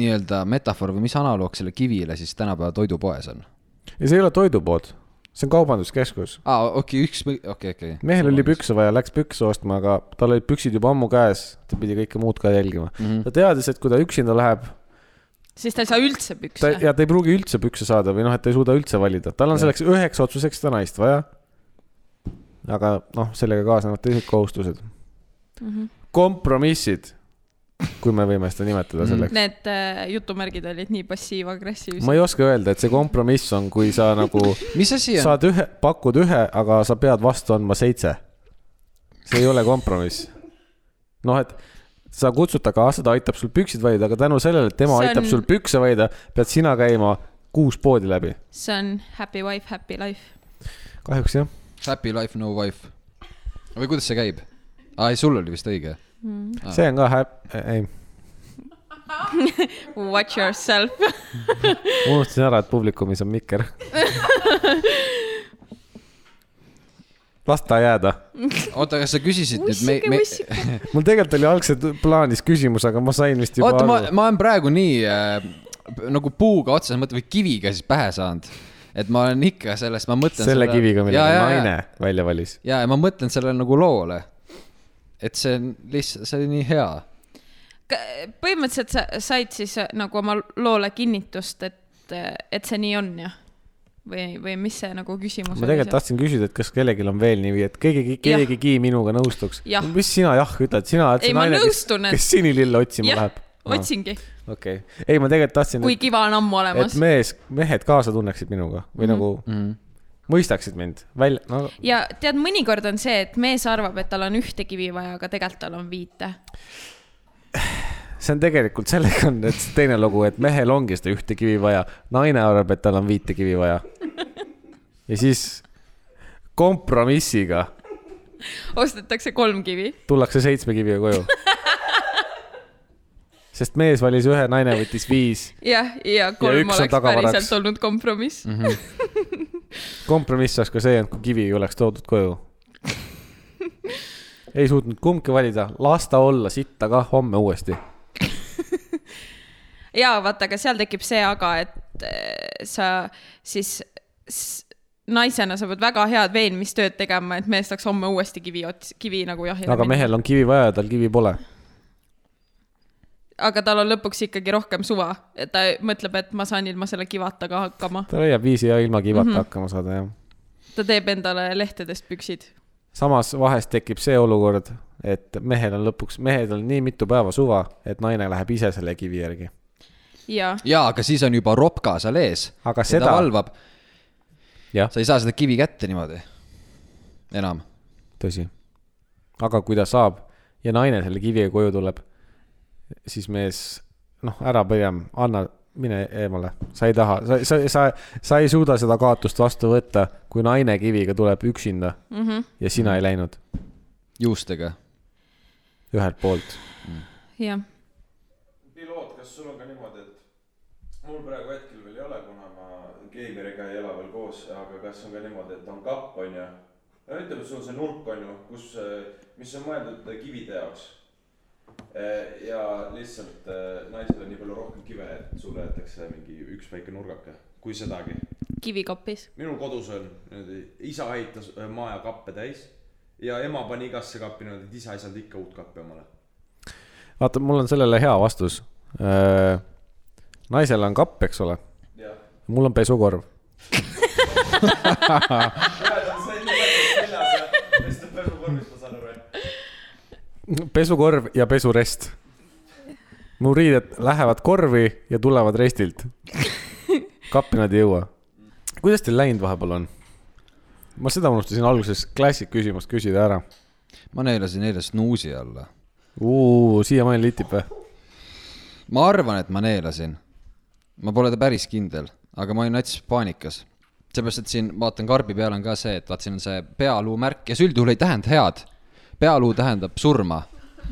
Speaker 1: nii-öelda metafoor või mis analoog selle kivile siis tänapäeva toidupoes on ?
Speaker 2: ja see ei ole toidupood , see on kaubanduskeskus .
Speaker 1: aa , Ah, okei , üks , okei , okei .
Speaker 2: mehel oli . pükse vaja , läks pükse ostma , aga tal olid püksid juba ammu käes , ta pidi kõike muud ka jälgima mm . -hmm. ta teadis , et kui ta üksinda läheb ,
Speaker 3: siis ta ei saa üldse pükse
Speaker 2: ta . ja ta ei pruugi üldse pükse saada või noh , et ta ei suuda üldse valida , tal on selleks üheks otsuseks seda naist vaja . aga noh , sellega kaasnevad teised kohustused mm . -hmm. kompromissid , kui me võime seda nimetada selleks .
Speaker 3: Need äh, jutumärgid olid nii passiivagressiivsed .
Speaker 2: ma ei oska öelda , et see kompromiss on , kui sa nagu
Speaker 1: mis asi on ?
Speaker 2: saad ühe , pakud ühe , aga sa pead vastu andma seitse . see ei ole kompromiss . noh , et sa kutsud ta kaasa , ta aitab sul püksid valida , aga tänu sellele , et tema
Speaker 3: See
Speaker 2: see aitab
Speaker 3: on-
Speaker 2: on... sul pükse valida , pead sina käima kuus poodi läbi .
Speaker 3: see on happy wife , happy life .
Speaker 2: kahjuks jah .
Speaker 1: Happy life , no wife . või kuidas see käib ? aa , ei sul oli vist õige . Ah.
Speaker 2: see on ka häp- , ei , (laughs)
Speaker 3: Watch yourself .
Speaker 2: unustasin ära , et publikumis on
Speaker 1: (laughs)
Speaker 2: mikker . las ta jääda .
Speaker 1: oota , kas sa küsisid nüüd me ,
Speaker 3: ussike ,
Speaker 1: me ,
Speaker 3: ussike .
Speaker 2: mul tegelikult oli algselt plaanis küsimus , aga ma sain vist juba
Speaker 1: oota , ma
Speaker 2: aru .,
Speaker 1: ma olen praegu nii äh, p- nagu puuga otseses mõttes või kiviga siis pähe saanud , et ma olen ikka sellest , ma mõtlen
Speaker 2: selle kiviga , mille
Speaker 1: ja, ja,
Speaker 2: naine
Speaker 1: ja.
Speaker 2: välja valis .
Speaker 1: ja , ja ma mõtlen sellele nagu loole . et see on lihtsalt , see oli nii hea .
Speaker 3: põhimõtteliselt sa said siis äh, nagu oma loole kinnitust , et , et see nii on ja või , või mis see nagu küsimus
Speaker 2: ma tegelikult ? tahtsin küsida , et kas kellelgi on veel niiviisi , et keegi ,
Speaker 3: Jah.
Speaker 2: keegigi minuga nõustuks
Speaker 3: Jah. .
Speaker 2: mis sina jah ütled , sina oled
Speaker 3: Ei,
Speaker 2: see
Speaker 3: ma
Speaker 2: naine , kes ,
Speaker 3: nõustun, et-
Speaker 2: kes sinilille otsima
Speaker 3: jah
Speaker 2: läheb .,
Speaker 3: otsingi ,
Speaker 2: okei , ei , ma tegelikult tahtsin ,
Speaker 3: kui kiva on ammu
Speaker 2: et
Speaker 3: olemas .
Speaker 2: mees , mehed kaasa tunneksid minuga
Speaker 3: Mhm.
Speaker 2: või mm -hmm.
Speaker 1: Mm.
Speaker 2: nagu mõistaksid mind välja , no
Speaker 3: ja tead , mõnikord on see , et mees arvab , et tal on ühte kivi vaja , aga tegelikult tal on viite .
Speaker 2: see on tegelikult sellega on , et teine lugu , et mehel ongi seda ühte kivi vaja , naine arvab , et tal on viite kivi
Speaker 3: (laughs)
Speaker 2: vaja . ja siis kompromissiga
Speaker 3: ostetakse kolm kivi .
Speaker 2: tullakse seitsme kiviga koju . sest mees valis ühe , naine võttis viis ,
Speaker 3: jah , ja kolm
Speaker 2: üks on
Speaker 3: oleks
Speaker 2: tagavaraks. Mhm.
Speaker 3: päriselt olnud kompromiss mm .
Speaker 2: kompromiss oleks ka see , et kui kivi ei oleks toodud koju . ei suutnud kumbki valida , las ta olla , sitta kah homme uuesti
Speaker 3: -hmm. ja vaata , aga seal tekib see aga , et eh, sa siis s- naisena sa pead väga head veenmistööd tegema , et mees saaks homme uuesti kivi ots- , kivi nagu jahile
Speaker 2: aga mehel on kivi vaja ja tal kivi pole .
Speaker 3: aga tal on lõpuks ikkagi rohkem suva , et ta mõtleb , et ma saan ilma selle kivata ka hakkama .
Speaker 2: ta leiab viisi ja ilma kivata mm -hmm. hakkama saada , jah .
Speaker 3: ta teeb endale lehtedest püksid .
Speaker 2: samas vahest tekib see olukord , et mehel on lõpuks , mehel on nii mitu päeva suva , et naine läheb ise selle kivi järgi .
Speaker 3: ja ,
Speaker 1: jaa , aga siis on juba ropka seal ees .
Speaker 2: Aga
Speaker 1: ta
Speaker 2: seda-
Speaker 1: valvab ,
Speaker 2: jah ,
Speaker 1: sa ei saa seda kivi kätte niimoodi . enam .
Speaker 2: tõsi . aga kui ta saab ja naine selle kiviga koju tuleb , siis mees , noh , ära pigem , anna , mine eemale , sa ei taha , sa , sa , sa , sa ei suuda seda kaotust vastu võtta , kui naine kiviga tuleb üksinda mm -hmm. ja sina ei läinud
Speaker 1: juustega .
Speaker 2: ühelt poolt .
Speaker 3: jah .
Speaker 4: piloot , kas sul on ka niimoodi , et mul praegu hetkel veel ei ole , kuna ma geimeriga ei ela veel koos , aga kas on ka niimoodi , et on kapp , onju . no ütleme , sul see nurk on ju , kus , mis on mõeldud kivide jaoks . ja lihtsalt eh, naisel on nii palju rohkem kive , et sulle jätakse mingi üks väike nurgake , kui sedagi .
Speaker 3: kivikopis .
Speaker 4: minul kodus on niimoodi , isa ehitas eh, maja kappe täis ja ema pani igasse kappi niimoodi , et isa ei saanud ikka uut kappi omale .
Speaker 2: vaata , mul on sellele hea vastus . naisel on kapp , eks ole ,
Speaker 4: jah
Speaker 2: mul on pesukorv . pesukorv ja pesurest . mu riided lähevad korvi ja tulevad restilt . kappi nad ei jõua . kuidas teil läinud vahepeal on ? ma seda unustasin alguses klassik küsimust küsida ära .
Speaker 1: ma neelasin eile snuusi alla .
Speaker 2: siiamaani litib või ?
Speaker 1: ma arvan , et ma neelasin . ma pole ta päris kindel , aga ma olin nats paanikas . seepärast , et siin vaatan karbi peal on ka see , et vaat siin on see pealuu märk ja see üldjuhul ei tähenda head . pealuu tähendab surma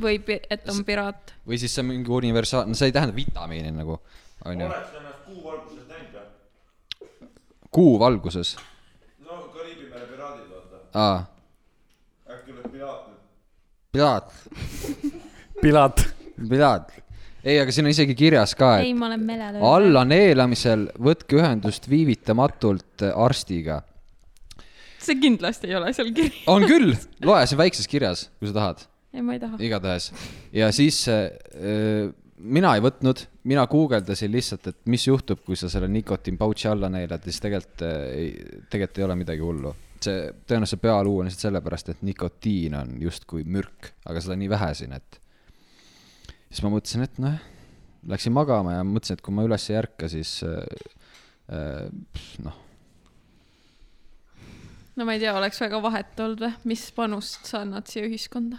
Speaker 3: või pi- et on piraat .
Speaker 1: või siis see on mingi universaal , no see ei tähenda vitamiini nagu , onju .
Speaker 4: oled sa ennast kuu alguses näinud või ?
Speaker 1: kuu valguses ,
Speaker 4: no Kariibi mere piraadid vaata ,
Speaker 1: aa ,
Speaker 4: äkki oled piraat nüüd .
Speaker 1: piraat ,
Speaker 2: Pilat .
Speaker 1: piraat . ei , aga siin on isegi kirjas ka , et
Speaker 3: ei , ma olen melele .
Speaker 1: alla neelamisel võtke ühendust viivitamatult arstiga .
Speaker 3: see kindlasti ei ole seal kirjas .
Speaker 1: on küll , loe see on väikses kirjas , kui sa tahad ,
Speaker 3: ei , ma ei taha .
Speaker 1: igatahes . ja siis äh, mina ei võtnud , mina guugeldasin lihtsalt , et mis juhtub , kui sa selle nikotiin pouch'i alla neelad , siis tegelikult äh, ei , tegelikult ei ole midagi hullu . see tõenäoliselt pealuu on lihtsalt sellepärast , et nikotiin on justkui mürk , aga seda on nii vähe siin , et . siis ma mõtlesin , et noh , läksin magama ja mõtlesin , et kui ma üles ei ärka , siis äh, äh, pff, noh ,
Speaker 3: no ma ei tea , oleks väga vahet olnud või , mis panust sa annad siia ühiskonda ?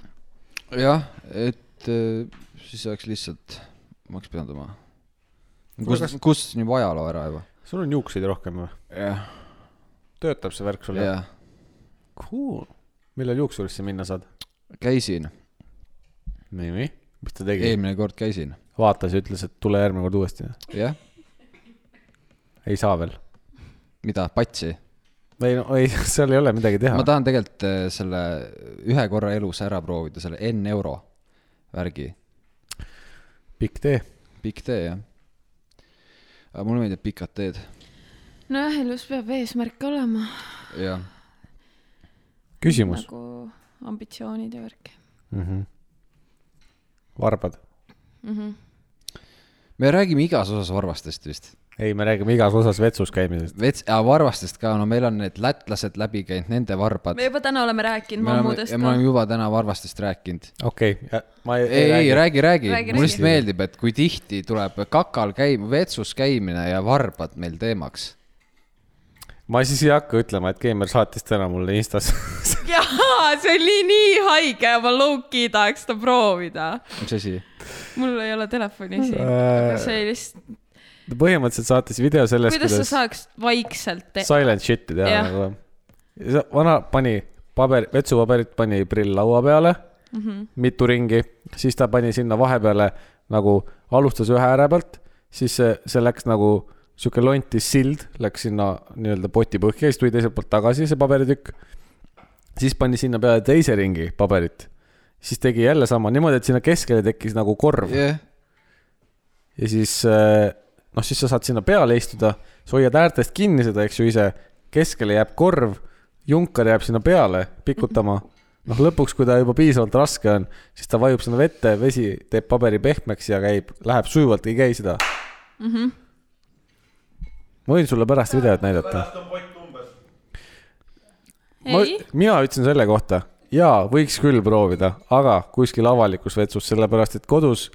Speaker 1: jah , et et äh, siis oleks lihtsalt , ma oleks pidanud oma , kus , kus nüüd ajaloo ära juba .
Speaker 2: sul on juukseid rohkem või ?
Speaker 1: jah ,
Speaker 2: töötab see värk sul ?
Speaker 1: jah ,
Speaker 2: Cool . millal juuksurisse minna saad ?
Speaker 1: käisin ,
Speaker 2: nii , nii . mis ta tegi ?
Speaker 1: eelmine kord käisin ,
Speaker 2: vaatas ja ütles , et tule järgmine kord uuesti .
Speaker 1: jah ,
Speaker 2: ei saa veel .
Speaker 1: mida , patsi .
Speaker 2: ei no ei , (laughs) seal ei ole midagi teha
Speaker 1: ma . tahan tegelikult äh, selle ühe korra elus ära proovida , selle N euro värgi ,
Speaker 2: pikk tee .
Speaker 1: pikk tee jah . aga mulle meeldib pikad teed ,
Speaker 3: nojah , elus peab eesmärk olema
Speaker 1: jah .
Speaker 2: küsimus
Speaker 3: nagu ambitsioonid ja värk
Speaker 2: mm . -hmm. varbad ?
Speaker 3: mm . -hmm.
Speaker 1: me räägime igas osas varvastest vist .
Speaker 2: ei , me räägime igas osas vetsus käimisest .
Speaker 1: vets- , varvastest ka , no meil on need lätlased läbi käinud , nende varbad .
Speaker 3: me juba täna oleme rääkinud
Speaker 1: me oleme ,
Speaker 3: mammudest
Speaker 1: ja me
Speaker 3: ka
Speaker 1: oleme . juba täna varvastest rääkinud .
Speaker 2: okei okay, , ma ei,
Speaker 1: ei , ei . räägi , räägi, räägi ,
Speaker 3: Räägi,
Speaker 1: mulle
Speaker 3: räägi.
Speaker 1: lihtsalt meeldib , et kui tihti tuleb kakal käim- , vetsus käimine ja varbad meil teemaks .
Speaker 2: ma siis ei hakka ütlema , et Keemar saatis täna mulle Instas .
Speaker 3: (laughs)
Speaker 2: (laughs)
Speaker 3: jaa , see oli nii haige , ma low-key tahaks seda proovida .
Speaker 1: mis asi ?
Speaker 3: mul ei ole telefoni siin ,
Speaker 1: Äh,
Speaker 3: aga see oli lihtsalt ,
Speaker 2: ta põhimõtteliselt saatis video sellest ,
Speaker 3: kuidas sa
Speaker 2: kuidas
Speaker 3: saaks vaikselt te- ,
Speaker 2: silent shit'i teha
Speaker 3: Jah.
Speaker 2: nagu . vana pani paber , vetsupaberit pani prill laua peale mm ,
Speaker 3: Mhm.
Speaker 2: -hmm. mitu ringi , siis ta pani sinna vahepeale nagu alustas ühe ääre pealt , siis see, see läks nagu sihuke lonti sild läks sinna nii-öelda poti põhja , siis tuli teiselt poolt tagasi see paberitükk . siis pani sinna peale teise ringi paberit , siis tegi jälle sama niimoodi , et sinna keskele tekkis nagu korv
Speaker 1: jah ,
Speaker 2: ja siis äh, noh , siis sa saad sinna peale istuda , sa hoiad äärtest kinni seda , eks ju ise , keskele jääb korv , junkar jääb sinna peale pikutama . noh , lõpuks , kui ta juba piisavalt raske on , siis ta vajub sinna vette , vesi teeb paberi pehmeks ja käib , läheb sujuvalt , ei käi seda mm .
Speaker 3: Mhm.
Speaker 2: -hmm. ma võin sulle pärast videot näidata .
Speaker 4: pärast on pott umbes .
Speaker 3: ei ,
Speaker 2: mina ütlesin selle kohta , jaa , võiks küll proovida , aga kuskil avalikus vetsus , sellepärast et kodus ,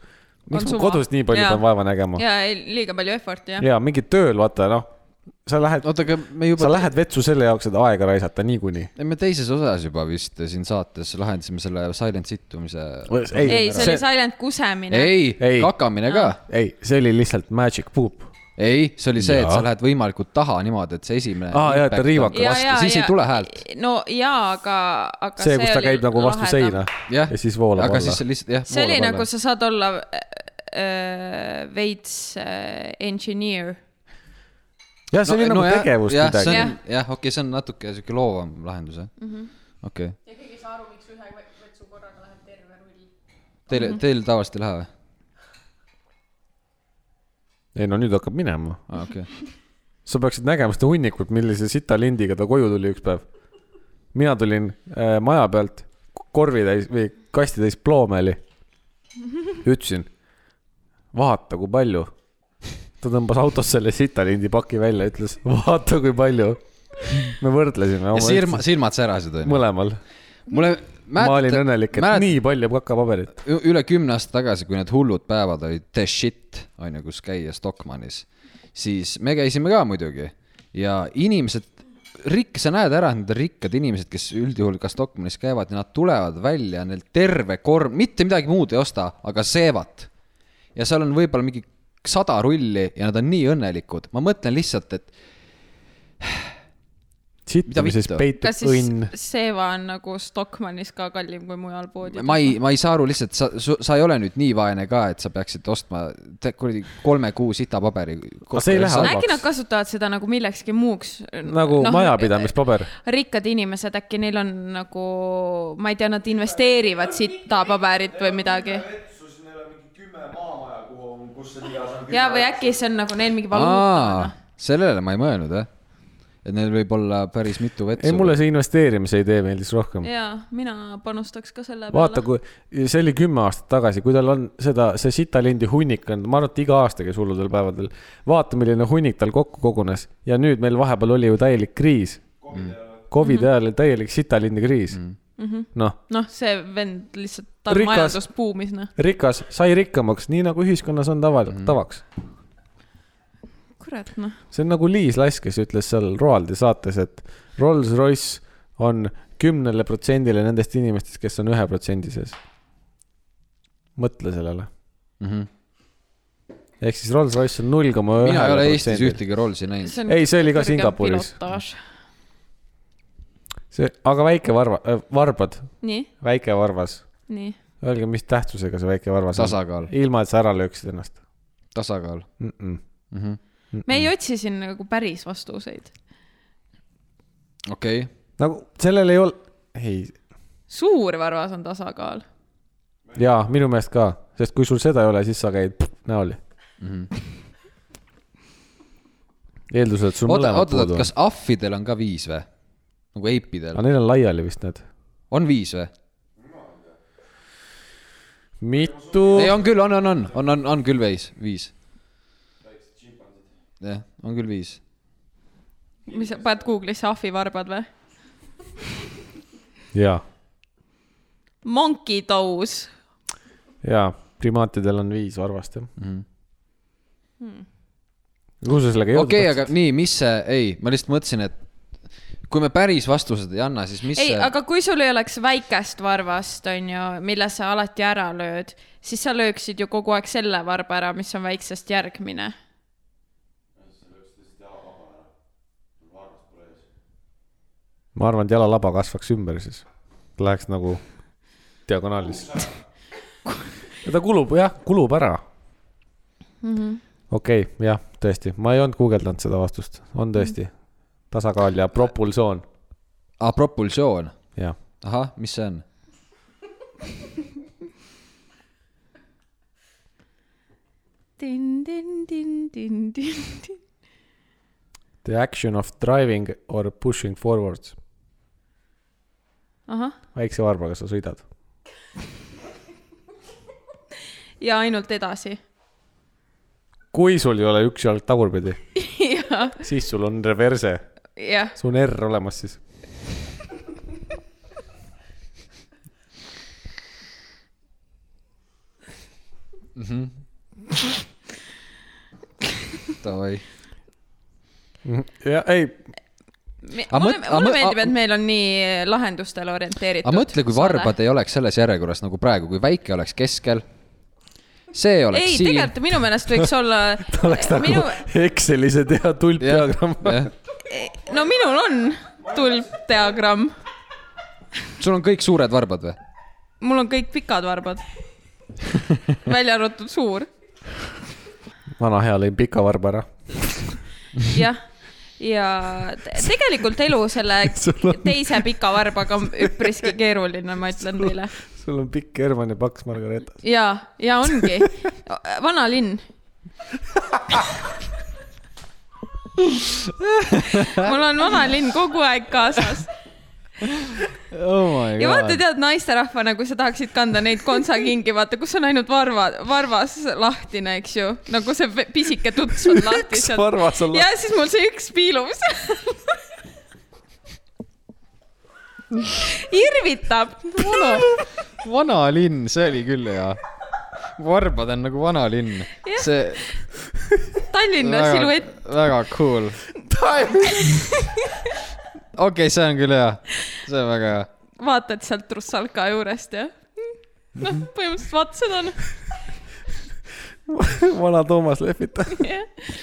Speaker 2: miks
Speaker 3: On
Speaker 2: ma
Speaker 3: suva.
Speaker 2: kodus nii palju
Speaker 3: Jaa.
Speaker 2: pean vaeva nägema ?
Speaker 3: jaa , liiga palju effort'i jah .
Speaker 2: ja mingi tööl vaata noh , sa lähed ,
Speaker 1: oota , aga me
Speaker 2: sa
Speaker 1: juba ,
Speaker 2: lähed vetsu selle jaoks , et aega raisata niikuinii .
Speaker 1: me teises osas juba vist siin saates lahendasime selle silent situmise .
Speaker 3: ei , see oli
Speaker 2: see ,
Speaker 3: silent kusemine .
Speaker 1: ei, ei. ,
Speaker 2: Ei.
Speaker 1: kakamine ka .
Speaker 2: ei , see oli lihtsalt magic poop .
Speaker 1: ei , see oli see , et
Speaker 2: Jaa.
Speaker 1: sa lähed võimalikult taha niimoodi , et see esimene .
Speaker 2: Aa, jaa, et ta riivab ka
Speaker 3: Jaa,
Speaker 1: vastu
Speaker 3: jaa, ,
Speaker 1: siis
Speaker 3: jaa.
Speaker 1: ei tule häält .
Speaker 3: no jaa , aga , aga
Speaker 2: see , kus ta
Speaker 3: oli
Speaker 2: käib nagu vastu
Speaker 3: lahedam.
Speaker 2: seina ja
Speaker 1: jah ,
Speaker 2: siis voolab
Speaker 1: aga
Speaker 2: alla
Speaker 1: siis . see lihtsalt jah .
Speaker 3: see oli nagu sa saad olla äh, äh, veits äh, engineer .
Speaker 2: jah , see oli nagu tegevus
Speaker 1: jah,
Speaker 2: midagi .
Speaker 1: jah , jah , okei okay, , see on natuke sihuke loovam lahendus , jah mm -hmm. . okei okay. .
Speaker 5: ja keegi ei saa aru , miks ühe vetsu korraga läheb terve rull .
Speaker 1: Teil mm , -hmm. teil tavaliselt ei lähe või ?
Speaker 2: ei no nüüd hakkab minema .
Speaker 1: aa , okei okay. .
Speaker 2: sa peaksid nägema seda hunnikut , millise sita lindiga ta koju tuli üks päev . mina tulin äh, maja pealt korvi täis või kasti täis ploomeeli . ütlesin , vaata kui palju . ta tõmbas autost selle sita lindi paki välja , ütles , vaata kui palju . me võrdlesime
Speaker 1: ja . silma , silmad särasid või ?
Speaker 2: mõlemal .
Speaker 1: mulle ,
Speaker 2: ma olin õnnelik , et
Speaker 1: mäletan,
Speaker 2: mäletan. nii palju kakapaberit .
Speaker 1: üle kümne aasta tagasi , kui need hullud päevad olid the shit , on ju , kus käia Stockmannis , siis me käisime ka muidugi ja inimesed , rikk , sa näed ära et need rikkad inimesed , kes üldjuhul ka Stockmannis käivad ja nad tulevad välja , neil terve korv , mitte midagi muud ei osta , aga seevat . ja seal on võib-olla mingi sada rulli ja nad on nii õnnelikud , ma mõtlen lihtsalt , et
Speaker 2: sittamises
Speaker 1: vittu?
Speaker 2: peitub
Speaker 3: kas siis
Speaker 2: õnn .
Speaker 3: Seva on nagu Stockmannis ka kallim kui mujal poodides ?
Speaker 1: ma ei , ma ei saa aru lihtsalt , sa , sa ei ole nüüd nii vaene ka , et sa peaksid ostma te- kuradi kolme kuu sitapaberi .
Speaker 2: Aga see ei lähe halvaks.
Speaker 3: äkki nad kasutavad seda nagu millekski muuks .
Speaker 2: nagu no, . majapidamispaber .
Speaker 3: rikkad inimesed , äkki neil on nagu , ma ei tea , nad investeerivad sitapaberit või midagi .
Speaker 4: vetsus , neil on mingi kümme maamaja , kuhu on , kus see igas on .
Speaker 3: ja , või äkki see on nagu neil mingi
Speaker 1: aa
Speaker 3: valuuta .,
Speaker 1: sellele ma ei mõelnud jah . et neil võib olla päris mitu vetsu .
Speaker 2: ei , mulle see investeerimise idee meeldis rohkem .
Speaker 3: ja mina panustaks ka selle
Speaker 2: vaata ,
Speaker 3: peale .
Speaker 2: kui , see oli kümme aastat tagasi , kui tal on seda , see sitalindi hunnik on , ma arvan , et iga aasta käis hulludel päevadel . vaata , milline hunnik tal kokku kogunes ja nüüd meil vahepeal oli ju täielik kriis . Covidi ajal oli täielik sitalindi kriis . noh ,
Speaker 3: noh , see vend lihtsalt , ta on
Speaker 2: Rikas-
Speaker 3: majandusbuumis , noh .
Speaker 2: rikas sai rikkamaks , nii nagu ühiskonnas on taval- , tavaks .
Speaker 3: kurat , noh .
Speaker 2: see on nagu Liis Lass , kes ütles seal Roaldi saates , et Rolls-Royce on kümnele protsendile nendest inimestest , kes on ühe protsendi sees . mõtle sellele .
Speaker 1: mm . -hmm.
Speaker 2: ehk siis Rolls-Royce on null koma ühe .
Speaker 1: mina ei ole Eestis . ühtegi Rollsi näinud .
Speaker 3: see on
Speaker 2: ei , see oli ka
Speaker 3: kõrgem
Speaker 2: Singapuris .
Speaker 3: pilotaaž.
Speaker 2: see , aga väike varva , varbad ,
Speaker 3: nii ,
Speaker 2: väike varvas .
Speaker 3: nii .
Speaker 2: Öelge , mis tähtsusega see väike varvas on ?
Speaker 1: tasakaal ,
Speaker 2: ilma , et sa ära lööksid ennast
Speaker 1: tasakaal
Speaker 2: mm . -mm.
Speaker 1: mm -hmm. .
Speaker 3: me ei otsi siin nagu päris vastuseid .
Speaker 1: okei okay. ,
Speaker 2: nagu sellel ei ole , ei ,
Speaker 3: suur varvas on tasakaal .
Speaker 2: jaa , minu meelest ka , sest kui sul seda ei ole , siis sa käid pff, näoli mm .
Speaker 1: Mhm.
Speaker 2: -hmm. eeldusel , et sul
Speaker 1: oota ,
Speaker 2: mõlemad
Speaker 1: oota ,
Speaker 2: puudu on
Speaker 1: kas . ahvidel on ka viis või ? nagu eipidel
Speaker 2: aga . neil on laiali vist need .
Speaker 1: on viis või ?
Speaker 2: mitu ?
Speaker 1: ei , on küll , on , on , on , on , on , on küll viis , viis . jah , on küll viis .
Speaker 3: mis sa paned Google'isse ahvivarbad või ?
Speaker 2: jaa ,
Speaker 3: Monkey toes .
Speaker 2: jaa , primaatidel on viis varvast jah
Speaker 1: Mhm.
Speaker 2: mm . -hmm. kuhu sa sellega jõudnud
Speaker 1: okei , aga nii , mis see , ei , ma lihtsalt mõtlesin , et kui me päris vastused ei anna , siis mis
Speaker 3: ei ,
Speaker 1: see ,
Speaker 3: aga kui sul ei oleks väikest varvast , onju , mille sa alati ära lööd , siis sa lööksid ju kogu aeg selle varba ära , mis on väiksest järgmine .
Speaker 2: ma arvan , et jalalaba kasvaks ümber siis . Läheks nagu (laughs) diagonaalis . ta kulub jah , kulub ära mm -hmm. okei okay, , jah , tõesti , ma ei olnud guugeldanud seda vastust , on tõesti tasakaal ja propulsioon ,
Speaker 1: aa , propulsioon ,
Speaker 2: jah .
Speaker 1: ahah , mis see on ?
Speaker 2: The action of driving or pushing forwards ,
Speaker 3: ahah ,
Speaker 2: väikse varbaga sa sõidad .
Speaker 3: ja ainult edasi .
Speaker 2: kui sul ei ole üks jalg tagurpidi ,
Speaker 3: jah ,
Speaker 2: siis sul on reverse ,
Speaker 3: jah ,
Speaker 2: sul on R olemas siis .
Speaker 1: Davai .
Speaker 2: ja ei ,
Speaker 1: Aga
Speaker 3: mulle ,
Speaker 1: mõt- aga
Speaker 3: mulle
Speaker 1: mõ-
Speaker 3: meeldib ,
Speaker 1: aga-
Speaker 3: et meil on nii lahendustele orienteeritud .
Speaker 1: aga mõtle , kui varbad . ei oleks selles järjekorras nagu praegu , kui väike oleks keskel . see oleks
Speaker 3: ei ,
Speaker 1: siin .
Speaker 3: tegelikult minu meelest võiks olla
Speaker 1: (laughs)
Speaker 2: ta oleks nagu
Speaker 3: minu
Speaker 2: Minu... , Excelis ei tea tulpdiagramm .
Speaker 3: no minul on tulpdiagramm ,
Speaker 1: sul on kõik suured varbad või ?
Speaker 3: mul on kõik pikad
Speaker 1: (laughs)
Speaker 3: varbad , välja arvatud suur
Speaker 2: vana hea lõin pika varba ära .
Speaker 3: jah , ja te- tegelikult elu selle
Speaker 1: (laughs)
Speaker 2: Sul on-
Speaker 3: teise pika varbaga on üpriski keeruline , ma ütlen teile .
Speaker 2: sul on pikk Herman ja paks Margareeta .
Speaker 3: ja , ja ongi , vanalinn . mul on vanalinn kogu aeg kaasas
Speaker 1: oh my
Speaker 3: ja vaata , tead naisterahvana , kui sa tahaksid kanda neid kontsakingi , vaata , kus on ainult varva , varvas lahtine , eks ju , nagu see pe- pisike tuts on lahti
Speaker 2: üks
Speaker 3: seal .
Speaker 2: varvas on
Speaker 3: ja siis mul see üks piilub seal . irvitab .
Speaker 1: vana , vanalinn , see oli küll hea . varbad on nagu vanalinn . see .
Speaker 3: (laughs) Tallinna siluett ..
Speaker 1: väga cool .
Speaker 3: (laughs)
Speaker 1: okei , see on küll hea . see on väga hea .
Speaker 3: vaatad sealt Russalka juurest ja noh , põhimõtteliselt vaat seda on
Speaker 2: (laughs) vana Toomas lehvitab . (laughs)
Speaker 3: jah .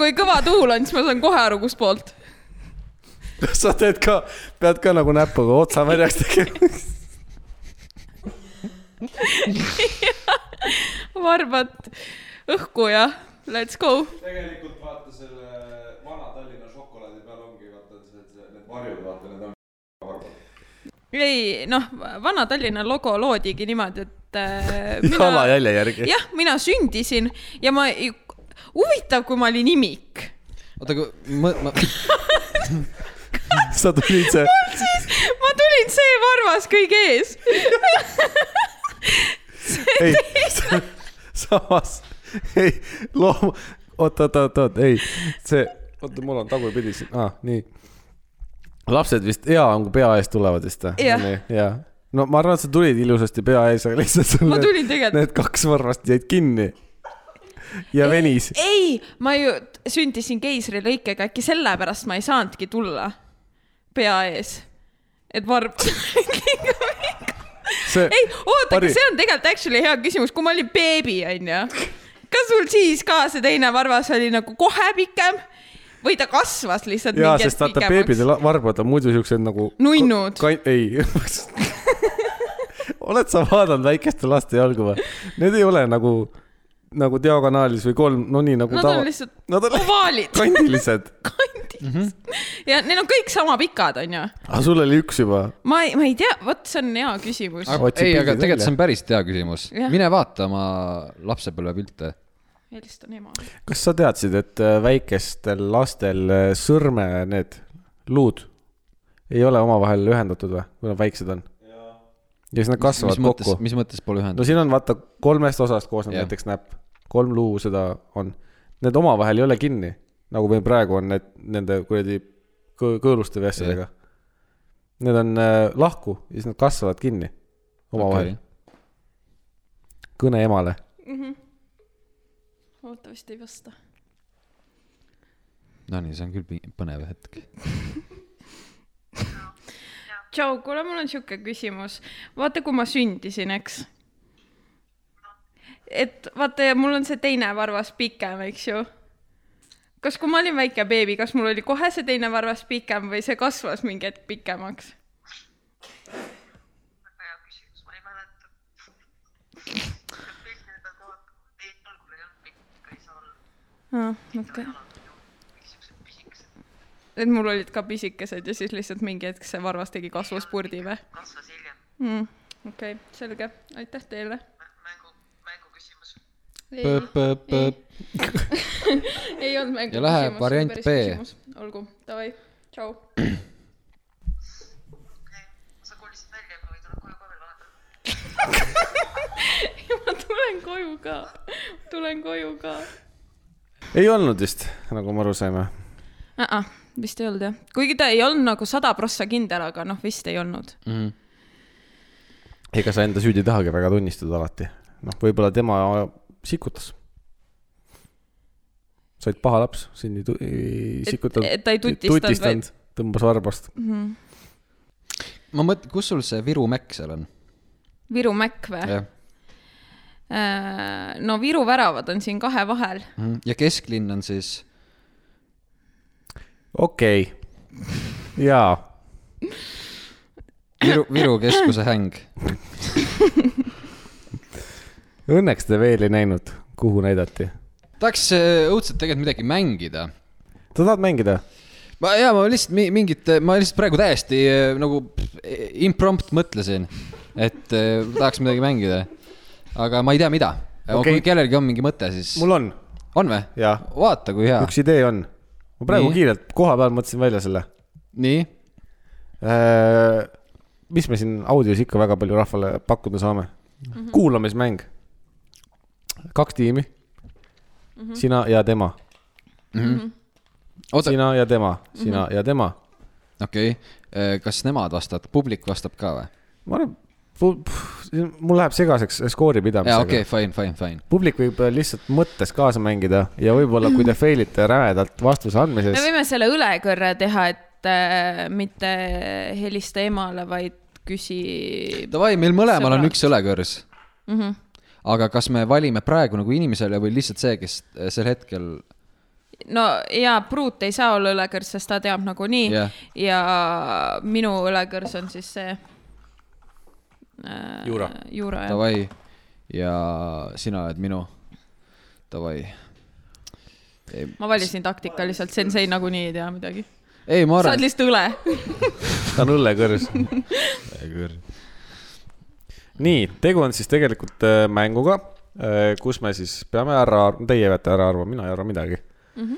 Speaker 3: kui kõva tuul on , siis ma saan kohe aru , kustpoolt .
Speaker 2: sa teed ka , pead ka nagu näpuga otsa märjaks tegema .
Speaker 3: varbad õhku ja let's go
Speaker 4: tegelikult vaata selle vana Tallinna šokolaadi peal ongi vaata see , see , need varjud , vaata need on varbad .
Speaker 3: ei noh , Vana-Tallinna logo loodigi niimoodi , et äh, mina ,
Speaker 2: jalajälje järgi .
Speaker 3: jah , mina sündisin ja ma , huvitav , kui ma olin imik .
Speaker 1: oota , kui ma , ma ,
Speaker 2: sa tulid see ,
Speaker 3: siis ma tulin see varvas kõige ees . (laughs)
Speaker 2: ei , samas , ei , loom , oot , oot , oot , oot , ei , see , oota , mul on tagurpidi siin , aa , nii . lapsed vist hea on , kui pea ees tulevad vist või ?
Speaker 3: Jah.
Speaker 2: jaa . no ma arvan , et sa tulid ilusasti pea ees , aga lihtsalt sul
Speaker 3: Ma
Speaker 2: need-
Speaker 3: tulin tegelikult-
Speaker 2: need kaks varvast jäid kinni . ja venis .
Speaker 3: ei , ma ju t- sündisin keisrilõikega , äkki sellepärast ma ei saanudki tulla pea ees , et varb .
Speaker 2: see
Speaker 3: (laughs) ei , oota , aga
Speaker 2: Pari-
Speaker 3: see on tegelikult actually hea küsimus , kui ma olin beebi , onju . kas sul siis ka see teine varvas oli nagu kohe pikem või ta kasvas lihtsalt
Speaker 2: jaa ,
Speaker 3: mingi
Speaker 2: sest
Speaker 3: hetk
Speaker 2: vaata ,
Speaker 3: pikemaks
Speaker 2: beebide ? la- varbad on muidu siuksed nagu .
Speaker 3: Nunnud.
Speaker 2: ei . (laughs) oled sa vaadanud väikeste laste jalgu või ? Need ei ole nagu , nagu diagonaalis või kolm , no nii nagu
Speaker 3: Nad on lihtsalt Oh,
Speaker 2: Nad on
Speaker 3: ovaalid
Speaker 2: (laughs) kandilised .
Speaker 3: kandis . ja neil on kõik sama pikad , onju .
Speaker 2: aga sul oli üks juba .
Speaker 3: ma ei , ma ei tea , vot see on hea küsimus .
Speaker 2: Otsi
Speaker 1: ei , aga
Speaker 2: pildid
Speaker 1: tegelikult
Speaker 2: välja.
Speaker 1: see on päris hea küsimus .
Speaker 3: Jah.
Speaker 1: mine vaata oma lapsepõlvepilte .
Speaker 3: helistan ema .
Speaker 2: kas sa teadsid , et äh, väikestel lastel äh, sõrme need luud ei ole omavahel ühendatud või , kui nad väiksed on ? ja siis nad
Speaker 1: mis
Speaker 2: kasvavad
Speaker 1: mõttes
Speaker 2: kokku ,.
Speaker 1: mis mõttes pole
Speaker 2: no
Speaker 1: ühendatud ?
Speaker 2: siin on vaata kolmest osast koosneb
Speaker 1: Jah.
Speaker 2: näiteks näpp , kolm luu seda on . Need omavahel ei ole kinni , nagu meil praegu on need nende kuradi kõ- kõõluste või asjadega . Need on äh, lahku ja siis nad kasvavad kinni omavahel okay. . kõne emale .
Speaker 3: oota , vist ei vasta .
Speaker 1: Nonii , see on küll pi- põnev hetk .
Speaker 3: tšau , kuule , mul on siuke küsimus . vaata , kui ma sündisin , eks . et vaata , ja mul on see teine varvas pikem , eks ju . kas , kui ma olin väike beebi , kas mul oli kohe see teine varvas pikem või see kasvas mingi hetk pikemaks ?
Speaker 6: väga hea küsimus , ma ei mäleta . kõik need on kohad , ei algul ei olnud pikk , ikka ei saa olla ,
Speaker 3: aa , okei .
Speaker 6: kõik siuksed pisikesed ,
Speaker 3: et mul olid ka pisikesed ja siis lihtsalt mingi hetk see varvas tegi kasvuspurdi või
Speaker 6: kasvas hiljem
Speaker 3: mm. ? okei okay, , selge , aitäh teile .
Speaker 6: Mä- mängu , mänguküsimus .
Speaker 3: ei ,
Speaker 1: ja
Speaker 3: ei olnud mängu
Speaker 1: Ja läheb variant B. .
Speaker 3: olgu , davai , tšau . (laughs)
Speaker 6: okei , sa kolisid välja , aga võid olla koju ka veel vaadata .
Speaker 3: ma tulen koju ka , tulen koju ka
Speaker 2: ei olnud vist , nagu me aru saime .
Speaker 3: uh . -uh, vist ei olnud jah , kuigi ta ei olnud nagu sada prossa kindel , aga noh , vist ei olnud .
Speaker 2: ega sa enda süüd ei tahagi väga tunnistada alati . noh , võib-olla tema sikutas . sa olid paha laps , sind ei tu- ei sikutanud .
Speaker 3: et ta ei tutistanud, vaid- .
Speaker 2: tõmbas varbast .
Speaker 1: ma mõtlen , kus sul see Viru mäkk seal on ?
Speaker 3: Viru Mäkk või ?
Speaker 1: jah ,
Speaker 3: no Viru väravad on siin kahe vahel .
Speaker 1: Mhm. ja kesklinn on siis ,
Speaker 2: okei okay. . jaa
Speaker 1: Viru , Viru keskuse häng .
Speaker 2: õnneks te veel ei näinud , kuhu näidati .
Speaker 1: tahaks äh, õudselt tegelikult midagi mängida .
Speaker 2: sa tahad mängida ?
Speaker 1: ma , jaa , ma lihtsalt mi- mingit , ma lihtsalt praegu täiesti äh, nagu imprompt mõtlesin , et äh, tahaks midagi mängida . aga ma ei tea , mida okay. .
Speaker 2: Okei.
Speaker 1: kui kellelgi on mingi mõte , siis Mul...
Speaker 2: mul on ,
Speaker 1: on või ?
Speaker 2: jaa .
Speaker 1: vaata , kui hea .
Speaker 2: üks idee on . ma praegu
Speaker 1: Nii.
Speaker 2: Nii. kiirelt koha peal mõtlesin välja selle .
Speaker 1: nii ,
Speaker 2: mis me siin audios ikka väga palju rahvale pakkuda saame mm ? -hmm. kuulamismäng . kaks tiimi mm . -hmm. sina ja tema .
Speaker 1: Mhm. oota ,
Speaker 2: sina ja tema , sina mm -hmm. ja tema .
Speaker 1: okei okay. , kas nemad vastavad , publik vastab ka või ?
Speaker 2: ma arvan , mul läheb segaseks skoori pidamisega
Speaker 1: jaa , okei okay, , fine , fine , fine .
Speaker 2: publik võib lihtsalt mõttes kaasa mängida ja võib-olla , kui te fail ite rämedalt vastuse andmises
Speaker 3: me . võime selle ülekõrre teha , et äh, mitte helista emale , vaid küsi .
Speaker 1: Davai , meil mõlemal on
Speaker 3: Sõbrad.
Speaker 1: üks õlekõrs
Speaker 3: Mm -hmm.
Speaker 1: aga kas me valime praegu nagu inimesele või lihtsalt see , kes sel hetkel ,
Speaker 3: no ja pruut ei saa olla õlekõrs , sest ta teab nagunii
Speaker 1: Jah.
Speaker 3: ja minu õlekõrs on siis see äh, .
Speaker 2: Juura.
Speaker 3: juura jah .
Speaker 1: davai ja sina oled minu , davai .
Speaker 3: ma valisin taktikaliselt , sensei nagunii ei tea midagi .
Speaker 1: ei , ma
Speaker 3: sa oled
Speaker 1: arvan ,
Speaker 3: lihtsalt õle .
Speaker 2: ta on
Speaker 3: (laughs)
Speaker 2: õllekõrs . nii , tegu on siis tegelikult äh, mänguga , kus me siis peame ära , teie peate ära arvama , mina ei arva midagi
Speaker 3: Mhm.
Speaker 2: mm .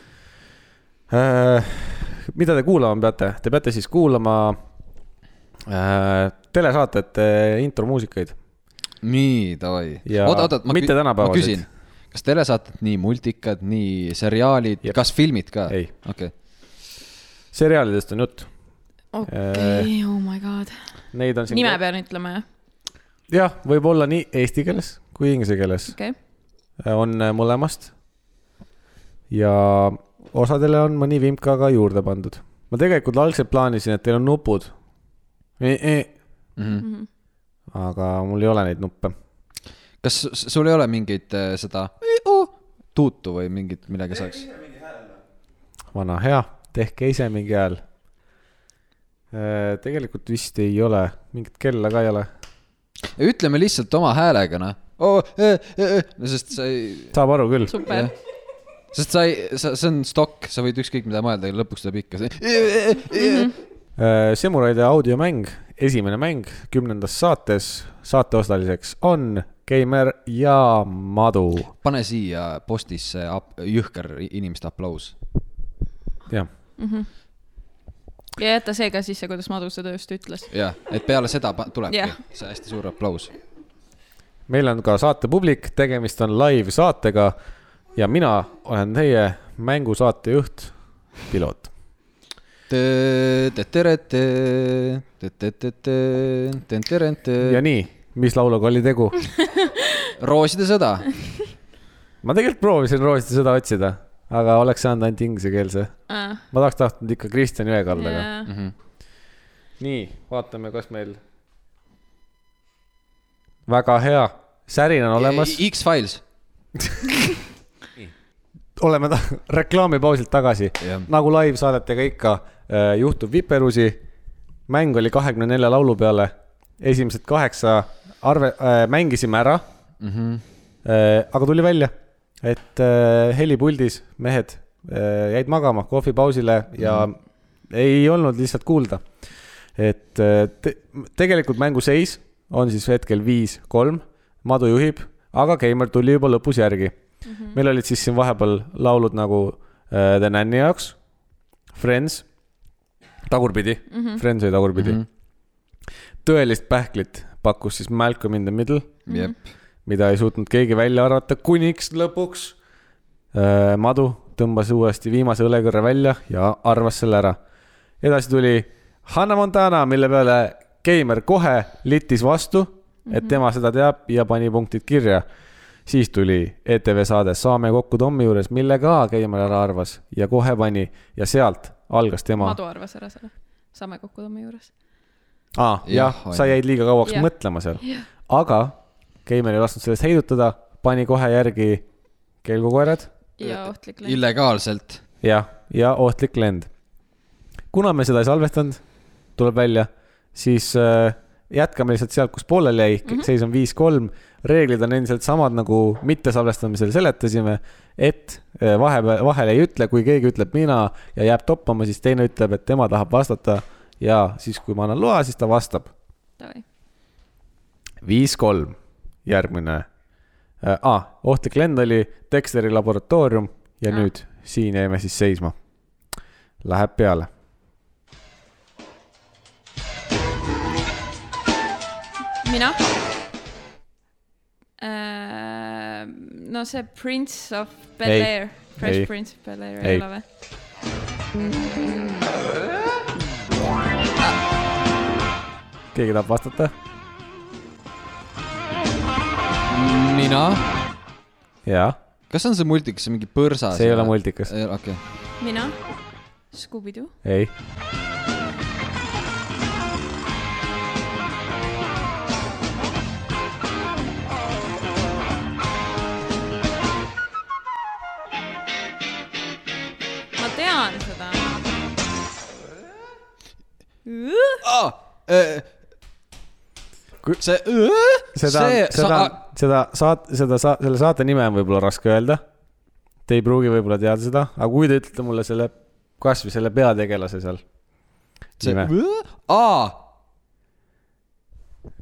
Speaker 2: -hmm. mida te kuulama peate , te peate siis kuulama äh, telesaatete intromuusikaid .
Speaker 1: nii davai .
Speaker 2: Ja
Speaker 1: oota , oota , ma
Speaker 2: mitte
Speaker 1: kü- ma
Speaker 2: tänapäevaseid.
Speaker 1: küsin , kas telesaated nii multikad , nii seriaalid ,
Speaker 2: Jep.
Speaker 1: kas filmid ka ?
Speaker 2: Ei.
Speaker 1: okei ,
Speaker 2: seriaalidest on jutt ,
Speaker 3: okei , oh my god .
Speaker 2: neid Äh, on siin .
Speaker 3: nime pean ütlema jah ,
Speaker 2: jah , võib olla nii eesti keeles kui inglise keeles .
Speaker 3: okei okay. .
Speaker 2: on äh, mõlemast . ja osadele on mõni vimka ka juurde pandud . ma tegelikult algselt plaanisin , et teil on nupud . aga E, aga mul ei ole neid nuppe .
Speaker 1: kas s- sul ei ole mingit äh, seda tuutu või mingit , millega saaks ?
Speaker 2: vana hea , tehke ise mingi hääl . tegelikult vist ei ole , mingit kella ka ei ole .
Speaker 1: ütleme lihtsalt oma häälega , noh oh, . Eh, eh, eh. no sest sa ei ,
Speaker 2: saab aru küll .
Speaker 3: super .
Speaker 1: sest sa ei , sa , see on stokk , sa võid ükskõik mida mõelda ja lõpuks tuleb ikka see .
Speaker 2: Äh, Semuraide audiomäng , esimene mäng kümnendas saates , saateosaliseks on Keimer ja Madu .
Speaker 1: pane siia postisse ap- jõhker inimeste aplaus .
Speaker 2: jah ,
Speaker 3: ja jäta see ka sisse , kuidas Madu seda just ütles .
Speaker 1: jah , et peale seda pa- tulebki
Speaker 3: Jah.
Speaker 1: see hästi suur aplaus .
Speaker 2: meil on ka saatepublik , tegemist on live-saatega ja mina olen teie mängusaatejuht , piloot . ja nii , mis lauluga oli tegu ?
Speaker 1: rooside sõda .
Speaker 2: ma tegelikult proovisin Roosita sõda otsida , aga oleks saanud ainult inglisekeelse . ma tahaks tahtnud ikka Kristjan Jõekallaga . nii , vaatame , kas meil . väga hea , särin on olemas ,
Speaker 1: X-Files .
Speaker 2: oleme ta (laughs) reklaamipausilt tagasi
Speaker 1: Jah. .
Speaker 2: nagu live-saadetega ikka äh, juhtub viperusi . mäng oli kahekümne nelja laulu peale , esimesed kaheksa arve äh, , mängisime ära äh, . aga tuli välja , et äh, helipuldis mehed äh, jäid magama kohvipausile ja mm. ei olnud lihtsalt kuulda . et äh, te, tegelikult mängu seis on siis hetkel viis-kolm , Madu juhib , aga Keimer tuli juba lõpus järgi mm . -hmm. meil olid siis siin vahepeal laulud nagu äh, The Nanny jaoks , Friends , tagurpidi mm , -hmm. Friends oli tagurpidi mm . -hmm. tõelist pähklit pakkus siis Malcolm in the Middle
Speaker 1: jep ,
Speaker 2: mida ei suutnud keegi välja arvata , kuniks lõpuks äh, Madu tõmbas uuesti viimase õlekõrre välja ja arvas selle ära . edasi tuli Hannah Montana , mille peale Keimer kohe litis vastu ,
Speaker 3: Mhm.
Speaker 2: et tema seda teab ja pani punktid kirja . siis tuli ETV saade Saame kokku Tommi juures , mille ka Keimer ära arvas ja kohe pani ja sealt algas tema .
Speaker 3: Madu arvas ära selle . saame kokku tõmme juures .
Speaker 2: aa , jah
Speaker 1: Jah, , on
Speaker 2: sa
Speaker 1: ju.
Speaker 2: jäid liiga kauaks
Speaker 3: Jah.
Speaker 2: mõtlema seal . aga Keimer ei lasknud sellest heidutada , pani kohe järgi kelgukoerad ,
Speaker 3: ja ohtlik lend .
Speaker 1: illegaalselt .
Speaker 2: jah , ja ohtlik lend . kuna me seda ei salvestanud , tuleb välja , siis äh, jätkame lihtsalt sealt , kus pooleli jäi mm , -hmm. seis on viis-kolm . reeglid on endiselt samad , nagu mittesalvestamisel seletasime , et äh, vahepeal , vahele ei ütle , kui keegi ütleb mina ja jääb toppama , siis teine ütleb , et tema tahab vastata ja siis , kui ma annan loa , siis ta vastab viis-kolm , järgmine äh, . Ah, ohtlik lend oli Dexteri laboratoorium ja ah. nüüd siin jäime siis seisma . Läheb peale .
Speaker 3: mina ? Äh, no see Prince of
Speaker 2: Ei.
Speaker 3: Bel Air , Fresh
Speaker 2: Ei.
Speaker 3: ei. Prince of Bel Air
Speaker 2: Ei.
Speaker 3: ei ole või ?
Speaker 2: keegi tahab vastata ?
Speaker 1: mina ,
Speaker 2: jaa ,
Speaker 1: kas on see multikas , see mingi põrsas ?
Speaker 2: see ei ole . multikas .
Speaker 1: okei okay. ,
Speaker 3: mina ? Scooby-Doo ?
Speaker 2: ei ,
Speaker 3: ma tean seda .
Speaker 1: ah, .
Speaker 2: Kui-
Speaker 1: see ,
Speaker 2: seda , seda , seda saat- , seda sa- , selle saate nime on võib-olla raske öelda . Te ei pruugi võib-olla teada seda , aga kui te ütlete mulle selle , kasvõi selle peategelase seal .
Speaker 1: see
Speaker 2: nime. ,
Speaker 1: aa ,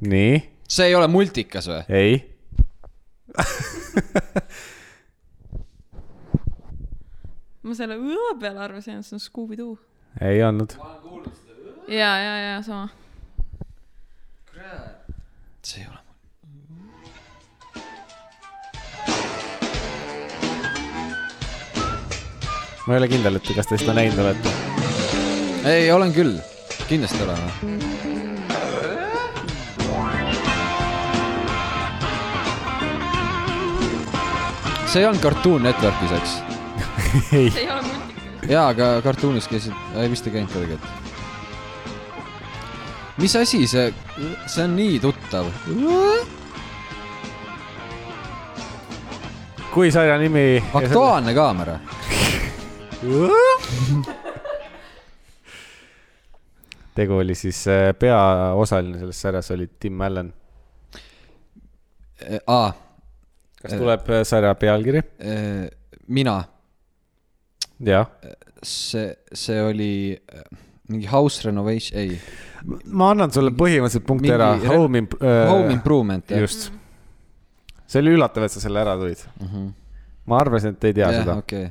Speaker 2: nii ,
Speaker 1: see ei ole multikas või ?
Speaker 2: ei ,
Speaker 3: ma selle õõ peale arvasin , et see on Scooby-Doo .
Speaker 2: ei olnud .
Speaker 3: ja , ja , ja sama .
Speaker 1: see ei ole .
Speaker 2: ma ei ole kindel , et kas te seda näinud olete .
Speaker 1: ei , olen küll , kindlasti olen . see ei olnud Cartoon Networkis , eks ?
Speaker 3: see ei ole multikas .
Speaker 1: jaa , aga kartuunis käisid , ei vist ei käinud kuidagi , et . mis asi see , see on nii tuttav .
Speaker 2: kui sarja nimi .
Speaker 1: Aktuaalne kaamera .
Speaker 2: tegu oli siis äh, peaosaline selles sarjas oli Tim Allan .
Speaker 1: E, aa ,
Speaker 2: kas tuleb äh, sarja pealkiri ?
Speaker 1: mina ,
Speaker 2: jah .
Speaker 1: see , see oli eh, mingi house renovation , ei .
Speaker 2: ma annan sulle põhimõtteliselt punkti
Speaker 1: Mingi
Speaker 2: ära .
Speaker 1: re-
Speaker 2: Home imp- .
Speaker 1: Home . improvement , jah .
Speaker 2: Äh, just . see oli üllatav , et sa selle ära tulid . ma arvasin , et ei tea seda
Speaker 1: Mhm. jah ,. okei .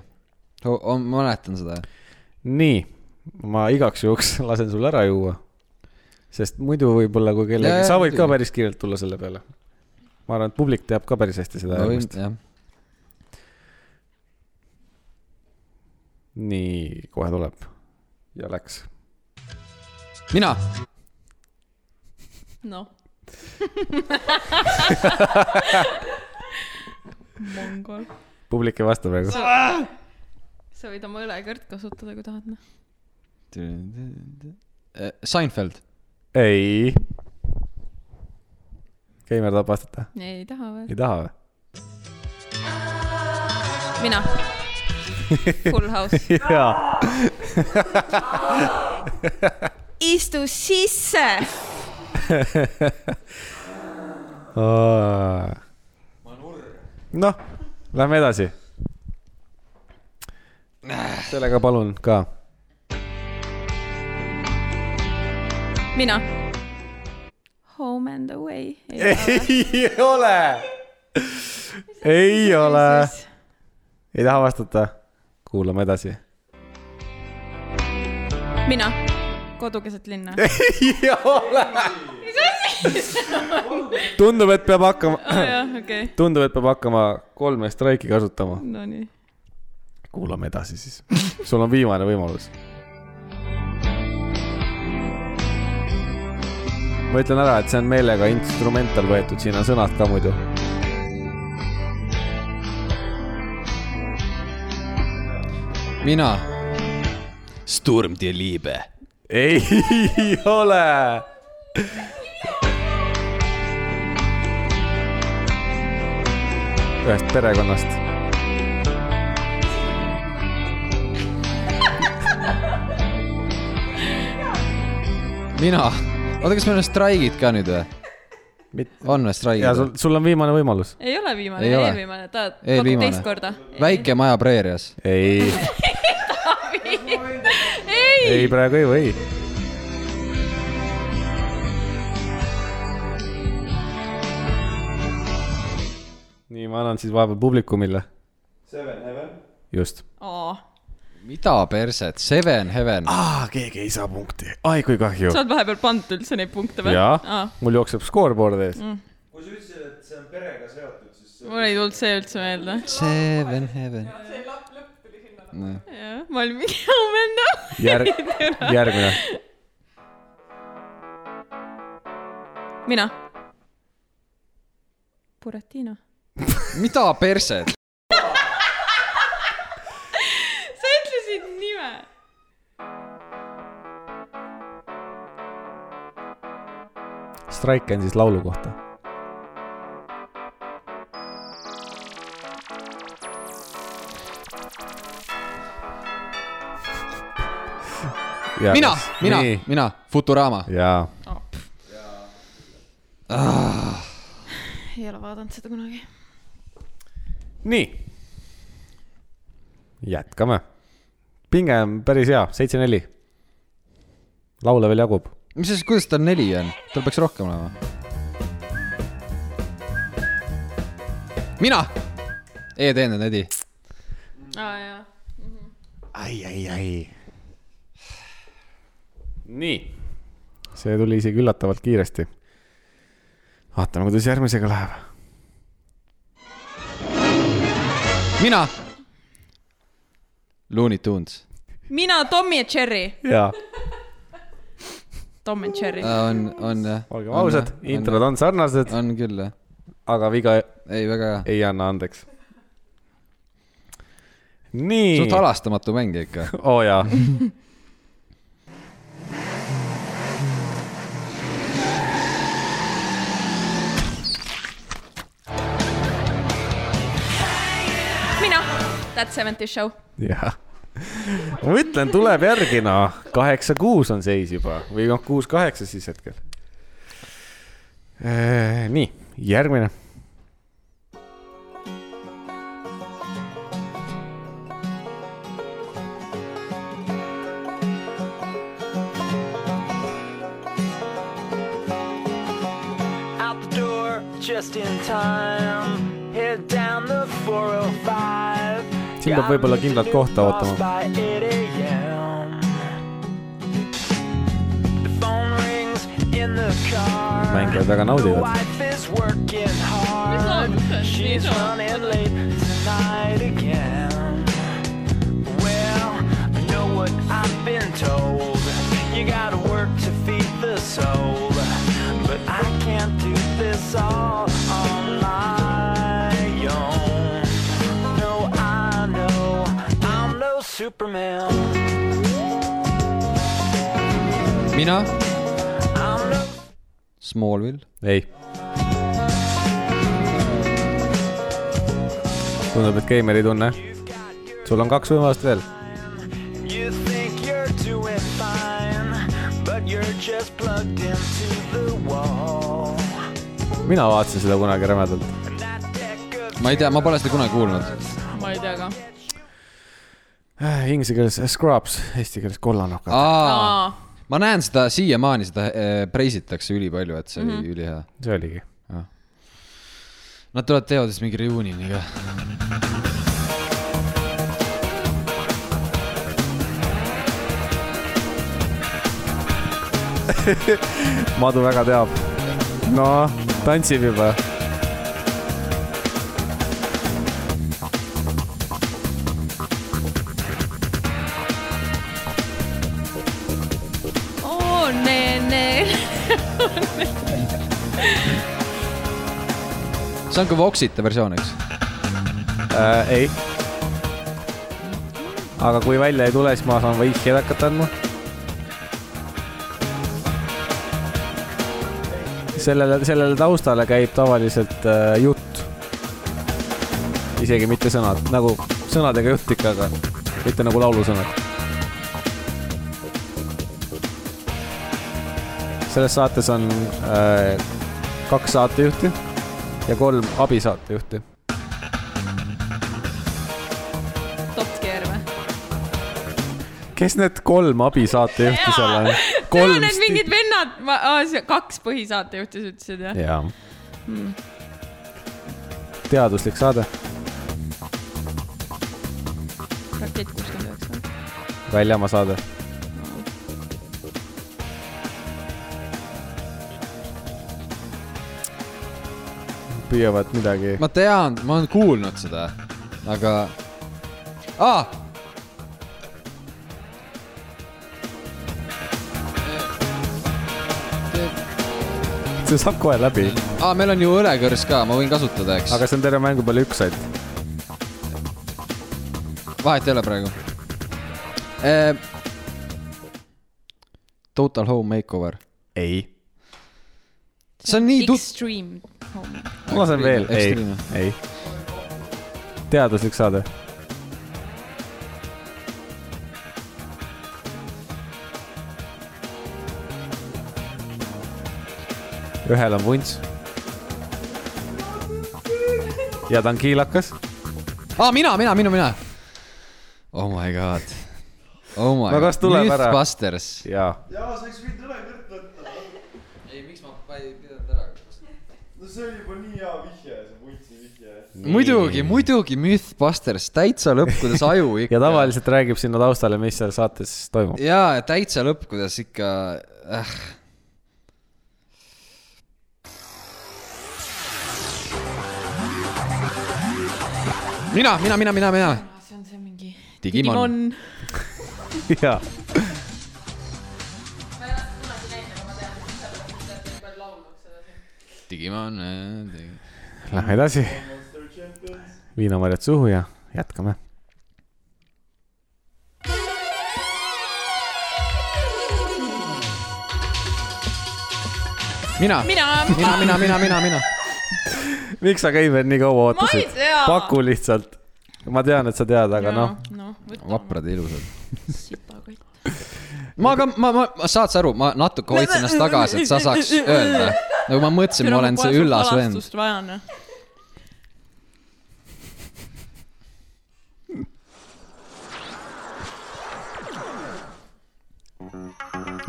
Speaker 1: ma mäletan seda .
Speaker 2: nii , ma igaks juhuks (laughs) lasen sul ära juua . sest muidu võib-olla kui
Speaker 1: Jaa,
Speaker 2: kellegi ,
Speaker 1: jaa,
Speaker 2: sa võid ka
Speaker 1: muidugi.
Speaker 2: päris kiirelt tulla selle peale . ma arvan , et publik teab ka päris hästi seda järgmist .
Speaker 1: jah .
Speaker 2: nii , kohe tuleb . ja läks .
Speaker 1: mina , (laughs)
Speaker 3: noh mongol .
Speaker 2: publik ei vasta praegu .
Speaker 3: sa võid oma õlekõrt kasutada , kui tahad , noh .
Speaker 1: Äh, Seinfeld ,
Speaker 2: ei . Keimer tahab vastata ?
Speaker 3: ei taha või ?
Speaker 2: ei taha või ?
Speaker 1: (laughs)
Speaker 3: mina . Full house .
Speaker 2: (laughs) jaa .
Speaker 3: istu sisse .
Speaker 2: noh , lähme edasi . sellega palun ka .
Speaker 3: mina . Home and away .
Speaker 1: Eh.
Speaker 2: ei ole . ei ole . ei taha vastata ? kuulame edasi .
Speaker 3: mina . kodu keset linna .
Speaker 1: Eh.
Speaker 2: ei ole . tundub , et peab hakkama , (clears throat)
Speaker 3: jah , okei .
Speaker 2: tundub , et peab hakkama kolme straiki kasutama .
Speaker 3: Nonii .
Speaker 2: kuulame edasi siis . sul on viimane võimalus . ma ütlen ära , et see on meelega instrumental võetud , siin on sõnad ka muidu .
Speaker 1: mina . Sturm die Liebe .
Speaker 2: ei (laughs) ole . ühest perekonnast .
Speaker 1: mina , oota , kas meil on straigid ka nüüd või ? on või
Speaker 2: ja sul
Speaker 1: straigid ?,
Speaker 2: sul on viimane võimalus .
Speaker 3: ei ole viimane ,
Speaker 1: Ei ole.
Speaker 3: eelviimane , tahad , pakud
Speaker 1: Eelviimane.
Speaker 3: teist korda ?
Speaker 1: väike maja preerias .
Speaker 2: ei , (laughs)
Speaker 3: ei ,
Speaker 2: ei praegu ei või . nii , ma annan siis vahepeal publikumile .
Speaker 4: Seven Heaven .
Speaker 2: just .
Speaker 3: aa ,
Speaker 1: mida perset , Seven Heaven .
Speaker 2: aa , keegi ei saa punkti . ai kui kahju
Speaker 3: sa . oled vahepeal pannud üldse neid punkte või ?
Speaker 2: jaa , mul jookseb skoorboard ees mm. .
Speaker 4: kui sa ütlesid , et see on perega seotud , siis see...
Speaker 3: mul ei tulnud see üldse meelde .
Speaker 1: Seven Heaven .
Speaker 3: jah , ma olin (laughs) mingi home and away . (laughs)
Speaker 2: Järg- , järgmine .
Speaker 3: mina . Buratino .
Speaker 1: mida perset ?
Speaker 3: sa ütlesid nime .
Speaker 2: Strike on siis laulu kohta .
Speaker 1: mina , mina , mina , Futurama .
Speaker 2: jaa ,
Speaker 3: ei ole vaadanud seda kunagi .
Speaker 2: nii . jätkame . pinge on päris hea , seitse-neli . laule veel jagub .
Speaker 1: mis siis , kuidas tal neli on ? tal peaks rohkem olema . mina , e-teenindaja Edi .
Speaker 3: aa jaa .
Speaker 2: ai , ai , ai . nii . see tuli isegi üllatavalt kiiresti . vaatame , kuidas järgmisega läheb .
Speaker 1: mina . Looney Tunes
Speaker 3: mina , Tommy ja Cherry .
Speaker 2: jaa ,
Speaker 3: Tom and Cherry .
Speaker 1: Äh, on , on jah .
Speaker 2: olgem ausad , introd on sarnased ,
Speaker 1: on küll jah ,
Speaker 2: aga viga
Speaker 1: ei väga hea ,
Speaker 2: ei anna andeks . nii . Oh,
Speaker 1: suht halastamatu mäng ikka .
Speaker 2: oo oh, jaa .
Speaker 1: Äh.
Speaker 3: That seventy show .
Speaker 2: jah . ma ütlen , tuleb järgi noh , kaheksa kuus on seis juba või noh , kuus kaheksa siis hetkel . nii , järgmine .
Speaker 7: out the door just in time. Head down the 405.
Speaker 2: Siin peab võib-olla kindlat kohta ootama. Mängijad väga naudivad.
Speaker 7: mis She's running late tonight again. Well, I know what I've been told. You gotta work to feed the soul. But I can't do this all on my own. No, I know I'm no Superman.
Speaker 1: mina ,
Speaker 7: I'm no
Speaker 1: Smallville ,
Speaker 2: ei . tundub , et geimer ei tunne . sul on kaks võimalust veel .
Speaker 7: You think you're doing fine, but you're just plugged into the wall.
Speaker 2: mina vaatasin seda kunagi rämedalt .
Speaker 7: And that deck of
Speaker 1: ma ei tea , ma pole seda kunagi kuulnud .
Speaker 3: ma ei tea ka .
Speaker 2: Äh, Inglise keeles scrubs , eesti keeles kollanokad .
Speaker 1: aa , ma näen seda siiamaani , seda eh, preisitakse ülipalju , et see oli mm -hmm. ülihea .
Speaker 2: see oligi .
Speaker 1: Nad tulevad teevad siis mingi reunioniga .
Speaker 2: Madu väga teab . no tantsib juba .
Speaker 3: oo , nee-nee .
Speaker 1: see on ka Voxite versioon , eks ?
Speaker 2: äh, . ei . aga kui välja ei tule , siis ma saan vihjeid hakata andma . sellele , sellele taustale käib tavaliselt äh, jutt . isegi mitte sõnad , nagu sõnadega jutt ikka , aga mitte nagu laulusõnad . selles saates on äh, kaks saatejuhti ja kolm abisaatejuhti
Speaker 3: Top Gear või ?
Speaker 2: kes need kolm abisaatejuhti seal on ?
Speaker 3: Need on need mingid vennad , ma , kaks põhisaatejuhti sa ütlesid jah ?
Speaker 2: jaa .
Speaker 3: Hmm.
Speaker 2: teaduslik saade ,
Speaker 3: rakett kuuskümmend üheksa .
Speaker 2: väljamaa saade . püüavad midagi .
Speaker 1: ma tean , ma olen kuulnud seda , aga ah! .
Speaker 2: see saab kohe läbi ,
Speaker 1: Ah, meil on ju õlekõrs ka , ma võin kasutada , eks
Speaker 2: aga
Speaker 1: aga... ,
Speaker 2: see on terve mängu peale üks ainult .
Speaker 1: vahet ei ole praegu eh... . Total home makeover ,
Speaker 2: ei .
Speaker 1: see on nii tut- .
Speaker 3: Extreme Home .
Speaker 2: ma lasen veel , ei , ei . teaduslik saade . ühel on vunts . ja ta on kiilakas .
Speaker 1: ah, . mina , mina , minu , mina . Oh my god . Oh my
Speaker 2: No kas tuleb ära?
Speaker 1: Mythbusters .
Speaker 2: jaa .
Speaker 4: jaa , sa võiks mind õlekõrt võtta .
Speaker 1: ei , miks ma ei pidanud ära .
Speaker 4: no see oli juba nii hea vihje , see vuntsi vihje .
Speaker 1: muidugi , muidugi Mythbusters , täitsa lõpp , kuidas
Speaker 2: (laughs)
Speaker 1: aju ikka .
Speaker 2: ja tavaliselt räägib sinna taustale , mis seal saates toimub .
Speaker 1: jaa , täitsa lõpp , kuidas ikka äh. . mina , mina , mina , mina , mina .
Speaker 3: see on see mingi .
Speaker 1: Digimon, Digimon. .
Speaker 2: jaa .
Speaker 1: Digimon äh, .
Speaker 2: Lähme edasi . viinamarjad suhu ja jätkame .
Speaker 1: mina ,
Speaker 3: mina ,
Speaker 1: mina , mina , mina , mina , mina .
Speaker 2: miks sa Keimer nii kaua
Speaker 3: ma ei
Speaker 2: ootasid ?
Speaker 3: tea .
Speaker 2: paku lihtsalt . ma tean , et sa tead , aga noh ,
Speaker 3: noh , võta .
Speaker 1: vaprad ja ilusad .
Speaker 3: sitakott .
Speaker 1: ma ka , ma , ma, ma , saad sa aru , ma natuke hoidsin ennast tagasi , et sa saaks öelda . nagu ma mõtlesin , ma olen see üllas vend .
Speaker 3: vend .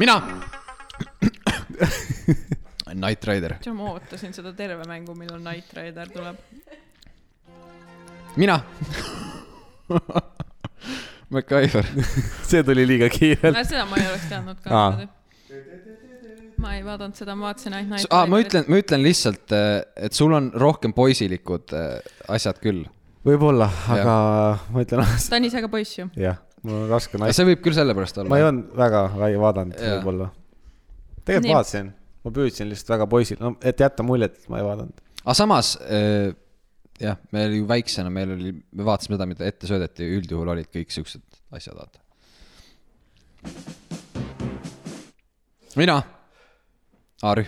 Speaker 1: mina . Knight Rider ,
Speaker 3: tead , ma ootasin seda terve mängu , millal Knight Rider tuleb .
Speaker 1: mina . MacGyver ,
Speaker 2: see tuli liiga kiirelt .
Speaker 3: Äh, seda ma ei oleks teadnud ka
Speaker 2: Aa. .
Speaker 3: ma ei vaadanud seda , ma vaatasin ainult Knight
Speaker 1: ah, ma . ütlen , ma ütlen lihtsalt , et sul on rohkem poisilikud eh, asjad küll .
Speaker 2: võib-olla , aga ma ütlen ausalt ,
Speaker 3: ta on ise ka poiss ju .
Speaker 2: jah , mul on raske naist ,
Speaker 1: see võib küll sellepärast olla .
Speaker 2: ma ei olnud väga lai vaadanud
Speaker 1: Jaa.
Speaker 2: võib-olla . tegelikult
Speaker 3: Nii.
Speaker 2: vaatasin , ma püüdsin lihtsalt väga poisil , no et jätta muljet , et ma ei vaadanud .
Speaker 1: aga samas äh, jah , meil ju väiksena meil oli , me vaatasime seda , mida ette söödeti , üldjuhul olid kõik siuksed asjad , vaata . mina , A-rühm .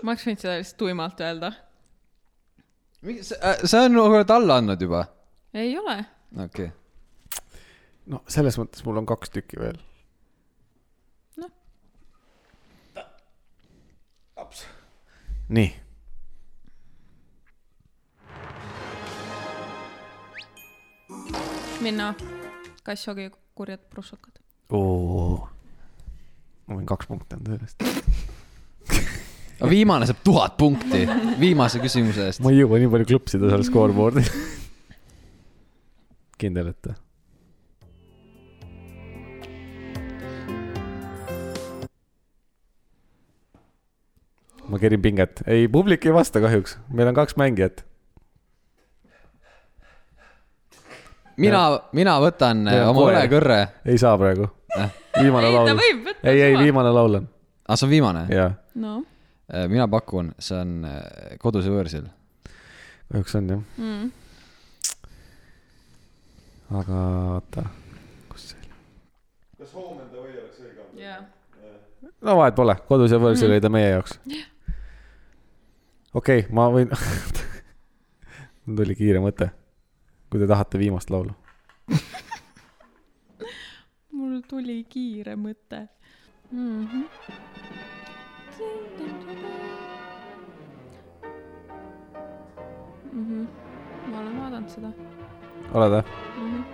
Speaker 3: ma oleks võinud seda lihtsalt tuimalt öelda .
Speaker 1: sa on nagu oled alla andnud juba ,
Speaker 3: ei ole .
Speaker 1: okei okay. .
Speaker 2: no selles mõttes mul on kaks tükki veel .
Speaker 3: Noh. .
Speaker 2: laps . nii ,
Speaker 3: minna , kassiogi kurjad prussakad .
Speaker 2: ma võin kaks punkti anda sellest .
Speaker 1: aga viimane saab tuhat punkti viimase küsimuse eest .
Speaker 2: ma ei jõua nii palju klõpsida seal scoreboard'il . kindel , et ta . ma kerin pinget , ei publik ei vasta kahjuks , meil on kaks mängijat .
Speaker 1: mina , mina võtan ja,
Speaker 2: Ja
Speaker 1: oma
Speaker 2: koer.
Speaker 1: õlekõrre .
Speaker 2: ei saa praegu . viimane
Speaker 3: ei , ta
Speaker 2: laul .
Speaker 3: võib võtta
Speaker 2: ei , ei , viimane laul on ,
Speaker 1: aa , Ah, see on viimane ?
Speaker 2: jaa .
Speaker 3: no
Speaker 1: mina pakun , see on eh, Kodus ja võõrsil .
Speaker 2: kahjuks on jah ,
Speaker 3: mm. .
Speaker 2: aga oota , kus see oli ?
Speaker 4: kas hoomenda või oleks õige anda ?
Speaker 3: jaa .
Speaker 2: no vahet pole , kodus ja võõrsil oli ta meie jaoks . okei , ma võin , (laughs) mul tuli kiire mõte . kui te tahate viimast laulu ,
Speaker 3: mul tuli kiire mõte mm . -hmm. Mm -hmm. ma olen vaadanud seda
Speaker 2: oled või ?
Speaker 3: mm . -hmm.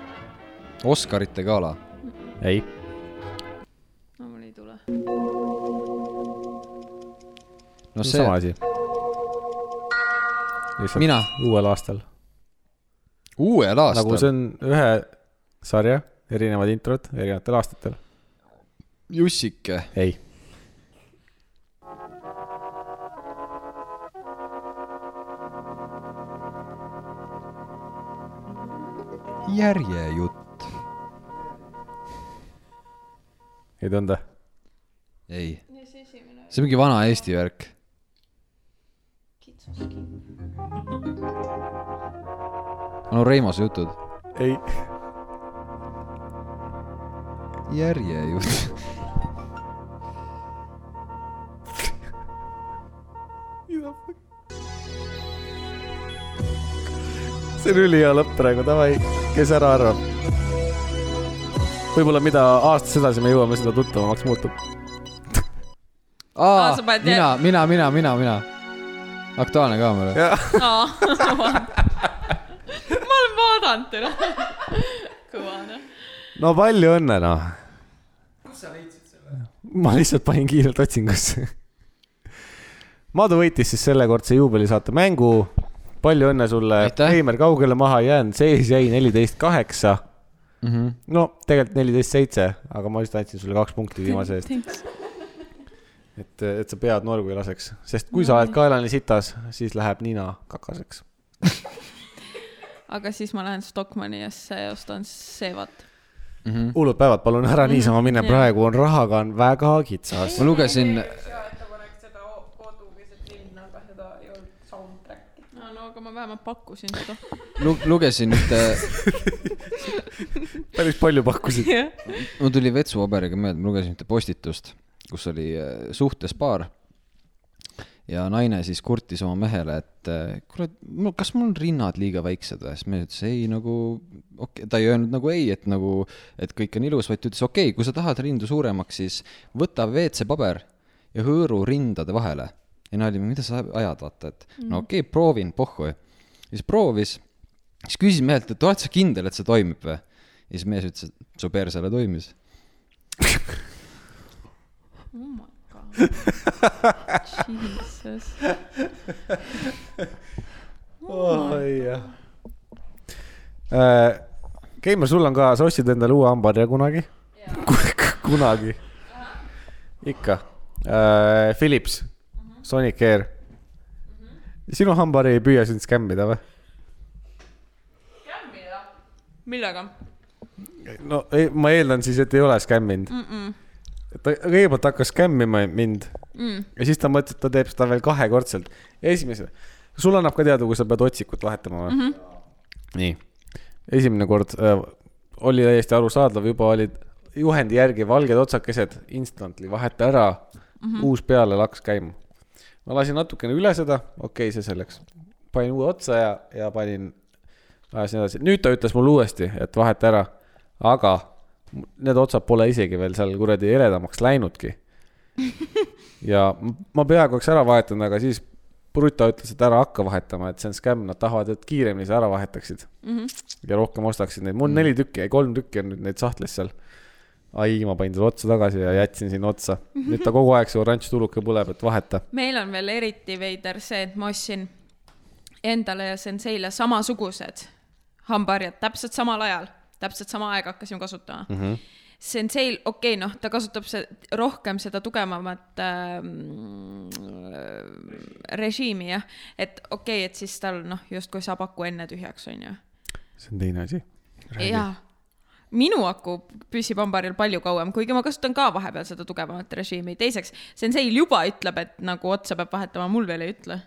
Speaker 1: Oscarite gala .
Speaker 2: ei .
Speaker 3: no mul ei tule .
Speaker 1: no see ,
Speaker 2: sama asi . lihtsalt
Speaker 1: mina ,
Speaker 2: uuel aastal,
Speaker 1: uuel aastal
Speaker 2: aastal. , nagu see on ühe sarja , erinevad introd erinevatel aastatel .
Speaker 1: Jussike
Speaker 2: ei ,
Speaker 1: järjejutt .
Speaker 2: ei tunda .
Speaker 1: ei . see on mingi vana Eesti värk . no Reimase jutud .
Speaker 2: ei ,
Speaker 3: (laughs)
Speaker 1: järjejutt .
Speaker 2: see on ülihea lõpp praegu , davai , kes ära arvab . võib-olla mida aastast edasi me jõuame , seda tuttavamaks muutub .
Speaker 1: aa
Speaker 3: Aa, Ah, sa , paned
Speaker 1: Ah, mina , mina , mina , mina , mina . Aktuaalne kaamera .
Speaker 3: aa , (laughs) ma olen vaadanud teda . kõva noh .
Speaker 2: no palju õnne noh . kust sa leidsid selle ? ma lihtsalt panin kiirelt otsingusse . Madu võitis siis sellekordse juubelisaate mängu . palju õnne sulle ,
Speaker 1: Aitäh!
Speaker 2: Heimer kaugele maha ei jäänud , seis jäi neliteist kaheksa .
Speaker 1: Mhm.
Speaker 2: no tegelikult neliteist seitse , aga ma lihtsalt andsin sulle kaks punkti viimase eest , et , et sa pead norgu ei laseks , sest kui sa oled kaelani sitas , siis läheb nina kakaseks .
Speaker 3: aga siis ma lähen Stockmanniasse ja ostan seevat .
Speaker 2: hullud päevad , palun ära niisama mine ,
Speaker 3: Jah.
Speaker 2: praegu on rahaga on väga kitsas .
Speaker 1: ma lugesin ,
Speaker 5: hea ettepanek seda o- kodu keset linna , aga seda ei olnud soundtrack'i .
Speaker 3: no , no aga ma vähemalt pakkusin
Speaker 2: (laughs)
Speaker 3: (laughs) seda .
Speaker 1: lugesin ühte ,
Speaker 2: päris palju pakkusid .
Speaker 3: (laughs)
Speaker 1: mul tuli vetsupaberiga meelde , ma lugesin ühte postitust , kus oli äh, suhtes paar ja naine siis kurtis oma mehele , et äh, kuule , mul , kas mul on rinnad liiga väiksed või ? siis mees ütles ei nagu , okei okay. , ta ei öelnud nagu ei , et nagu , et kõik on ilus , vaid ta ütles okei okay, , kui sa tahad rindu suuremaks , siis võta WC-paber ja hõõru rindade vahele . ja naine oli , mida sa ajad , vaata , et no okei okay, , proovin , pohhu . siis proovis , siis küsis mehelt , et oled sa kindel , et see toimib või ? ja siis mees ütles , et su persele toimis .
Speaker 3: oh my god Jesus .
Speaker 2: jah . Keimar , sul on ka , sa ostsid endale uue hambaharja kunagi ? (laughs) kunagi . ikka . Philips , Sonic Air . sinu hambahari ei püüa sind skämmida või ?
Speaker 3: millega ?
Speaker 2: no ei, ma eeldan siis , et ei ole skämminud mm . -mm. ta kõigepealt hakkas skämmima mind mm. ja siis ta mõtles , et ta teeb seda veel kahekordselt . esimesel , sul annab ka teada , kui sa pead otsikut vahetama või mm ? -hmm. nii , esimene kord äh, oli täiesti arusaadav , juba olid juhendi järgi valged otsakesed , instantly vaheta ära mm , -hmm. uus peale laks käima . ma lasin natukene üle seda , okei okay, , see selleks . panin uue otsa ja , ja panin ajasin edasi , nüüd ta ütles mulle uuesti , et vaheta ära , aga need otsad pole isegi veel seal kuradi eredamaks läinudki . ja m- ma peaaegu oleks ära vahetanud , aga siis Bruta ütles , et ära hakka vahetama , et see on skämm , nad tahavad , et kiiremini sa ära vahetaksid mm . -hmm. ja rohkem ostaksid neid , mul on neli tükki , kolm tükki on nüüd neid sahtlis seal . ai , ma panin selle otsa tagasi ja jätsin sinna otsa , nüüd ta kogu aeg see oranž tuluke põleb , et vaheta .
Speaker 3: meil on veel eriti veider see , et ma ostsin endale ja senseile samasugused hambaharjad täpselt samal ajal , täpselt sama aega hakkasime kasutama mm . -hmm. Senseil , okei okay, , noh , ta kasutab se- rohkem seda tugevamat ähm, režiimi jah , et okei okay, , et siis tal noh , justkui saab aku enne tühjaks , onju
Speaker 2: see on teine asi .
Speaker 3: jaa , minu aku püsib hambaharjal palju kauem , kuigi ma kasutan ka vahepeal seda tugevamat režiimi . teiseks , senseil juba ütleb , et nagu otsa peab vahetama , mul veel ei ütle .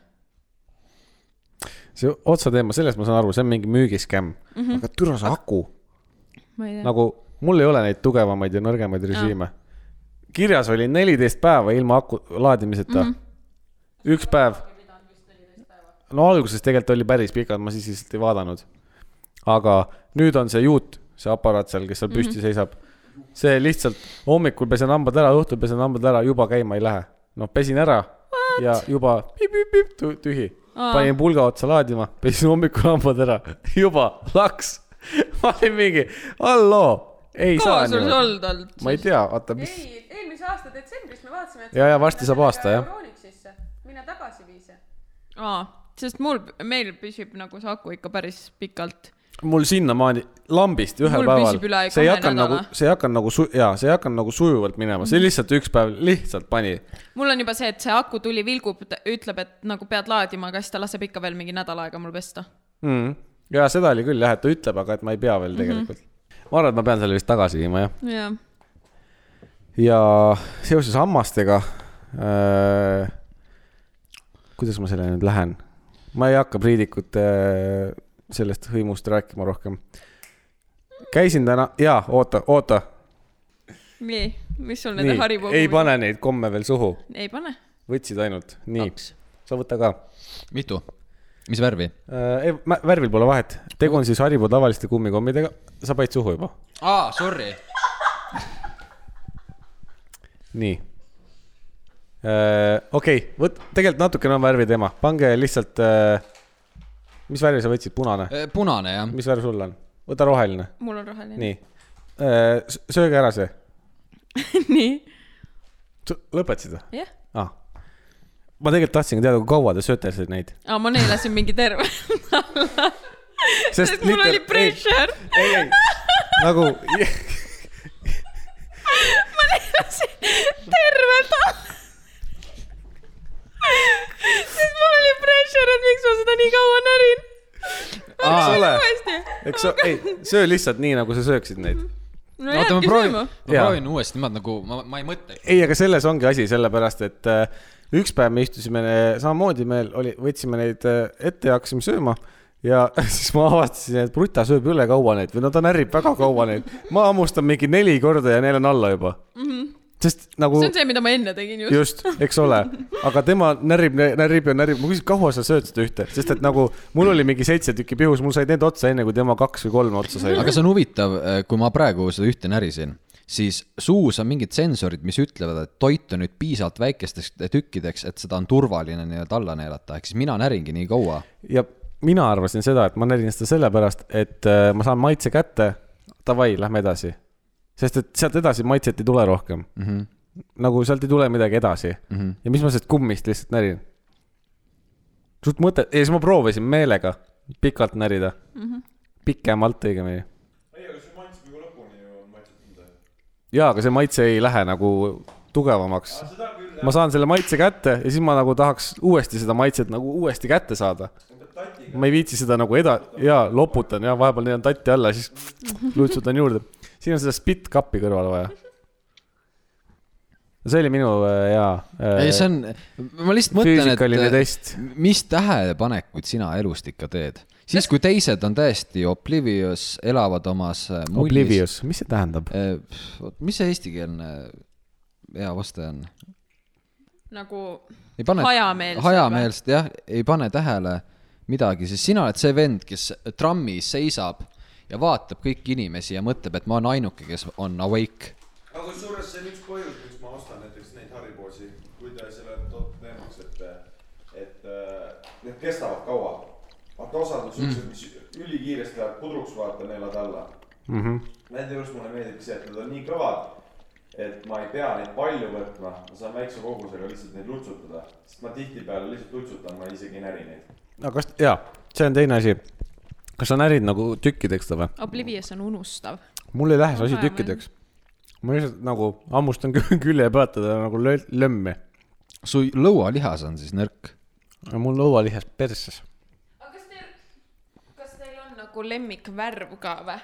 Speaker 2: see otsa teema , sellest ma saan aru , see on mingi müügiskämm mm , -hmm. aga türa see aku
Speaker 3: ma ei tea nagu... ,
Speaker 2: nagu mul ei ole neid tugevamaid ja nõrgemaid režiime . kirjas oli neliteist päeva ilma aku laadimiseta mm . -hmm. üks päev . no alguses tegelikult oli päris pikalt , ma siis lihtsalt ei vaadanud . aga nüüd on see juut , see aparaat seal , kes seal mm -hmm.
Speaker 3: Mhm.
Speaker 2: püsti seisab . see lihtsalt hommikul pesen hambad ära , õhtul pesen hambad ära , juba käima ei lähe . noh , pesin ära What? ja juba pip-pip-pip tü- tühi . panin pulga otsa laadima , pesin hommikul hambad ära , (laughs) juba laks . (laughs) ma olin mingi , halloo , ei
Speaker 3: kaua
Speaker 2: saa
Speaker 3: sul see
Speaker 2: niimoodi .
Speaker 3: olnud olnud ?
Speaker 2: ma ei tea , oota , mis ,
Speaker 5: ei , eelmise aasta detsembris me vaatasime .
Speaker 2: Ja, ja varsti saab aasta, jah.
Speaker 5: Euronixisse , mine tagasi vii see .
Speaker 3: aa , sest mul , meil püsib nagu see aku ikka päris pikalt .
Speaker 2: mul sinnamaani lambist ühel
Speaker 3: Mul
Speaker 2: päeval
Speaker 3: püsib üle ,
Speaker 2: see ei
Speaker 3: kahe
Speaker 2: hakanud nagu
Speaker 3: nädala. ,
Speaker 2: see ei hakanud nagu su- , jaa , see ei hakanud nagu sujuvalt minema ,
Speaker 3: Mhm.
Speaker 2: see lihtsalt üks päev lihtsalt pani .
Speaker 3: mul on juba see , et see aku tuli vilgub , ütleb , et nagu pead laadima , aga siis ta laseb ikka veel mingi nädal aega mul pesta .
Speaker 2: ja Mhm. seda oli küll jah , et ta ütleb , aga et ma ei pea
Speaker 3: Mhm.
Speaker 2: veel tegelikult mm . -hmm. ma arvan , et ma pean selle vist tagasi viima jah .
Speaker 3: jah ,
Speaker 2: ja seoses hammastega äh, . kuidas ma selleni nüüd lähen ? ma ei hakka Priidikut äh, sellest hõimust rääkima rohkem . käisin täna , jaa , oota , oota .
Speaker 3: nii , mis sul nende
Speaker 2: nii ,
Speaker 3: haripugu
Speaker 2: ei pane neid komme veel suhu ,
Speaker 3: ei pane .
Speaker 2: võtsid ainult , nii ,
Speaker 3: kaks .
Speaker 2: sa võta ka
Speaker 1: mitu ? mis värvi ?
Speaker 2: äh, . ei , värvil pole vahet , tegu on siis Haribo tavaliste kummikommidega , sa panid suhu juba ,
Speaker 1: aa , sorry .
Speaker 2: nii äh, . okei okay, , vot tegelikult natukene on värvi teema , pange lihtsalt äh, . mis värvi sa võtsid , punane ,
Speaker 1: Äh, punane jah .
Speaker 2: mis värv sul on ? võta roheline ,
Speaker 3: mul on roheline .
Speaker 2: nii äh, . sööge ära see ,
Speaker 3: (laughs) nii ,
Speaker 2: lõpetasid või
Speaker 3: jah .
Speaker 2: ah. ? ma tegelikult tahtsingi teada , kui kaua te sööte seal neid ,
Speaker 3: aa , ma neelasin mingi terve nädala .
Speaker 2: Sest
Speaker 3: sest, sest mul
Speaker 2: liter-
Speaker 3: oli
Speaker 2: ei.
Speaker 3: pressure .
Speaker 2: Ei, ei. nagu
Speaker 3: (laughs) ma neelasin terve ta- . sest mul oli pressure , et miks ma seda nii kaua närin .
Speaker 2: Eks ole.
Speaker 3: uuesti .
Speaker 2: eks sa , ei , söö lihtsalt nii , nagu sa sööksid neid
Speaker 3: no
Speaker 1: oota , ma
Speaker 3: jääbki
Speaker 1: proovin ,
Speaker 3: sööma
Speaker 1: ma .
Speaker 2: Jaa.
Speaker 1: proovin uuesti niimoodi nagu , ma , ma ei mõtle .
Speaker 2: ei , aga selles ongi asi , sellepärast et äh, üks päev me istusime ne- samamoodi , meil oli , võtsime neid äh, ette ja hakkasime sööma ja (laughs) siis ma avastasin , et Bruta sööb üle kaua neid või no ta närib väga kaua neid . ma hammustan mingi neli korda ja neil on alla juba mm . -hmm. sest nagu
Speaker 3: Mhm. see on see , mida ma enne tegin just .
Speaker 2: just , eks ole , aga tema närib , närib ja närib , ma küsin , kaua sa sööd seda ühte , sest et nagu mul oli mingi seitse tükki pihus , mul said need otsa enne kui tema kaks või kolm otsa sai .
Speaker 1: aga see on huvitav , kui ma praegu seda ühte närisin , siis suus on mingid sensorid , mis ütlevad , et toit on nüüd piisavalt väikesteks tükkideks , et seda on turvaline nii-öelda alla neelata , ehk siis mina näringi nii kaua .
Speaker 2: ja mina arvasin seda , et ma närin seda sellepärast , et äh, ma saan maitse kätte , davai , lähme edasi . sest et sealt edasi maitset ei tule rohkem mm . -hmm. nagu sealt ei tule midagi edasi mm -hmm. ja mis ma sellest kummist lihtsalt närin . suht mõte , ja siis ma proovisin meelega pikalt närida mm . -hmm. pikemalt õigemini .
Speaker 4: ei , aga see maitseb ju lõpuni ju , maitseb midagi .
Speaker 2: jaa , aga see maitse ei lähe nagu tugevamaks .
Speaker 4: seda küll ,
Speaker 2: ma saan selle maitse kätte ja siis ma nagu tahaks uuesti seda maitset nagu uuesti kätte saada
Speaker 4: tatiga ,
Speaker 2: ma ei viitsi seda nagu eda- , jaa , loputan ja vahepeal neelan tatti alla , siis lutsutan juurde . siin on seda spit kappi kõrvale vaja . see oli minu äh, jaa
Speaker 1: ei , see on , ma lihtsalt mõtlen ,
Speaker 2: füüsikaline
Speaker 1: et äh,
Speaker 2: test.
Speaker 1: mis tähelepanekuid sina elust ikka teed ? siis , kui teised on täiesti oblivious , elavad omas äh, mullis .
Speaker 2: Oblivious , mis see tähendab ?
Speaker 1: Äh, oot , mis see eestikeelne hea vaste on ?
Speaker 3: nagu
Speaker 1: ei pane ,
Speaker 3: Hajameelsed
Speaker 1: hajameelselt jah , ei pane tähele midagi , sest sina oled see vend , kes trammis seisab ja vaatab kõiki inimesi ja mõtleb , et ma olen ainuke , kes on awake .
Speaker 4: aga kusjuures see on üks põhjus , miks ma ostan näiteks neid Haribosi , kui ta selle toob teemaks , et , et äh, need kestavad kaua . vaata osad on siuksed , mis ülikiiresti lähevad pudruks , vaata , neelad alla
Speaker 2: Mm -hmm.
Speaker 4: Nende juures mulle meeldib see , et nad on nii kõvad , et ma ei pea neid palju võtma , ma saan väikse kogusega lihtsalt neid lutsutada , sest ma tihtipeale lihtsalt lutsutan , ma isegi ei näri neid .
Speaker 2: no kas , jaa , see on teine asi . kas sa närid nagu tükkideks seda või ?
Speaker 3: Oblivious on unustav .
Speaker 2: mul ei lähe see asi
Speaker 3: Vaja,
Speaker 2: tükkideks . ma lihtsalt nagu hammustan (laughs) kü- külje pealt teda nagu lö- lömmi .
Speaker 1: su lõualihas on siis nõrk .
Speaker 2: mul lõualihas persses .
Speaker 3: aga kas teil , kas teil on nagu lemmikvärv ka või ?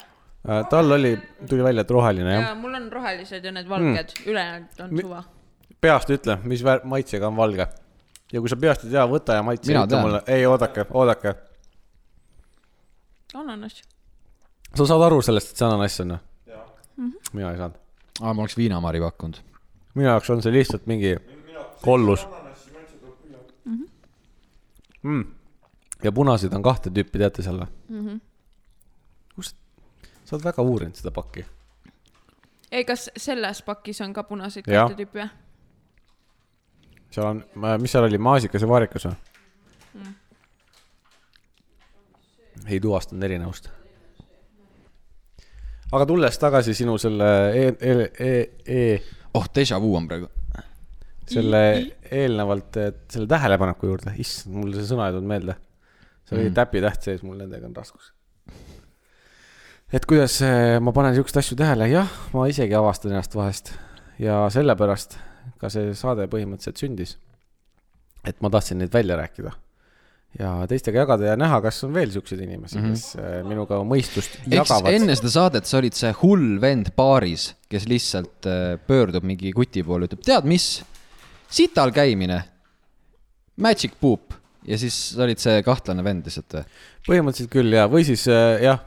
Speaker 2: Äh, tal oli , tuli välja , et roheline jah
Speaker 3: ja mul on rohelised ja need valged mm. , ülejäänud on
Speaker 2: Mi-
Speaker 3: suva .
Speaker 2: peast ütle , mis vär- , maitsega on valge . ja kui sa peast ei tea , võta ja maitse
Speaker 1: Mina
Speaker 2: ütle
Speaker 1: tean.
Speaker 2: mulle , ei oodake , oodake .
Speaker 3: ananass .
Speaker 2: sa saad aru sellest , et see ananass on või ? mina ei saanud .
Speaker 1: aa , Ah, ma oleks viinamari pakkunud .
Speaker 2: minu jaoks on see lihtsalt mingi kollus mm. . ja punaseid on kahte tüüpi , teate selle mm ? -hmm. kus , sa oled väga uurinud seda pakki .
Speaker 3: ei , kas selles pakis on ka punaseid
Speaker 2: Jah.
Speaker 3: kahte tüüpi või ?
Speaker 2: seal on , mis seal oli , maasikas ja vaarikas või mm. ? ei tuvastanud erinevust . aga tulles tagasi sinu selle e , e , e , e
Speaker 1: oh , déjà vu on praegu .
Speaker 2: selle eelnevalt , selle tähelepaneku juurde , issand , mul see sõna ei tulnud meelde . see oli mm. täpitäht sees , mul nendega on raskus . et kuidas eh, ma panen siukseid asju tähele , jah , ma isegi avastan ennast vahest ja sellepärast ka see saade põhimõtteliselt sündis . et ma tahtsin neid välja rääkida ja teistega jagada ja näha , kas on veel siukseid inimesi mm , -hmm. kes eh, minuga mõistust
Speaker 1: ehk siis
Speaker 2: jagavad .
Speaker 1: enne seda saadet sa olid see hull vend baaris , kes lihtsalt äh, pöördub mingi kuti poole , ütleb , tead mis , sital käimine , magic poop ja siis sa olid see kahtlane vend lihtsalt äh. või ?
Speaker 2: põhimõtteliselt küll ja , või siis äh, jah ,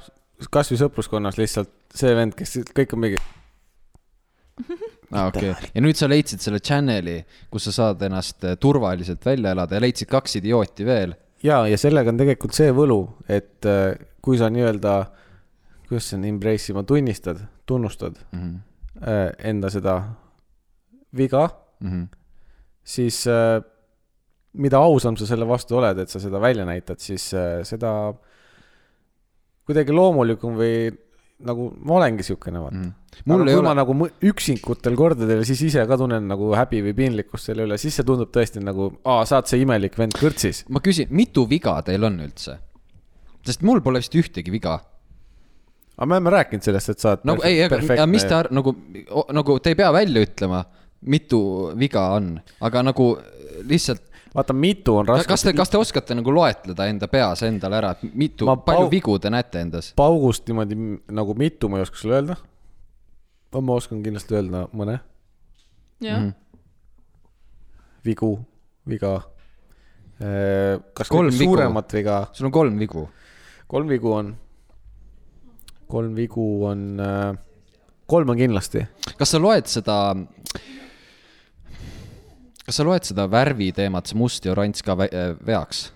Speaker 2: kasvõi sõpruskonnas lihtsalt see vend , kes kõik on mingi
Speaker 1: aa , Ah, okei . ja nüüd sa leidsid selle channel'i , kus sa saad ennast äh, turvaliselt välja elada ja leidsid kaks idiooti veel .
Speaker 2: ja , ja sellega on tegelikult see võlu , et äh, kui sa nii-öelda , kuidas see on , embrace ima , tunnistad , tunnustad mm
Speaker 1: Mhm.
Speaker 2: -hmm. äh, enda seda viga mm ,
Speaker 1: Mhm.
Speaker 2: siis äh, mida ausam sa selle vastu oled , et sa seda välja näitad , siis äh, seda kuidagi loomulikum või nagu ma olengi siukene , vaata mm . -hmm.
Speaker 1: Mhm. Mul
Speaker 2: aga
Speaker 1: ei
Speaker 2: kui
Speaker 1: ole-
Speaker 2: ole... ma nagu mõ- üksikutel kordadel siis ise ka tunnen nagu häbi või piinlikkust selle üle , siis see tundub tõesti nagu , aa , sa oled see imelik vend kõrtsis .
Speaker 1: ma küsin , mitu viga teil on üldse ? sest mul pole vist ühtegi viga .
Speaker 2: aga me oleme rääkinud sellest , et sa oled
Speaker 1: nagu ei , aga aga mis te ar- , nagu , nagu te ei pea välja ütlema , mitu viga on , aga nagu lihtsalt
Speaker 2: vaata , mitu on raske .
Speaker 1: kas te , kas te oskate nagu loetleda enda peas endale ära , et mitu
Speaker 2: Ma ,
Speaker 1: palju
Speaker 2: pau-
Speaker 1: vigu te näete endas ?
Speaker 2: paugust niimoodi m- nagu mitu ma ei oska sulle öelda . aga ma oskan kindlasti öelda mõne Mhm.
Speaker 3: jah ,
Speaker 2: vigu , viga . kas
Speaker 1: Kolm
Speaker 2: kolm
Speaker 1: vigu.
Speaker 2: suuremat viga ,
Speaker 1: sul on kolm vigu .
Speaker 2: kolm vigu on , äh, kolm vigu on , kolm on kindlasti .
Speaker 1: kas sa loed seda , kas sa loed seda värviteemat , see must ja oranž ka vä- äh, veaks ?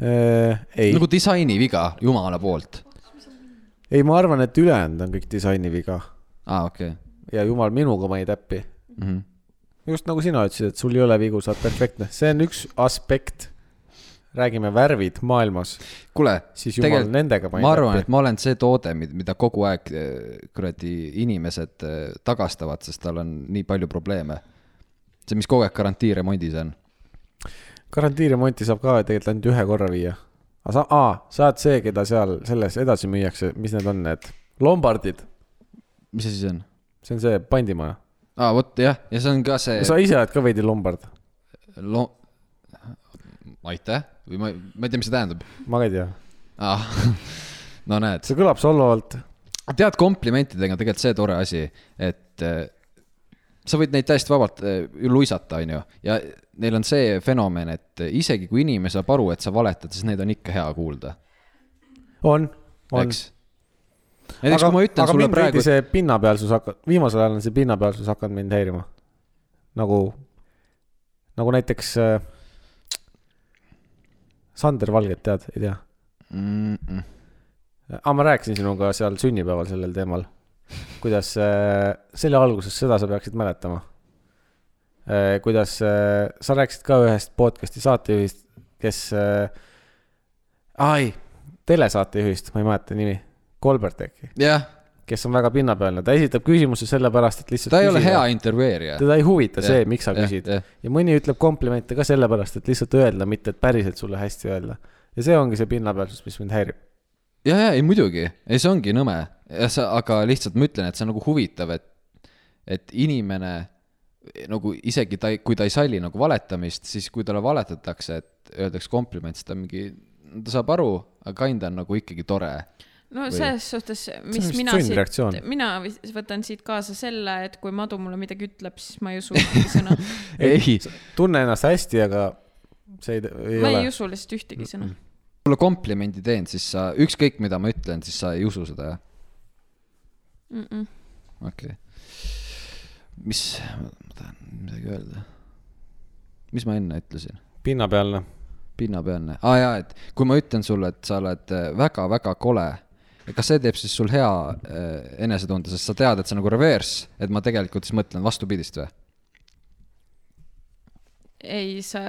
Speaker 2: Äh, ei
Speaker 1: nagu disainiviga jumala poolt .
Speaker 2: ei , ma arvan , et ülejäänud on kõik disaini viga
Speaker 1: aa , okei . Mhm.
Speaker 2: ja jumal minuga ma ei täppi . just nagu sina ütlesid , et sul ei ole vigu , sa oled perfektne , see on üks aspekt . räägime värvid maailmas ,
Speaker 1: kuule ,
Speaker 2: siis jumal
Speaker 1: Tegelikult
Speaker 2: Tegel... nendega
Speaker 1: ma arvan , et ma olen see toode , mida kogu aeg eh, kuradi inimesed eh, tagastavad , sest tal on nii palju probleeme . see , mis kogu aeg garantiiremondis on .
Speaker 2: garantiiremonti saab ka tegelikult ainult ühe korra viia . aga sa , aa , sa oled see , keda seal selles edasi müüakse , mis need on , need lombardid ,
Speaker 1: mis asi see on ?
Speaker 2: see on see pandimaja .
Speaker 1: aa , vot jah , ja see on ka see
Speaker 2: sa ise oled ka veidi lombard ,
Speaker 1: lo- , aitäh või ma , ma ei tea , mis see tähendab .
Speaker 2: ma ka ei tea ,
Speaker 1: aa , (laughs) no näed ,
Speaker 2: see kõlab solvavalt .
Speaker 1: tead , komplimentidega on tegelikult see tore asi , et eh, sa võid neid täiesti vabalt eh, ju luisata , onju , ja neil on see fenomen , et isegi kui inimene saab aru , et sa valetad , siis neid on ikka hea kuulda
Speaker 2: on , on .
Speaker 1: eks . näiteks kui ma ütlen sulle praegu ,
Speaker 2: see pinnapealsus hakkab , viimasel ajal on see pinnapealsus hakanud mind häirima . nagu , nagu näiteks äh, . Sander Valget tead , ei tea ? aa , ma rääkisin sinuga seal sünnipäeval sellel teemal . kuidas äh, , selle alguses , seda sa peaksid mäletama äh, . kuidas äh, , sa rääkisid ka ühest podcast'i saatejuhist , kes äh, . aa ei , telesaatejuhist , ma ei mäleta nimi , Kolbert äkki ,
Speaker 1: jah ,
Speaker 2: kes on väga pinnapealne , ta esitab küsimuse sellepärast , et lihtsalt .
Speaker 1: ta ei ole hea . intervjueerija .
Speaker 2: teda ei huvita see ,
Speaker 1: Jah,
Speaker 2: miks sa
Speaker 1: jah,
Speaker 2: küsid
Speaker 1: jah.
Speaker 2: ja mõni ütleb komplimente ka sellepärast , et lihtsalt öelda , mitte et päriselt sulle hästi öelda . ja see ongi see pinnapealsus , mis mind häirib .
Speaker 1: ja , ja ei muidugi , ei see ongi nõme , jah , sa , aga lihtsalt ma ütlen , et see on nagu huvitav , et , et inimene nagu isegi ta , kui ta ei salli nagu valetamist , siis kui talle valetatakse , et öeldakse kompliment , siis ta mingi , ta saab aru , aga kind on nagu ikkagi tore .
Speaker 3: no selles suhtes , mis
Speaker 2: vist
Speaker 3: mina
Speaker 2: sundreaktsioon.
Speaker 3: siit , mina vis- võtan siit kaasa selle , et kui Madu mulle midagi ütleb , siis ma ei usu
Speaker 2: (laughs)
Speaker 3: ühtegi sõna .
Speaker 1: ei ,
Speaker 2: tunne ennast hästi , aga see ei, ei
Speaker 3: ma
Speaker 2: ole
Speaker 3: ei . usu lihtsalt ühtegi sõna .
Speaker 1: sulle komplimendi teen , siis sa , ükskõik mida ma ütlen , siis sa ei usu seda , jah ? okei . mis , ma tahan midagi öelda . mis ma enne ütlesin ?
Speaker 2: pinnapealne .
Speaker 1: pinnapealne ah, , aa jaa , et kui ma ütlen sulle , et sa oled äh, väga-väga kole , kas see teeb siis sul hea äh, enesetunde , sest sa tead , et see on nagu reverse , et ma tegelikult siis mõtlen vastupidist või ?
Speaker 3: ei , sa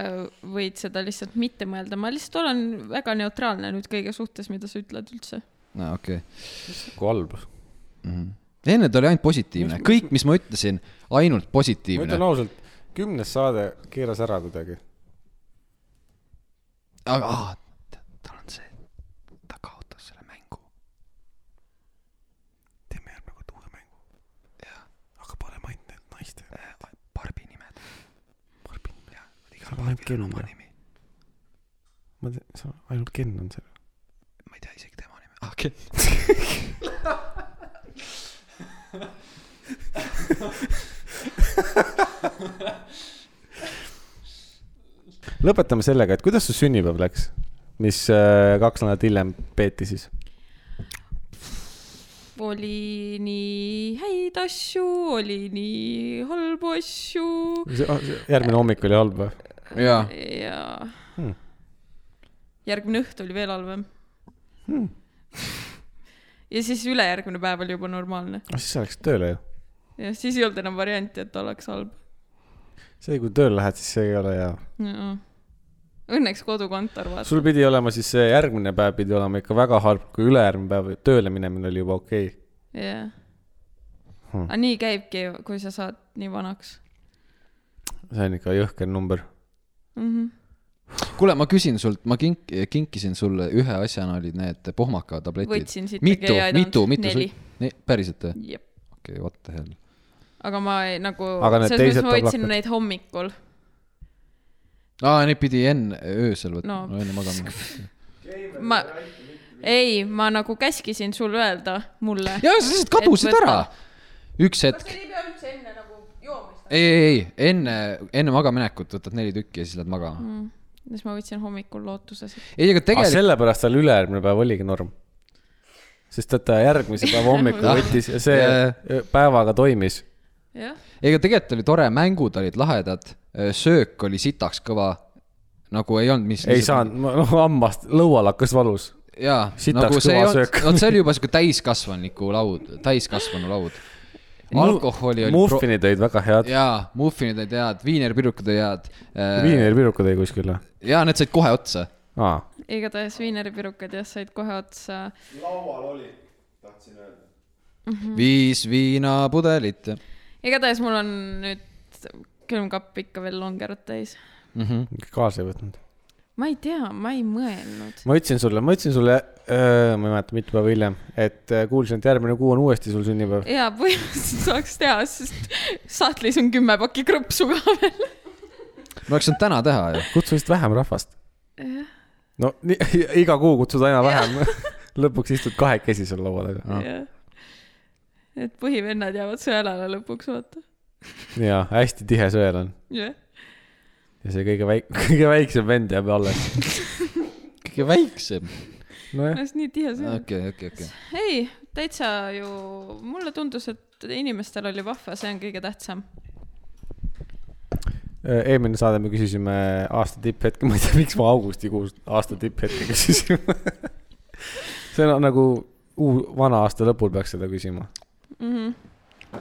Speaker 3: võid seda lihtsalt mitte mõelda , ma lihtsalt olen väga neutraalne nüüd kõige suhtes , mida sa ütled üldse .
Speaker 1: aa , okei okay. .
Speaker 2: kui halb .
Speaker 1: enne ta oli ainult positiivne , kõik , mis ma ütlesin , ainult
Speaker 2: ma ütlen
Speaker 1: positiivne .
Speaker 2: ausalt , kümnes saade keeras ära kuidagi .
Speaker 1: aga aa, ta- tal on see , ta kaotas selle mängu .
Speaker 2: teeme järgmine kord uue mängu . aga paneme ainult need naiste .
Speaker 1: Barbi nimed . Barbi nimed .
Speaker 2: Seal on ainult Ken ju . ma tean , see on ainult Ken on seal .
Speaker 1: ma ei tea isegi tema nime . ah , Ken .
Speaker 2: lõpetame sellega , et kuidas su sünnipäev läks , mis äh, kaks nädalat hiljem peeti siis ?
Speaker 3: oli nii häid asju , oli nii halbu asju
Speaker 2: ah, järgmine hommik oli halb või ?
Speaker 1: jaa ,
Speaker 3: ja
Speaker 2: Hmm.
Speaker 3: järgmine õht oli veel halvem .
Speaker 2: Hmm.
Speaker 3: (laughs) ja siis ülejärgmine päev oli juba normaalne
Speaker 2: no siis sa läksid tööle ju .
Speaker 3: ja siis ei olnud enam varianti , et oleks halb .
Speaker 2: see , kui tööle lähed , siis see ei ole hea .
Speaker 3: Õnneks kodukontor vaata .
Speaker 2: sul pidi olema siis see järgmine päev pidi olema ikka väga halb , kui ülejärgmine päev tööle minemine oli juba okei okay. .
Speaker 3: jah .
Speaker 2: Hmm.
Speaker 3: aga nii käibki , kui sa saad nii vanaks
Speaker 2: see on ikka jõhker number .
Speaker 3: mm . -hmm.
Speaker 1: kuule , ma küsin sult , ma kink- , kinkisin sulle ühe asjana olid need pohmakatabletid .
Speaker 3: võtsin siit
Speaker 1: mitu ,
Speaker 3: ei aidanud.
Speaker 1: mitu , mitu
Speaker 3: neli .,
Speaker 1: päriselt või ?
Speaker 3: jep ,
Speaker 1: okei okay, , what the hell .
Speaker 3: aga ma ei, nagu ,
Speaker 2: Aga need
Speaker 3: selles mõttes
Speaker 2: teised
Speaker 3: ma võtsin
Speaker 2: tablakad?
Speaker 3: neid hommikul .
Speaker 1: aa , neid pidi enne öösel võtma
Speaker 3: No.
Speaker 1: no. , enne magama .
Speaker 3: ma , ei , ma nagu käskisin sul öelda mulle .
Speaker 1: ja sa lihtsalt kadusid
Speaker 3: Et
Speaker 1: ära
Speaker 3: võtan. .
Speaker 1: üks hetk ,
Speaker 5: ei pea üldse enne nagu joomist
Speaker 1: ei , ei , ei , enne , enne magaminekut võtad neli tükki ja siis lähed magama mm. .
Speaker 3: siis ma võtsin hommikul lootuses .
Speaker 1: ei , aga
Speaker 2: aga
Speaker 1: tegelikult ,
Speaker 2: sellepärast tal ülejärgmine päev oligi norm . sest et ta järgmise päeva hommikul
Speaker 1: (laughs) Ah,
Speaker 2: võttis ja see
Speaker 1: jajah.
Speaker 2: päevaga toimis .
Speaker 3: jah ,
Speaker 1: ega tegelikult oli tore , mängud olid lahedad , söök oli sitaks kõva , nagu ei olnud , mis
Speaker 2: ei saanud , noh hambast , lõual hakkas valus .
Speaker 1: jaa ,
Speaker 2: Sitaks
Speaker 1: nagu see
Speaker 2: kõva
Speaker 1: ei olnud
Speaker 2: söök. ,
Speaker 1: vot see oli juba siuke täiskasvaniku laud , täiskasvanu laud . alkoholi oli pro- ,
Speaker 2: muffinid olid väga head .
Speaker 1: jaa , muffinid olid head , viinerpirukud olid head .
Speaker 2: viinerpirukud oli kuskil või ?
Speaker 1: jaa , need said kohe otsa .
Speaker 2: aa ,
Speaker 3: igatahes viineripirukad jah said kohe otsa .
Speaker 4: laual oli , tahtsin öelda .
Speaker 1: viis viinapudelit
Speaker 3: igatahes mul on nüüd külmkapp ikka veel longerot täis .
Speaker 1: mm . -hmm.
Speaker 2: kaasa ei võtnud .
Speaker 3: ma ei tea , ma ei mõelnud .
Speaker 2: ma ütlesin sulle , ma ütlesin sulle , ma ei mäleta , mitu päeva hiljem , et öö, kuulsin , et järgmine kuu on uuesti sul sünnipäev .
Speaker 3: jaa , põhimõtteliselt saaks teha , sest sahtlis on kümme pakki krõpsu ka veel .
Speaker 1: me oleks saanud täna teha ju .
Speaker 2: kutsu vist vähem rahvast . no nii, (laughs) iga kuu kutsud aina vähem . (laughs) lõpuks istud kahekesi seal laua taga .
Speaker 3: et põhivennad jäävad sõelale lõpuks , vaata .
Speaker 2: jaa , hästi tihe sõel on .
Speaker 3: jah ,
Speaker 2: ja see kõige väik- , (laughs) kõige väiksem vend jääb alles .
Speaker 1: kõige väiksem .
Speaker 2: nojah ,
Speaker 3: ennast nii tihe sõel .
Speaker 1: okei , okei , okei .
Speaker 3: ei , täitsa ju , mulle tundus , et inimestel oli vahva , see on kõige tähtsam .
Speaker 2: Äh, eelmine saade me küsisime aasta tipphetke , ma ei tea , miks ma augustikuus aasta tipphetke küsisin . (laughs) see on nagu uu- , vana aasta lõpul peaks seda küsima .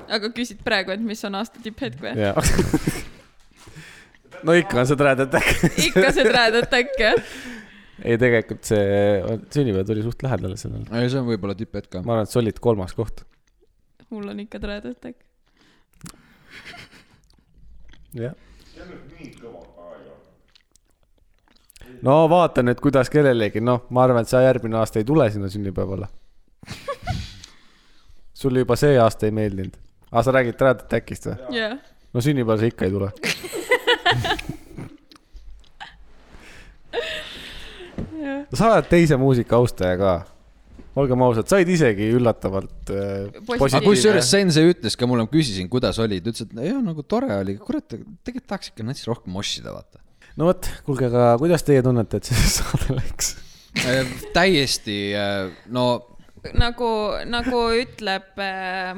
Speaker 3: aga küsid praegu , et mis on aasta tipphetk või ?
Speaker 2: jaa . (laughs) no ikka on see Dread Attack .
Speaker 3: ikka see Dread Attack jah ?
Speaker 2: (laughs) ei , tegelikult see sünnipäev tuli suht lähedale sellele .
Speaker 1: ei , see on võib-olla tipphetk ka .
Speaker 2: ma arvan , et see olid kolmas koht .
Speaker 3: mul on ikka Dread Attack .
Speaker 2: jah .
Speaker 4: see on nüüd nii kõva ka ei ole .
Speaker 2: no vaata nüüd , kuidas kellelegi , noh , ma arvan , et sa järgmine aasta ei tule sinna sünnipäevale . (laughs) sulle juba see aasta ei meeldinud . aa , sa räägid Dread Attackist või ?
Speaker 3: jah ,
Speaker 2: no sünnipäeval sa ikka ei tule .
Speaker 3: jah .
Speaker 2: sa oled teise muusika austaja ka . olgem ausad , said isegi üllatavalt äh,
Speaker 1: aga
Speaker 3: Positiivne.
Speaker 2: positiivne .
Speaker 1: kusjuures Sensei ütles ka mulle , ma küsisin , kuidas oli , ta ütles , et jah , nagu tore oli , kurat , tegelikult tahaks ikka nats rohkem mossida , vaata .
Speaker 2: no vot , kuulge , aga kuidas teie tunnete , et see (laughs) saade läks ?
Speaker 1: Äh, täiesti äh, no
Speaker 3: nagu , nagu ütleb äh,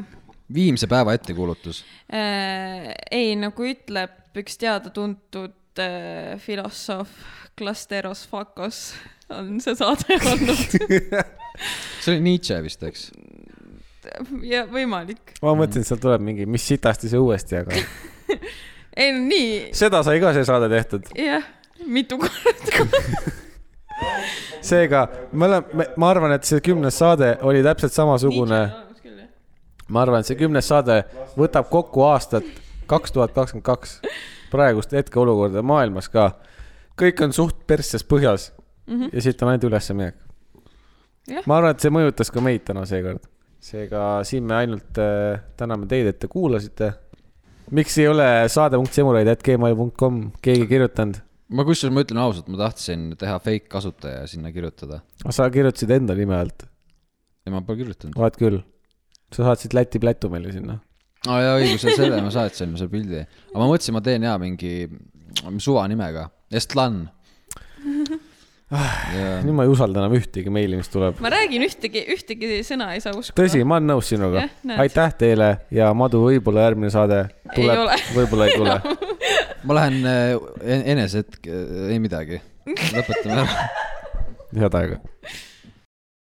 Speaker 1: viimse päeva ettekuulutus .
Speaker 3: äh, , ei nagu ütleb üks teada-tuntud äh, filosoof Klasteros Fakos on see saade olnud
Speaker 1: see oli Nietzsche vist , eks ?
Speaker 3: ja võimalik .
Speaker 2: ma mõtlesin , et sealt tuleb mingi , mis sitasti see uuesti , aga (laughs)
Speaker 3: ei no nii ,
Speaker 2: seda sai ka see saade tehtud .
Speaker 3: jah , mitu korda .
Speaker 2: seega me oleme , ma arvan , et see kümnes saade oli täpselt samasugune , ma arvan , et see kümnes saade võtab kokku aastat kaks tuhat kakskümmend kaks , praegust hetkeolukorda maailmas ka . kõik on suht persses põhjas mm -hmm. ja siit on ainult ülesminek .
Speaker 3: Jah.
Speaker 2: ma arvan , et see mõjutas ka meid täna seekord . seega siin me ainult äh, täname teid , et te kuulasite . miks ei ole saade.semuraid.gmail.com keegi kirjutanud ?
Speaker 1: ma kusjuures , ma ütlen ausalt , ma tahtsin teha fake kasutaja ja sinna kirjutada
Speaker 2: Ah, sa kirjutasid enda nime alt ,
Speaker 1: ja ma pole kirjutanud .
Speaker 2: oled küll . sa saatsid Läti plätu meile sinna .
Speaker 1: aa oh, jaa , õigus , selle ma saatsin , selle pildi . aga ma mõtlesin , ma teen jaa mingi suva nimega , Estlan .
Speaker 2: nüüd ma ei usalda enam ühtegi meili , mis tuleb .
Speaker 3: ma räägin ühtegi , ühtegi sõna ei saa uskuda .
Speaker 2: tõsi , ma olen nõus sinuga
Speaker 3: Jah, . näed.
Speaker 2: aitäh teile ja Madu , võib-olla järgmine saade tuleb
Speaker 3: ole. ,
Speaker 2: võib-olla ei
Speaker 3: (laughs)
Speaker 2: tule .
Speaker 1: ma lähen eh, äh, en- enesehetk , ei midagi , lõpetame ära .
Speaker 2: head aega .